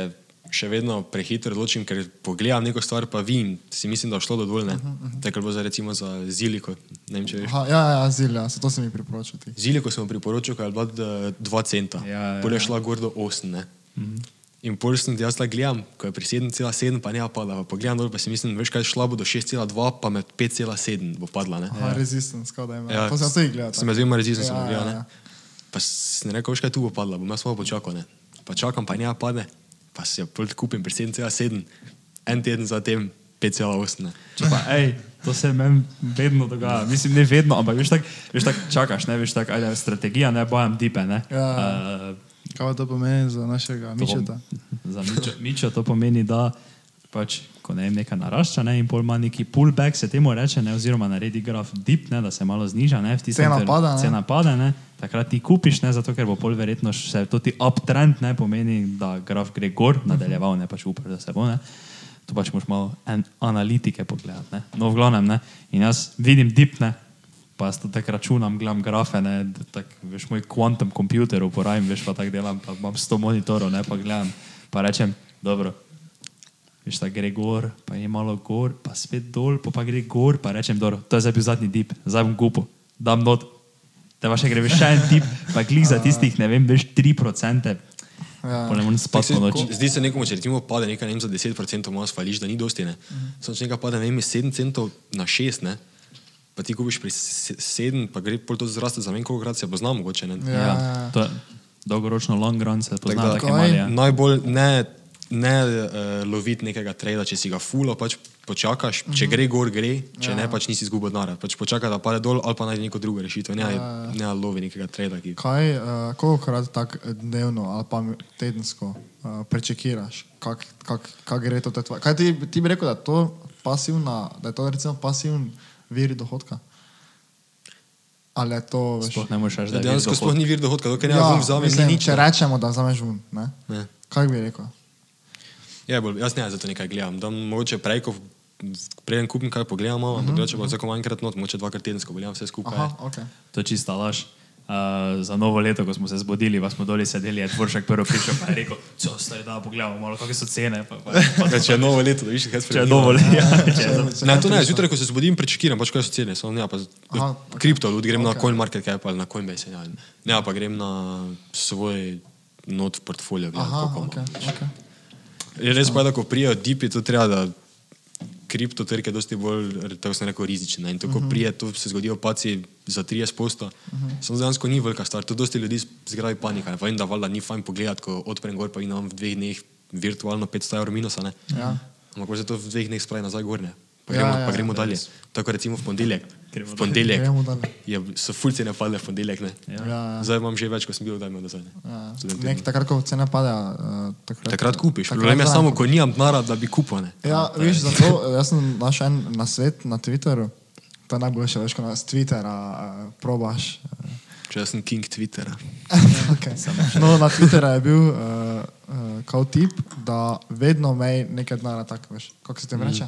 [SPEAKER 4] še vedno prehitro odločim, ker pogledam neko stvar, pa vidim, si mislim, da je šlo do dolne.
[SPEAKER 2] Mhm,
[SPEAKER 4] Uh -huh. Tako je bilo za recimo za ziliko, ne vem če veš.
[SPEAKER 1] Aha, ja, ja, zilja, se to se mi priporoča ti.
[SPEAKER 4] Ziliko sem priporočil, ko je bila 2 centa,
[SPEAKER 2] Ja, ja, ja.
[SPEAKER 4] bolje
[SPEAKER 2] Mhm.
[SPEAKER 4] je šla gor do 8. Uh -huh. In pol sem jaz tako gledam, ko je pri 7,7 pa ne pada, pa pogledam dol, pa si mislim, veš kaj, šla bo do 6,2 pa med 5,7 bo padla. Ne?
[SPEAKER 1] Aha, ja. resistance, kot da ima.
[SPEAKER 4] Ja,
[SPEAKER 1] Ja, to sem se igral.
[SPEAKER 4] Sem med dvema rezidencama ja, gledal, ne. Pa sem rekel, veš kaj tu bo padla, bom jaz malo počakal, ne. Pa čakam, pa nja pade, pa si jo pult kupim pri 7,7, en teden zatem 5,8. ne.
[SPEAKER 2] Če pa, ej, to se meni vedno dogaja. Mislim, ne vedno, ampak veš tako, veš tako čakaš, ne veš tako, ajde, strategija, ne bojem dipe, ne.
[SPEAKER 1] Ja.
[SPEAKER 2] Uh,
[SPEAKER 3] Kaj pa to pomeni za našega
[SPEAKER 2] To bom-
[SPEAKER 3] mičeta?
[SPEAKER 2] Za mičo, mičo to pomeni, da pač, ko ne vem, nekaj narašča ne, in pol ima neki pullback, se temu reče, ne, oziroma naredi graf dip, ne, da se malo zniža, ne, v tistem
[SPEAKER 1] Cena
[SPEAKER 2] tren-
[SPEAKER 1] pada, ne.
[SPEAKER 2] Cena pada, ne, takrat ti kupiš, ne, zato ker bo pol verjetno še to ti uptrend, ne, pomeni, da graf gre
[SPEAKER 1] Mhm.
[SPEAKER 2] gor, nadaljeval, ne, pač upaš, da se bo, ne. Tu pač moraš malo en, analitike pogledati, ne. No, v glavnem, ne, in jaz vidim dip, ne, Pa jaz to tako računam, gledam grafe, ne, da tako, veš, moj kvantum komputer uporabim, veš, pa tako delam, pa imam 100 monitorov, ne, pa gledam, pa rečem, dobro, veš, tako gre gor, pa je malo gor, pa spet dol, pa, pa gre gor, pa rečem, dobro, to je zdaj bil zadnji dip, zdaj bom kupo, dam not, te pa še gre veš, še en dip, pa klik za tistih, ne vem, veš, 3%,
[SPEAKER 1] Ja.
[SPEAKER 2] pa ne morem spati po
[SPEAKER 4] Tako
[SPEAKER 2] noči.
[SPEAKER 4] se- Zdi se nekomu, če recimo pade nekaj, ne vem, za 10% malo svališ, da ni dosti, ne. Samo če nekaj pade, ne vem, iz 7 centov na 6, ne. Pa ti kupiš pri 7, pa gre pol to zraste za ne vem koliko krat se pozna mogoče, ne.
[SPEAKER 1] Ja, ja, ja.
[SPEAKER 2] to je dolgoročno long run, se pozna
[SPEAKER 4] Tako da- no,
[SPEAKER 2] tako malje.
[SPEAKER 4] Najbolj ne, ne uh, loviti nekega trada, če si ga fulo, pač počakaš, če gre gor, gre, če Mhm. ja. ne, pač nisi izgubil denarja. Pač počakaj, da pade dol ali pa najdi neko drugo rešitev. Ne, ja. ne lovi nekega trada, ki
[SPEAKER 1] Kaj, uh, koliko krat tak dnevno ali pa tedensko uh, prečekiraš, kak, kak, kak gre to? te tvoje- Kaj ti, ti bi rekel, da, je to pasivna, da je to recimo pasivn vir dohodka? Ali je to veš?
[SPEAKER 2] Sploh ne moreš reči, da
[SPEAKER 4] Ja,
[SPEAKER 2] je bil
[SPEAKER 4] dejansko sploh
[SPEAKER 2] dohod.
[SPEAKER 4] ni vir dohodka, dokler ne ja, bom vzamem
[SPEAKER 1] mislim,
[SPEAKER 4] ni nič.
[SPEAKER 1] če rečemo, da vzameš vun,
[SPEAKER 4] Ne.
[SPEAKER 1] kaj bi rekel?
[SPEAKER 4] Ja, bolj, jaz ne zato nekaj gledam. Dam mogoče prej, ko preden kupim kaj pogledam, malo, ampak drugače pa vsako enkrat not, mogoče dvakrat tedensko gledam vse skupaj.
[SPEAKER 1] Aha, ok.
[SPEAKER 2] To je čista laž. Uh, za novo leto, ko smo se zbudili, pa smo doli sedeli, je Dvoršek prvo prišel in rekel: "Co, stari, da pogledamo malo, kakšne so cene." Pa, pa, pa,
[SPEAKER 4] Ja, če je novo leto, da viš, kaj
[SPEAKER 2] če je
[SPEAKER 4] spremenilo.
[SPEAKER 2] dovolj, ja, če je
[SPEAKER 1] Če
[SPEAKER 4] Ne,
[SPEAKER 1] kaj
[SPEAKER 4] to ne,
[SPEAKER 1] prišlo.
[SPEAKER 4] zjutraj, ko se zbudim, prečekiram, pač kaj so cene. Samo, ne, pa,
[SPEAKER 1] Aha,
[SPEAKER 4] Aha,
[SPEAKER 1] ok.
[SPEAKER 4] okay. Kripto, ljudi grem okay.
[SPEAKER 1] Ok.
[SPEAKER 4] na CoinMarketCap ali na Coinbase. ja. Ne, ali- ne, pa grem na svoj not v ja, portfolio.
[SPEAKER 1] Aha,
[SPEAKER 4] Aha,
[SPEAKER 1] ok.
[SPEAKER 4] okay.
[SPEAKER 1] okay.
[SPEAKER 4] Res pa je, da ko prijajo dipi, to treba, da kriptotrg je dosti bolj, tako sem rekel, rizičen. ne. In tako uh
[SPEAKER 1] Mhm.
[SPEAKER 4] -huh. prije, tu se zgodijo paci za 30%. Uh -huh. Samo dejansko ni velika stvar. Tu dosti ljudi zgrabi panika. Vem, da valjda ni fajn pogledati, ko odprem gor, pa imam v dveh dneh virtualno 500 evrov minusa. ne.
[SPEAKER 1] Ja.
[SPEAKER 4] Ampak ko se to v dveh dneh spravi nazaj gorne. Pa
[SPEAKER 1] Ja,
[SPEAKER 4] gremo, ja,
[SPEAKER 1] ja,
[SPEAKER 4] ja, pa gremo
[SPEAKER 1] ja,
[SPEAKER 4] dalje. Tako recimo v ponedeljek.
[SPEAKER 2] Gremo
[SPEAKER 4] V ponedeljek
[SPEAKER 1] Gremo dalje.
[SPEAKER 4] je, so fulce ne padle v ponedeljek. Ne?
[SPEAKER 2] Ja.
[SPEAKER 1] Ja, ja.
[SPEAKER 4] Zdaj imam že več, kot sem bil dan nazaj. ne.
[SPEAKER 1] Ja,
[SPEAKER 4] Studentirno.
[SPEAKER 1] Nek, takrat, ko cena pada, eh, takrat,
[SPEAKER 4] Takrat kupiš.
[SPEAKER 1] takrat
[SPEAKER 4] Problem je
[SPEAKER 1] vzameš.
[SPEAKER 4] samo, ko nimam denarja, da bi kupil. ne.
[SPEAKER 1] Ja, veš, zato eh, jaz sem našel en nasvet na Twitterju. To je najboljše, veš, ko nas Twittera eh, probaš. eh,
[SPEAKER 4] Če jaz sem king Twittera.
[SPEAKER 1] okay. No, na Twitterju je bil uh, uh, kao tip, da vedno mej nekaj denarja tako veš. Kako se tem reče?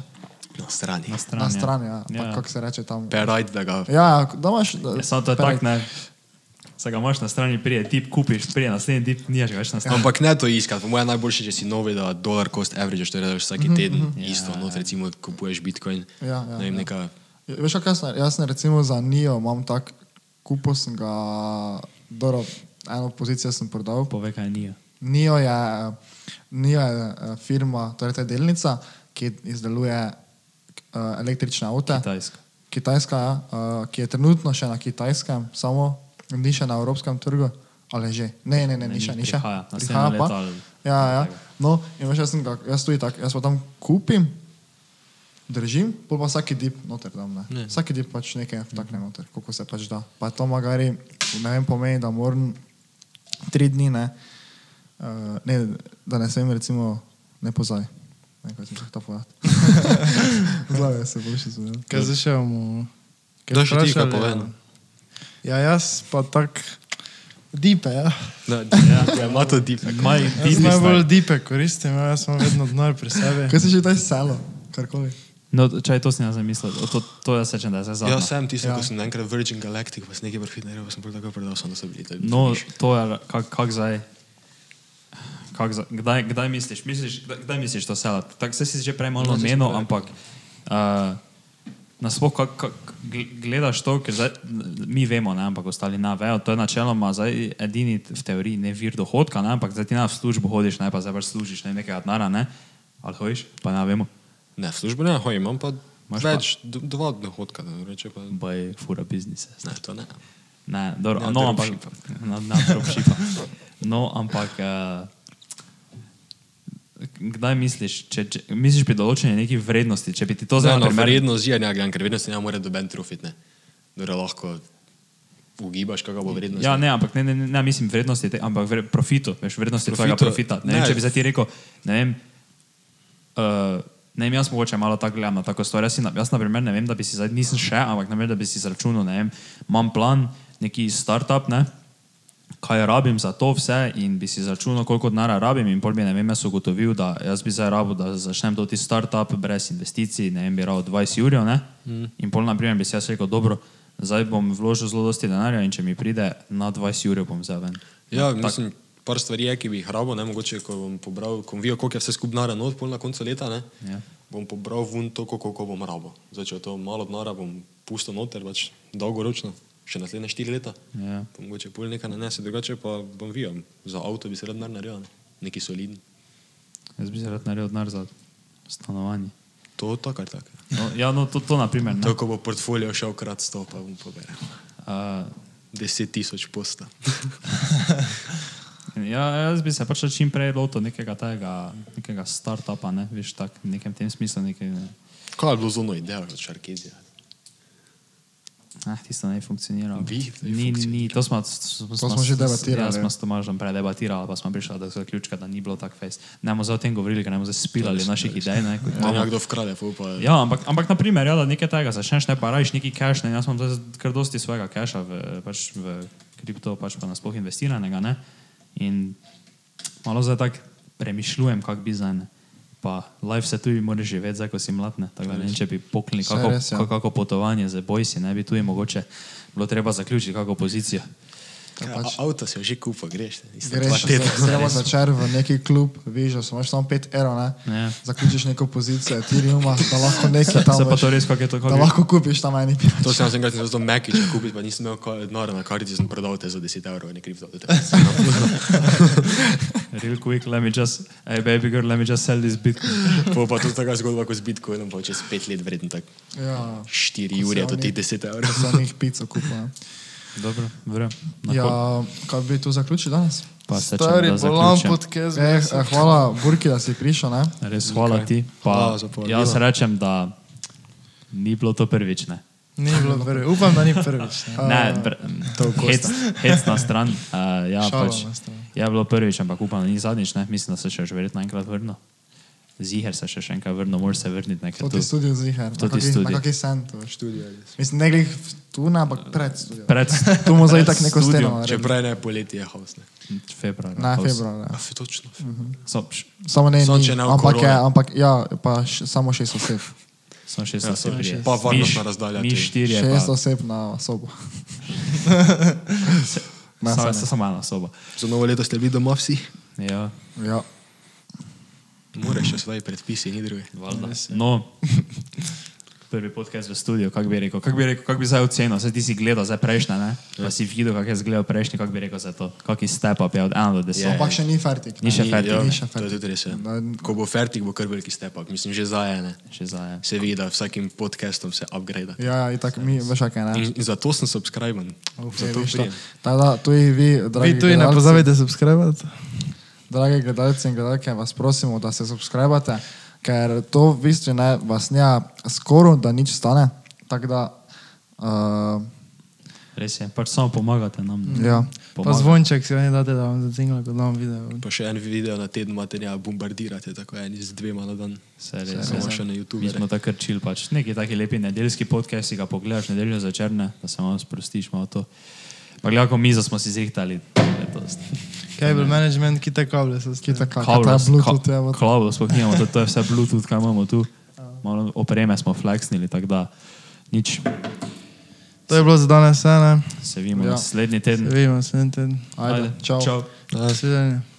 [SPEAKER 4] Na strani.
[SPEAKER 2] Na
[SPEAKER 1] Na
[SPEAKER 2] strani.
[SPEAKER 1] strani, ja.
[SPEAKER 2] Ja.
[SPEAKER 1] ja. Kako se reče tam?
[SPEAKER 4] Perajt, da ga.
[SPEAKER 1] Ja, ja, da imaš. da-
[SPEAKER 2] Ja, samo to je
[SPEAKER 1] pere-
[SPEAKER 2] tak, ne. Se ga imaš na strani, prije tip kupiš, prije naslednji tip nimaš ga
[SPEAKER 4] Ja.
[SPEAKER 2] več na strani.
[SPEAKER 4] Ampak ne to iskati. Po mojem najboljše, če si novi, da dolar cost average, to rečeš vsak teden. Isto, not, recimo, kupuješ bitcoin.
[SPEAKER 1] Ja, ja,
[SPEAKER 4] ne vem,
[SPEAKER 1] ja.
[SPEAKER 4] neka.
[SPEAKER 1] Veš, kaj jaz, na- jaz na recimo za Nijo imam tak, kupo sem ga, dobro, eno pozicijo sem prodal.
[SPEAKER 2] Povej, kaj
[SPEAKER 4] Ja.
[SPEAKER 2] ni.
[SPEAKER 1] Nijo je, eh, Nijo je eh, firma, torej to je delnica, ki izdeluje eh, električne avte.
[SPEAKER 2] Kitajsko.
[SPEAKER 1] Kitajska, ja, uh, ki je trenutno še na kitajskem, samo ni še na evropskem trgu, ali že. Ne, ne, ne, ni
[SPEAKER 2] Ne,
[SPEAKER 1] še,
[SPEAKER 2] ni,
[SPEAKER 1] ni še.
[SPEAKER 2] prihaja, naslednje
[SPEAKER 1] pa.
[SPEAKER 2] leto ali
[SPEAKER 1] Ja, ja.
[SPEAKER 2] nekaj
[SPEAKER 1] No, in veš, jaz, sem ga, jaz tudi tako, jaz pa tam kupim, držim, pol pa vsaki dip noter dam. Ne. Ne. Vsaki dip pač nekaj vtakne noter, koliko se pač da. Pa to magari, ne vem, pomeni, da moram tri dni, ne, uh, ne da ne smem recimo ne pozaj. Ne, kaj sem že to povedal. Zdaj se boš izumil.
[SPEAKER 3] Kaj zdaj še bomo? kaj
[SPEAKER 4] Da, še ti kaj
[SPEAKER 3] vprašali,
[SPEAKER 4] povej,
[SPEAKER 3] ja?
[SPEAKER 4] no.
[SPEAKER 3] Ja, jaz pa tak dipe, ja.
[SPEAKER 4] Da, ja, ima to deep.
[SPEAKER 2] Maj,
[SPEAKER 3] Jaz
[SPEAKER 2] biznis.
[SPEAKER 3] najbolj dipe koristim, ja, jaz sem vedno denar pri sebi.
[SPEAKER 1] Kaj si že taj selo, karkoli?
[SPEAKER 2] No, čaj, to si ne zamislil. To, to jaz sečem, da je zdaj zadnje.
[SPEAKER 4] Ja, sem tisti, ja.
[SPEAKER 1] Ja.
[SPEAKER 4] ko sem enkrat Virgin Galactic, pa sem nekaj vrhunarjev, sem prav tako prodal, sem da so bili. tako
[SPEAKER 2] No,
[SPEAKER 4] viš.
[SPEAKER 2] to je, kako kak zdaj. Kak za, kdaj, kdaj, misliš, misliš, kdaj, kdaj misliš to selat? Tako se si že prej malo
[SPEAKER 4] No, saj sem
[SPEAKER 2] omenil,
[SPEAKER 4] prej.
[SPEAKER 2] ampak uh, nasploh, kako kak, gl- gledaš to, ker zdaj, n- mi vemo, ne, ampak ostali ne vejo. To je načeloma zdaj edini t- v teoriji ne vir dohodka, ne, ampak zdaj ti na v službo hodiš, ne pa zdaj pač služiš ne, nekaj denara, ne? ali hojiš, pa ne vemo.
[SPEAKER 4] Ne, v službo ne, hoj, imam pa
[SPEAKER 2] Imaš
[SPEAKER 4] več, d- dva dohodka, da reče pa.
[SPEAKER 2] Baj fura biznise.
[SPEAKER 4] Ne, to ne.
[SPEAKER 2] Ne, dobro,
[SPEAKER 4] Ne,
[SPEAKER 2] no, ampak,
[SPEAKER 4] dropshipa.
[SPEAKER 2] na, na dropshipa. No, ampak uh, kdaj misliš, če, če misliš pri določeni neki vrednosti, če bi ti to
[SPEAKER 4] To je
[SPEAKER 2] zdaj
[SPEAKER 4] ena
[SPEAKER 2] na primer,
[SPEAKER 4] vrednost življenja, gledam, ker vrednost ne more doben trofit, ne. Dore lahko ugibaš, kakšna bo vrednost.
[SPEAKER 2] Ja, ne, ampak ne, ne, ne, ne mislim vrednosti, te, ampak vre, profitu, veš, vrednosti tvojega
[SPEAKER 4] Profitu,
[SPEAKER 2] profita. Ne, ne.
[SPEAKER 4] ne.
[SPEAKER 2] Če bi zdaj ti rekel, ne vem, uh, ne vem, jaz mogoče malo tako gledam na tako stvar. Jaz, si na, jaz na primer ne vem, da bi si zdaj, nisem še, ampak ne vem, da bi si izračunal, ne vem, imam plan, neki startup, ne, kaj rabim za to vse in bi si izračunal, koliko denarja rabim in pol bi, ne vem, jaz ugotovil, da jaz bi zdaj rabo, da začnem doti startup brez investicij, ne vem, bi rabo 20 jurjev, ne, mm. in pol na primer bi si jaz rekel, dobro, zdaj bom vložil zelo dosti denarja in če mi pride na 20 jurjev, bom zdaj ven.
[SPEAKER 4] Ja, mislim, par stvari je, ki bi jih rabo, ne mogoče, ko bom pobral, ko bom videl, koliko je vse skupaj nara not, pol na koncu leta, ne,
[SPEAKER 2] Ja.
[SPEAKER 4] bom pobral vun toliko, koliko bom rabo. Zdaj, če je to malo nara, bom pusto noter, pač dolgoročno, še naslednje štiri leta.
[SPEAKER 2] Ja.
[SPEAKER 4] Pa mogoče pol nekaj nanese, drugače pa bom videl, za avto bi se rad denar naredil, ne. neki solidni.
[SPEAKER 2] Jaz bi se rad naredil denar za stanovanje.
[SPEAKER 4] To tako ali tako.
[SPEAKER 2] No, ja, no, to, to na primer. ne.
[SPEAKER 4] Tako bo portfolio šel krat sto, pa bom poberal.
[SPEAKER 2] Uh,
[SPEAKER 4] Deset tisoč posta.
[SPEAKER 2] ja, jaz bi se pač čim prej lotil nekega tega, nekega startupa, ne, veš, tak, v nekem tem smislu, nekaj, ne.
[SPEAKER 4] Kaj je bilo zunaj ideja od
[SPEAKER 2] Ja.
[SPEAKER 4] Šarkezija?
[SPEAKER 2] ah, tisto ne funkcionira.
[SPEAKER 4] Bi, da je
[SPEAKER 2] Ni, ni, ni, to smo,
[SPEAKER 1] To smo že debatirali.
[SPEAKER 2] Ja, smo s Tomažem predebatirali, pa smo prišli do zaključka, da ni bilo tako fejs. Ne bomo zdaj o tem govorili, ker ne bomo zdaj spilali naših idej. Ne, kot
[SPEAKER 4] Ja,
[SPEAKER 2] imamo.
[SPEAKER 4] nekdo vkrade, pa upa.
[SPEAKER 2] Ja, ampak, ampak na primer, ja, da nekaj tega začneš, ne pa rajiš neki cache. Ne, jaz imam zdaj kar dosti svojega cache v, pač v kripto, pač pa nasploh investiranega. Ne, in malo zdaj tako premišljujem, kak bi zdaj. Ne. Pa life se tudi moraš živeti, zdaj ko si mlad. Ne, tako da ne vem, če bi pokli
[SPEAKER 1] Saj
[SPEAKER 2] kako,
[SPEAKER 1] res, ja.
[SPEAKER 2] kako potovanje z bojsi, ne bi tudi mogoče bilo treba zaključiti kako pozicijo.
[SPEAKER 1] ker
[SPEAKER 4] Kaj,
[SPEAKER 1] pač
[SPEAKER 4] a- Avto si že kupa, greš. ne, iste dva
[SPEAKER 1] greš
[SPEAKER 4] tedna.
[SPEAKER 1] treba začer v neki klub, veš, da so imaš samo 5 evrov, ne?
[SPEAKER 2] Ja.
[SPEAKER 1] Zaključiš neko pozicijo, Ethereuma, da lahko nekaj tam
[SPEAKER 2] Se pa
[SPEAKER 1] veš,
[SPEAKER 2] to res, kako je to
[SPEAKER 1] da lahko kupiš tam eni pijač.
[SPEAKER 4] To sem jaz enkrat zelo mekič kupil, pa nisem imel ka- denarja na kartici, sem prodal te za 10 evrov, ne kriptovalute.
[SPEAKER 2] Real quick, let me just, hey baby girl, let me just sell this bitcoin.
[SPEAKER 4] Po pa tudi taka zgodba kot z Bitcoinom, pa čez 5 let vreden tak
[SPEAKER 1] Ja,
[SPEAKER 4] 4
[SPEAKER 1] Ko se
[SPEAKER 4] jurja do
[SPEAKER 1] oni-
[SPEAKER 4] teh 10 evrov.
[SPEAKER 1] za njih pico kupujem.
[SPEAKER 2] Dobro, vrem.
[SPEAKER 1] Ja, kaj bi tu zaključil danes?
[SPEAKER 2] pa se če
[SPEAKER 3] Stari
[SPEAKER 2] da
[SPEAKER 3] bolan
[SPEAKER 2] zaključim.
[SPEAKER 3] podcast.
[SPEAKER 1] Eh, eh, hvala Burki, da si prišel, ne?
[SPEAKER 2] Res hvala
[SPEAKER 4] Zakaj?
[SPEAKER 2] ti. Pa,
[SPEAKER 4] Hvala za povabilo.
[SPEAKER 2] jaz rečem, da ni bilo to prvič. Ne,
[SPEAKER 3] Ni bilo prvi. Upam, da ni prvič.
[SPEAKER 1] Eh,
[SPEAKER 2] ne
[SPEAKER 3] ne.
[SPEAKER 2] br- hec, hec na stran. Uh, ja,
[SPEAKER 3] Šalo
[SPEAKER 2] pač,
[SPEAKER 3] na stran.
[SPEAKER 2] je bilo prvič, ampak upam, da ni zadnjič. Ne? Mislim, da se še verjetno enkrat vrnil. Ziher se še, še enkrat vrnil, moraš se vrniti
[SPEAKER 1] To
[SPEAKER 2] nekrat.
[SPEAKER 1] ti studio ziher.
[SPEAKER 2] to ti studio.
[SPEAKER 1] Na kakšen sen to veš?
[SPEAKER 4] Študijo.
[SPEAKER 1] Mislim, ne glih tu, ne, ampak pred studio.
[SPEAKER 2] Pred,
[SPEAKER 1] Tu bomo zdaj tako neko
[SPEAKER 2] studio.
[SPEAKER 1] steno naredili.
[SPEAKER 4] Čeprav ne poleti je haos. ne.
[SPEAKER 2] Februar.
[SPEAKER 1] Ne, februar, ne.
[SPEAKER 4] A, fe, točno. fe.
[SPEAKER 2] So, š,
[SPEAKER 1] Samo ne,
[SPEAKER 4] Samo
[SPEAKER 1] ni,
[SPEAKER 4] če ne v
[SPEAKER 1] ampak je,
[SPEAKER 4] korone.
[SPEAKER 1] ampak ja, pa š, samo šest oseb.
[SPEAKER 2] so šest
[SPEAKER 4] Ja,
[SPEAKER 2] oseb.
[SPEAKER 4] samo
[SPEAKER 2] je.
[SPEAKER 4] šest. Pa varnostna
[SPEAKER 2] Mi š-
[SPEAKER 4] razdalja
[SPEAKER 2] Mi
[SPEAKER 4] ti.
[SPEAKER 2] štirje. pa-
[SPEAKER 1] Šest oseb na sobo. Ne,
[SPEAKER 2] Samo
[SPEAKER 1] saj
[SPEAKER 2] so
[SPEAKER 1] ne.
[SPEAKER 2] samo ena soba.
[SPEAKER 4] Za novo leto ste bili doma vsi?
[SPEAKER 2] Ja,
[SPEAKER 1] Ja.
[SPEAKER 4] Moraš še svoje predpise, ni druge.
[SPEAKER 2] valjda. No, prvi podcast v studiu, kako bi rekel, kako bi, rekel, kak bi zdaj ocenil, zdaj ti si gledal, zdaj prejšnja, ne? Pa si videl, kako je zgledal prejšnji, kako bi rekel za to, kaki step up je od 1 do Pač 10.
[SPEAKER 4] Ja,
[SPEAKER 1] Ampak še ni fertik.
[SPEAKER 2] Ni še
[SPEAKER 1] ne.
[SPEAKER 2] fertik.
[SPEAKER 4] Ja,
[SPEAKER 1] Ni še
[SPEAKER 4] to je
[SPEAKER 1] fertik.
[SPEAKER 4] tudi res. ja.
[SPEAKER 1] Na-
[SPEAKER 4] Ko bo fertik, bo kar veliki stepak. Mislim, že zajene.
[SPEAKER 2] Še zdaj. ja.
[SPEAKER 4] Se vidi, da vsakim podcastom se upgrade.
[SPEAKER 1] Ja, ja, itak mi, veš, kaj ne.
[SPEAKER 4] In, in zato sem subscriben.
[SPEAKER 1] Okay,
[SPEAKER 4] zato
[SPEAKER 1] viš to.
[SPEAKER 4] prijem.
[SPEAKER 1] Tako da, tudi vi, dragi
[SPEAKER 3] Vi tudi ne
[SPEAKER 1] gledalci-
[SPEAKER 3] pozabite subskrbati.
[SPEAKER 1] Drage gledalce in gledalke, vas prosimo, da se subskrbate, ker to v bistvu ne, vas ne skoro, da nič stane. Tako da, uh,
[SPEAKER 2] Res je, pač samo pomagate nam. ne.
[SPEAKER 1] ja.
[SPEAKER 3] Pa
[SPEAKER 2] Pomaga.
[SPEAKER 3] zvonček si ne date, da vam zacingla, ko dam video.
[SPEAKER 4] Pa še en video na teden imate, ja, bombardirate, tako en z dvema na dan.
[SPEAKER 2] Se res
[SPEAKER 4] Samo
[SPEAKER 2] je.
[SPEAKER 4] še na
[SPEAKER 2] Mi smo
[SPEAKER 4] YouTuberje.
[SPEAKER 2] tako krčili, pač neki taki lepi nedeljski podcast, si ga pogledaš nedeljo začer, ne? da se malo sprostiš, malo to. Pa gledaj, kako mizo smo si zihtali. letos.
[SPEAKER 3] Cable management, kita kable so
[SPEAKER 1] Ki
[SPEAKER 3] skita.
[SPEAKER 1] tako, kot je Bluetooth, je v
[SPEAKER 2] Klavos, sploh nimamo, to, to je vse Bluetooth, kaj imamo tu. Malo opreme smo fleksnili, tako da nič.
[SPEAKER 3] To je bilo za danes vse, ne?
[SPEAKER 2] Se vidimo
[SPEAKER 1] Ja.
[SPEAKER 2] ja. naslednji teden.
[SPEAKER 3] Vidimo se en teden.
[SPEAKER 1] Ajde, čau.
[SPEAKER 2] čau.
[SPEAKER 3] Nasvidenje.